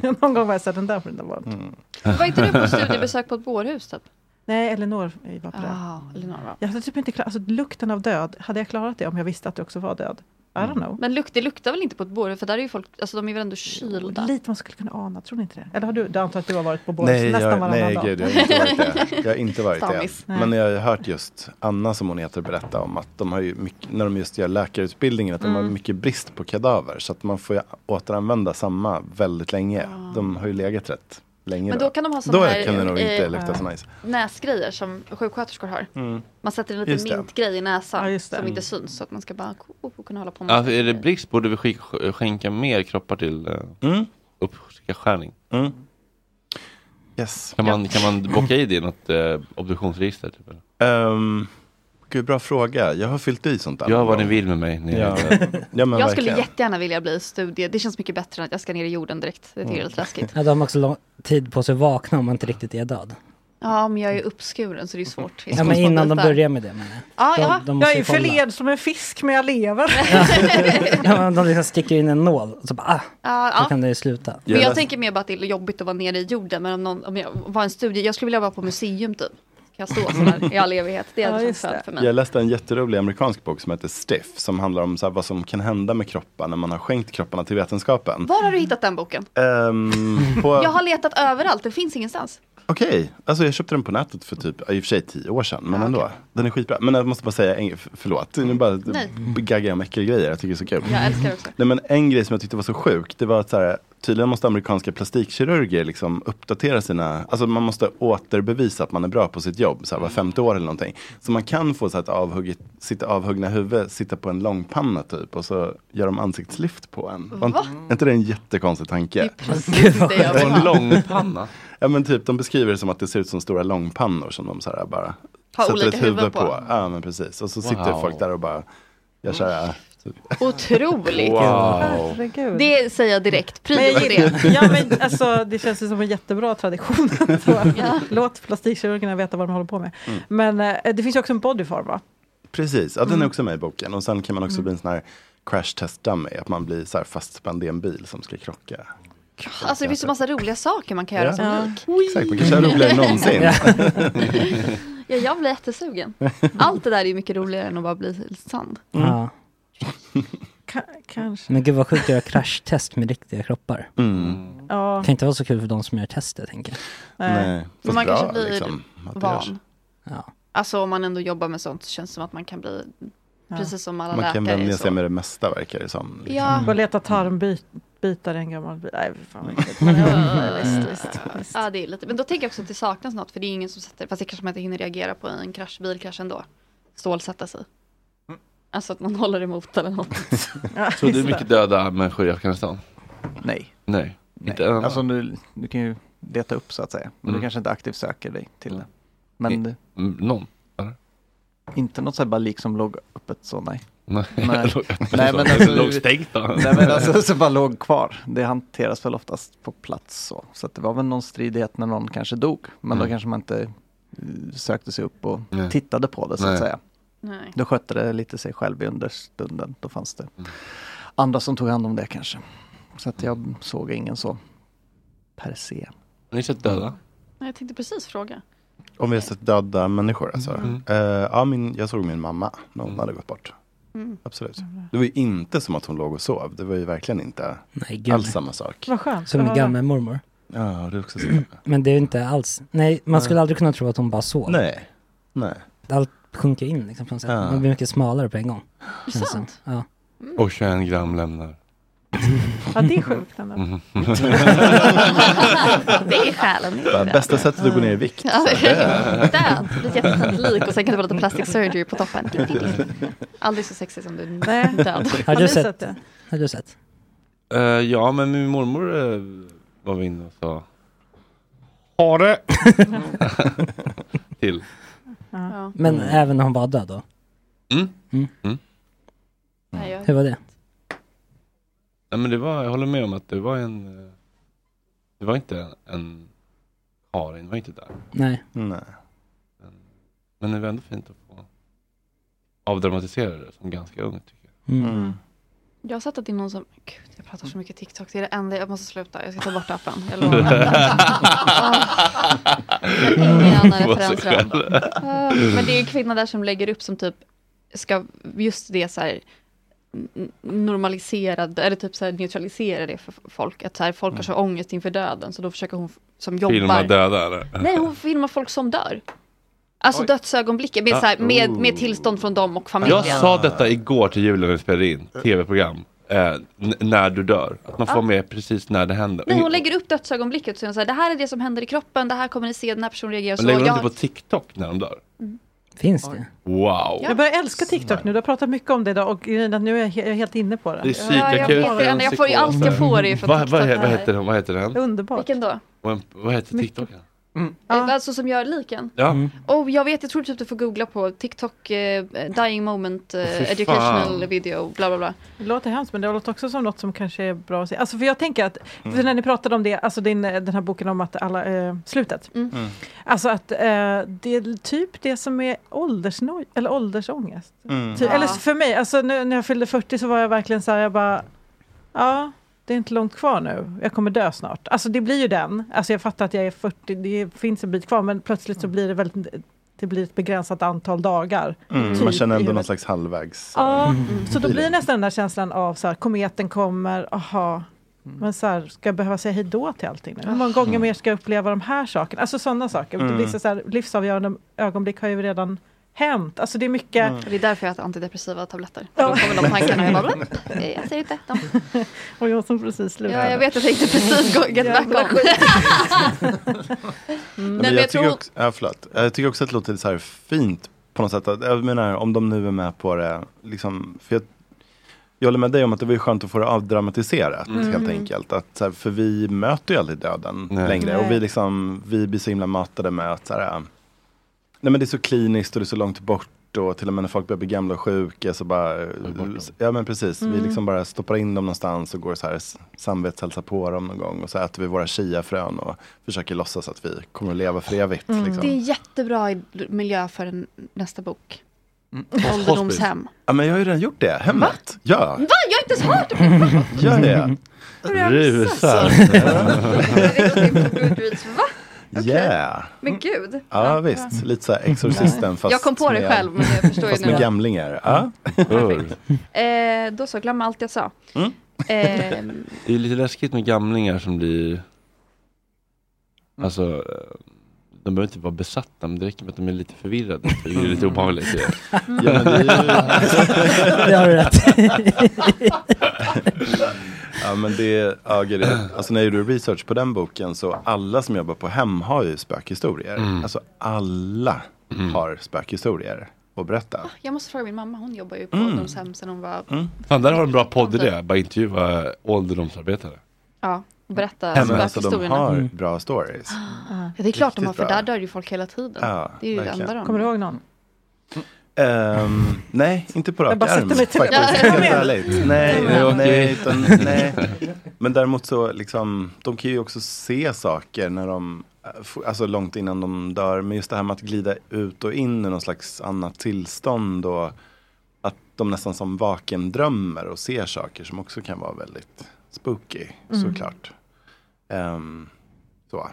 D: Någon gång var jag så här, den där får inte vara.
M: Mm.
F: Var inte du på studiebesök på ett bårhus typ?
D: Nej, Elinor eh, var på det.
F: Ah, Elinor var.
D: Jag hade typ inte klarat, alltså lukten av död, hade jag klarat det om jag visste att du också var död? I
M: Mm.
D: don't know.
F: Men lukt, det luktar väl inte på ett bårhus? För där är ju folk, alltså de är väl ändå kylda?
D: Lite man skulle kunna ana, tror ni inte det? Eller har du, du antar att du har varit på bårhus
M: Nej,
D: nästan
M: jag,
D: varannan
M: nej
D: dag?
M: gud, jag har inte varit det. Jag har inte varit det.
D: Stammis. Nej.
M: Men jag har ju hört just Anna, som hon heter, berätta om att de har ju mycket, när de just gör läkarutbildningen, att de har
F: Mm.
M: mycket brist på kadaver. Så att man får ju återanvända samma väldigt länge. De har ju legat rätt länge.
F: Ah. Men då kan de ha såna
M: då
F: här,
M: kan det nog
F: eh,
M: inte lukta så nice.
F: Näsgrejer som sjuksköterskor har.
M: Mm.
F: Man sätter en
M: Just det.
F: liten mintgrej i näsan som inte
A: Mm.
F: syns så att man ska bara oh, kunna hålla på med
A: Ja, Alltså, är det brist borde vi skick- skänka mer kroppar till eh,
D: Mm.
A: uppskärning.
M: Mm. Yes.
A: Kan, man, kan man bocka i det i något eh, obduktionsregister? Typ? eller?
M: Ehm, gud, bra fråga. Jag har fyllt i sånt där.
A: Gör vad
M: någon
A: ni vill
M: gång.
A: med mig, ni
M: Ja.
A: vet.
M: ja, men
F: jag skulle
M: verkligen.
F: jättegärna vilja bli studie. Det känns mycket bättre än att jag ska ner i jorden direkt. Det tycker jag är lite läskigt.
E: Ja, de har också lång tid på sig att vakna om man inte riktigt är död.
F: Ja, men jag är ju uppskuren så det är svårt.
E: Ja, men innan de börjar med det menar jag.
D: Ja, ja.
E: de måste
D: jag är
E: ju
D: ju
E: kolla.
D: förled som en fisk, men jag lever.
E: Ja, men de liksom sticker in en nål och så bara, ah,
F: Ja,
E: då
F: ja.
E: kan det ju sluta.
F: Men jag tänker mer bara att det är jobbigt att vara nere i jorden. Men om, någon, om jag var en studie, jag skulle vilja vara på museum typ. Kan jag stå sådär i all evighet? Det hade
D: Ja,
F: känts
D: just
F: skönt för mig.
M: Jag läste en jätterolig amerikansk bok som heter Stiff som handlar om så här, vad som kan hända med kroppar när man har skänkt kropparna till vetenskapen.
F: Var har du hittat den boken?
M: Ehm, på,
F: Jag har letat överallt, det finns ingenstans.
M: Okej, alltså jag köpte den på nätet för typ, i och för sig tio år sedan, men ändå. Den är skitbra. Men jag måste bara säga, en, f- förlåt, nu bara
F: Nej.
M: gaggar jag om grejer. jag tycker det är så kul.
F: Jag älskar det också.
M: Nej, men en grej som jag tyckte var så sjuk, det var att så här, tydligen måste amerikanska plastikkirurger liksom uppdatera sina, alltså man måste återbevisa att man är bra på sitt jobb, så här, var femte år eller någonting. Så man kan få så här, ett avhugget, sitt avhuggna huvud sitta på en långpanna typ och så gör de ansiktslyft på en. Var inte-
F: Va?
M: Är inte det en jättekonstig tanke?
F: Det är precis det jag vill ha.
M: En långpanna? Ja men typ, de beskriver det som att det ser ut som stora långpannor som de så här bara
F: Har olika huvuden på.
M: Ja men precis, och så
A: Wow.
M: sitter folk där och bara, jag så
F: Mm.
M: här,
F: Otroligt.
M: Wow.
D: Herregud.
F: Det säger jag direkt,
D: Men
F: prio
D: jag
F: på
D: gillar-
F: det.
D: Ja, men alltså, det känns ju som en jättebra tradition. Så, Låt plastikkirurgerna veta vad de håller på med.
M: Mm.
D: Men eh, det finns ju också en bodyform va?
M: Precis, ja, den är
D: Mm.
M: också med i boken. Och sen kan man också
D: Mm.
M: bli en sån här crash test dummy, att man blir så här fastspänd i en bil som ska krocka.
F: Alltså det finns ju massa roliga saker man kan göra
M: Ja.
F: som lik.
M: Exakt, man kanske är roligare än någonsin.
F: Ja. Ja, jag blir jättesugen. Allt det där är ju mycket roligare än att bara bli sand.
E: Ja.
D: Kanske.
E: Men gud vad sjukt att göra kraschtest med riktiga kroppar.
D: Ja.
E: Kan inte vara så kul för de som gör testet, tänker jag.
M: Mm. Nej,
F: Men
M: fast
F: man
M: bra,
F: kanske blir
M: liksom, att det görs.
F: van. Alltså om man ändå jobbar med sånt så känns det som att man kan bli precis som alla
M: Man kan
F: läkare.
M: vänja
F: så.
M: sig med det mesta verkar det som. liksom.
F: Ja.
D: Gå och leta tarmbitare i en gammal bil. Nej, fy fan vad äckligt. Men, ja, visst, visst, visst.
F: Ja, det är lite. Men då tänker jag också att det saknas något för det är ingen som sätter, fast det kanske man inte hinner reagera på i en krasch, bilkrasch ändå. Stålsätta sig. Alltså att man håller emot eller något.
A: Tror du mycket döda människor i Afghanistan?
H: Nej.
A: Nej.
H: Nej.
A: Inte en-
H: Alltså du, du kan ju leta upp så att säga. Men
A: Mm.
H: du kanske inte aktivt söker dig till det. Men du,
A: Mm, Någon?
H: inte något så här bara liksom låg öppet så nej.
A: Nej,
H: nej.
A: låg öppet
H: nej
A: så.
H: men alltså,
A: Låg stängt då.
H: Nej men alltså så bara låg kvar. Det hanteras väl oftast på plats så. Så att det var väl någon stridighet när någon kanske dog. Men då
A: Mm.
H: kanske man inte eh, sökte sig upp och
A: Nej.
H: tittade på det så
A: Nej.
H: att säga.
F: Nej.
H: Då skötte det lite sig själv i understunden. Då fanns det
A: Mm.
H: andra som tog hand om det kanske. Så att jag såg ingen så per se.
A: Har ni sett döda?
F: Nej, Jag tänkte precis fråga.
M: Om vi har sett döda människor alltså.
A: Mm.
M: Eh, ja, min, jag såg min mamma när hon hade gått bort.
F: Mm.
M: Absolut. Det var ju inte som att hon låg och sov. Det var ju verkligen inte
E: gud,
M: alls
E: nej.
M: samma sak.
D: Vad skönt.
E: Som min
D: Ja.
E: gamla mormor.
M: Ja, du också sett
E: Men det är ju inte alls, nej, man
M: Nej.
E: skulle aldrig kunna tro att hon bara sov.
M: Nej. Nej.
E: Allt sjunker in liksom på något sätt.
A: Ja.
E: Man blir mycket smalare på en gång. känns som. Ja.
A: Och 21 gram lämnar.
D: Ja, det är sjukt ändå.
A: Mhm.
F: Det är själen. det är
M: Bara,
F: det.
M: Bästa sättet att gå ner i vikt.
F: Ja,
M: Så här.
F: Död, det blir jättesnabbt lik och sen kan det vara lite plastic surgery på toppen. Aldrig så sexig som du
D: Nej.
F: död.
E: Har du sett?
D: det?
E: Har du sett?
A: Eh, ja, men min mormor eh, var inne och sa Har det! Till.
F: Ja.
E: Men även när hon var död då?
A: Mm.
E: Mm.
A: Mm.
F: Nej, jag-
E: Hur var det?
A: Nej, men det var, jag håller med om att det var en eh, Det var inte en, en Karin var inte där.
E: Nej.
M: Nej.
A: Men det var ändå fint att få avdramatisera det som ganska ung tycker jag.
E: Mm.
F: Jag har sett att det är någon som, gud jag pratar så mycket TikTok, det är det enda, jag måste sluta, jag ska ta bort appen. Jag lovar. oh. Ingen annan
A: Det var Mm. sig
F: referens redan.
A: själv.
F: Ah, Men det är ju kvinnor där som lägger upp som typ, ska, just det så här n- normaliserad, eller typ så här neutralisera det för folk. Att så här, folk har så ångest inför döden, så då försöker hon f- som jobbar.
A: Mm. Filma döda eller?
F: Nej, hon filmar folk som dör. Alltså dödsögonblicken, med,
A: Ah,
F: så här, med,
A: oh.
F: med tillstånd från dem och familjen.
A: Jag sa detta igår till julen när vi spelade in tv-program. eh, n- när du dör. Att man får
F: Ja.
A: med precis när det händer.
F: Nej, hon lägger upp dödsögonblicket och säger hon så här, det här är det som händer i kroppen, det här kommer ni se, den här personen reagerar så.
A: lägger de
F: Jag-
A: inte på TikTok när de dör?
F: Mm.
E: Finns det?
A: Wow!
D: Jag börjar älska TikTok nu. Du har pratat mycket om det idag och grejen är att nu är jag he- jag är helt inne på det.
A: Det är psykakuten, Vad, vad, he- vad heter den? Vad heter
D: Det är
A: den?
D: underbart.
F: Vilken då?
A: Vad- Vad heter Tiktoken?
F: Alltså som gör liken.
A: Ja.
E: Mm.
F: Och jag vet, jag tror typ du får googla på TikTok, eh, dying moment, eh,
D: Fy fan.
F: educational video, bla bla bla.
D: Det låter hemskt men det låter också som något som kanske är bra att se. Alltså för jag tänker att, för när ni pratade om det, alltså din, eh, den här boken om att alla, eh, slutet.
F: Mm.
D: Alltså att eh, det är typ det som är åldersnoj, eller åldersångest.
Q: Mm.
D: Ty,
Q: Ja.
D: Eller för mig, alltså nu, när jag fyllde 40 så var jag verkligen så här, jag bara, ja, det är inte långt kvar nu, jag kommer dö snart. Alltså det blir ju den, alltså jag fattar att jag är 40, det finns en bit kvar, men plötsligt så blir det väldigt, det blir ett begränsat antal dagar.
M: Mm.
D: typ,
M: Man
D: i
M: känner ändå någon
D: huvudet.
M: slags halvvägs.
D: Ja,
M: Mm.
D: så då blir det nästan den där känslan av så här, kometen kommer, aha. Men så här, ska jag behöva säga hej då till allting nu? Hur många gånger
Q: Mm.
D: mer ska jag uppleva de här sakerna? Alltså sådana saker.
Q: Mm.
D: Vissa så här, livsavgörande ögonblick har ju redan hänt. Alltså det är mycket...
F: Och Det är därför jag äter antidepressiva tabletter. För Då kommer de tankarna. Jag, bara, "Bla, eh, jag ser inte dem.
D: Och jag som precis slutade.
F: Ja, jag vet, jag tänkte precis gå- get back
D: Jävla
F: on.
D: skit.
F: Nej,
M: Mm. Nej,
F: men jag
M: tycker
F: tror...
M: också, ja, förlåt. jag tycker också att det låter så här fint på något sätt. Att, jag menar, om de nu är med på det. Liksom, för jag, jag håller med dig om att det var ju skönt att få det avdramatiserat
Q: Mm.
M: helt enkelt. Att, så här, för vi möter ju aldrig döden längre.
Q: Nej.
M: Och vi, liksom, vi blir så himla matade med att så här, nej, men det är så kliniskt och det är så långt bort. Och till och med när folk börjar bli gamla och sjuka så bara, ja men precis, vi
Q: Mm.
M: liksom bara stoppar in dem någonstans och går så här s- samvetshälsa på dem någon gång och så äter vi våra chiafrön och försöker låtsas att vi kommer att leva för evigt.
F: Det är en
M: Liksom.
F: jättebra i- miljö för en, nästa bok.
M: Mm.
F: Ålderdomshem.
M: Ja men jag har ju redan gjort det, hemmet. Ja,
F: Va? Mm. Jag har inte ens hört om
M: gör det.
A: Rusar.
F: Goodreads. Va?
M: yeah.
F: Men gud.
M: Ja visst, lite så här Exorcisten fast
F: Jag kom på det
M: med-
F: själv, men jag förstår ju
M: Fast
F: nu.
M: med gamlingar. Ja.
F: Eh, då så, glöm allt jag sa.
A: Mm.
F: Eh,
A: Det är lite läskigt med gamlingar som blir Alltså eh, de behöver inte vara besatta, men det räcker med att de är lite förvirrade. För det är ju lite obehagligt. ju.
M: Ja, men det, är ju...
E: Det har du rätt i.
M: ja, men det, ja, gud, det- alltså när jag gjorde research på den boken så alla som jobbar på hem har ju spökhistorier.
A: Mm.
M: Alltså alla har spökhistorier att berätta.
F: jag måste fråga min mamma, hon jobbar ju på
M: Mm.
F: ålderdomshem sen hon var...
A: Mm. Fan, där har du en bra podd i det. Bara intervjua ålderdomsarbetare.
F: Ja, berätta
M: Ja, men alltså de
F: spökhistorierna.
E: Mm.
D: Mm.
M: har bra stories.
F: Ja, det är klart de har,
M: Riktigt
F: för
M: bra.
F: där dör ju folk hela tiden.
M: Ja,
F: det är ju det
M: verkligen.
F: enda de...
D: Kommer du ihåg någon?
M: Ehm, nej, inte på
D: Jag
M: rak
D: bara
M: arm.
D: sätter mig till
M: faktiskt.
D: det. Ja, jag
M: Helt
D: med.
M: ärligt. Nej,
D: Jag med.
M: nej, utan, nej. Men däremot så, liksom, de kan ju också se saker när de, eh, f- alltså långt innan de dör. Men just det här med att glida ut och in i någon slags annat tillstånd. Och att de nästan som vaken drömmer och ser saker som också kan vara väldigt spooky,
Q: Mm.
M: såklart. Ehm, så.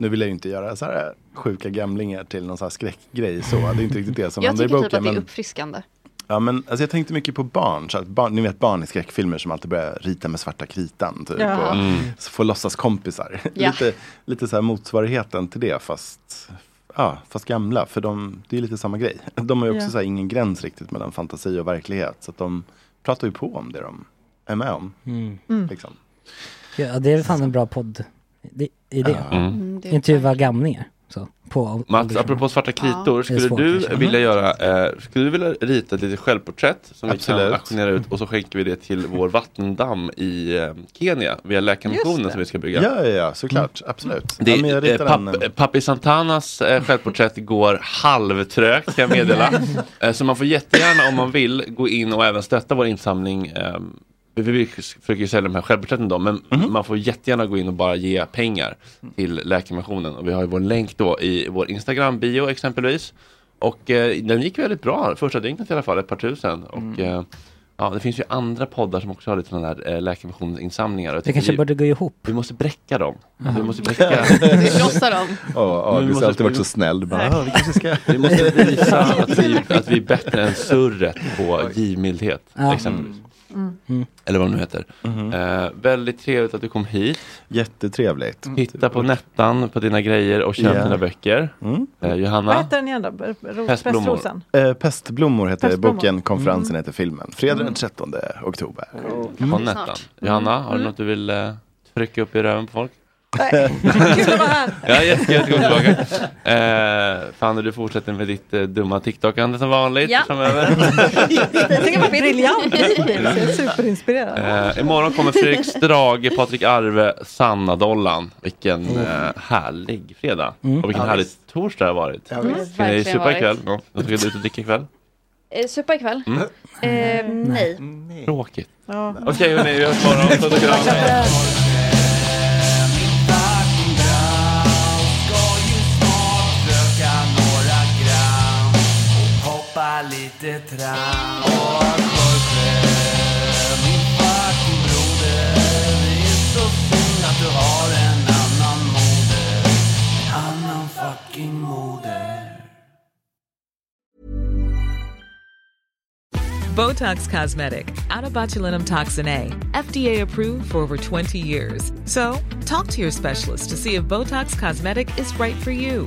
M: Nu vill jag ju inte göra så här sjuka gamlingar till någon så här skräckgrej. Så. Det är inte riktigt det som
F: Jag
M: händer i
F: tycker
M: boken.
F: typ att det är
M: men-
F: uppfriskande.
M: Ja, men, alltså jag tänkte mycket på barn, så att barn. Ni vet barn i skräckfilmer som alltid börjar rita med svarta kritan. Typ,
F: Ja.
M: och
F: Mm.
M: så får låtsas kompisar.
F: Ja.
M: lite lite så här motsvarigheten till det fast, ja, fast gamla. För de, det är ju lite samma grej. De har ju också
Q: Ja.
M: så här ingen gräns riktigt mellan fantasi och verklighet. Så att de pratar ju på om det de är med om.
E: Mm.
Q: Mm.
M: Liksom.
E: Ja, det är fan en bra podd. Det, i det.
M: Ja. Mm,
F: det är
E: Intervjua gamlingar. Så, på
A: Mats, apropå svarta kritor,
E: Det är
A: skulle
E: svårt
A: du
E: kanske. Mm.
A: vilja göra, eh, skulle du vilja rita ett litet självporträtt som vi kan
M: Absolut.
A: auktionera ut och så skänker vi det till vår vattendamm i eh, Kenya via
M: Just
A: Läkarmissionen
M: det.
A: som vi ska
M: Ja,
A: bygga.
M: ja, ja såklart. Absolut.
A: Det,
M: ja, men jag
A: eh,
M: ritar en,
A: papp, eh, Papi Santanas eh, självporträtt går halvtrögt kan jag meddela. Eh, så man får jättegärna om man vill gå in och även stötta vår insamling. Eh, vi vi försöker ju sälja de här självporträtten då, men
M: Mhm.
A: man får jättegärna gå in och bara ge pengar till Läkarmissionen. Och vi har ju vår länk då i vår Instagram-bio exempelvis. Och eh, den gick väldigt bra första dygnet i alla fall, ett par tusen.
M: Mm.
A: Och, eh, Ja, det finns ju andra poddar som också har lite sådana här eh, Läkarmissionens-insamlingar. Jag
E: Det
A: tycker
E: kanske
A: vi-
E: borde gå ihop.
A: vi måste bräcka dem. Alltså, vi måste bräcka.
M: Vi krossar dem. Ja, August har alltid varit så snäll. Bara, "Ja, vi kanske ska-"
A: Vi måste visa att vi, att vi är bättre än surret på givmildhet.
E: Ja.
A: Exempelvis.
D: Mm.
A: Eller vad de nu heter. Eh, väldigt trevligt att du kom hit.
M: Jättetrevligt.
A: Titta Mm. på Nettan på dina grejer och köp
M: Ja. Mm.
A: dina böcker. Eh, Johanna?
D: Vad heter den igen då? Ro- Pestrosen?
M: Eh, Pestblommor heter
D: Pestblommor.
M: boken, konferensen
D: Mm.
M: heter filmen. Fredag
D: Mm.
M: den 13 oktober. Mm.
A: På Nettan. Johanna, har du något du vill eh, trycka upp i röven på folk?
D: Mm. Nej, kul att vara här.
A: ja, jättekul att komma tillbaka. Eh, Fanny, du fortsätter med ditt eh, dumma TikTokande som vanligt
D: Ja.
A: framöver.
D: Jag tycker det var briljant hittills. Jag är superinspirerad.
A: Eh, imorgon kommer Fredrik Strage, Patrik Arve, Sanna Dollan. Vilken
F: Oh.
A: eh, härlig fredag. Och vilken
C: Ja,
A: härlig torsdag det har varit.
F: Mm. Ja, visst.
A: Ska ni
F: Verkligen
A: supa
F: varit.
A: ikväll? Ja. Jag ska ut och dricka ikväll.
F: Eh, Supa ikväll?
A: Mm.
F: Eh, nej.
A: Tråkigt.
F: Ja.
A: Okej hörni, vi hörs imorgon. Puss och kram.
J: Hoppa lite tram och Jorge, min fucking broder Det är så synd att du har en annan moder En annan fucking moder
Q: Botox Cosmetic, out of botulinum toxin A, FDA approved for over 20 years. So, talk to your specialist to see if Botox Cosmetic is right for you.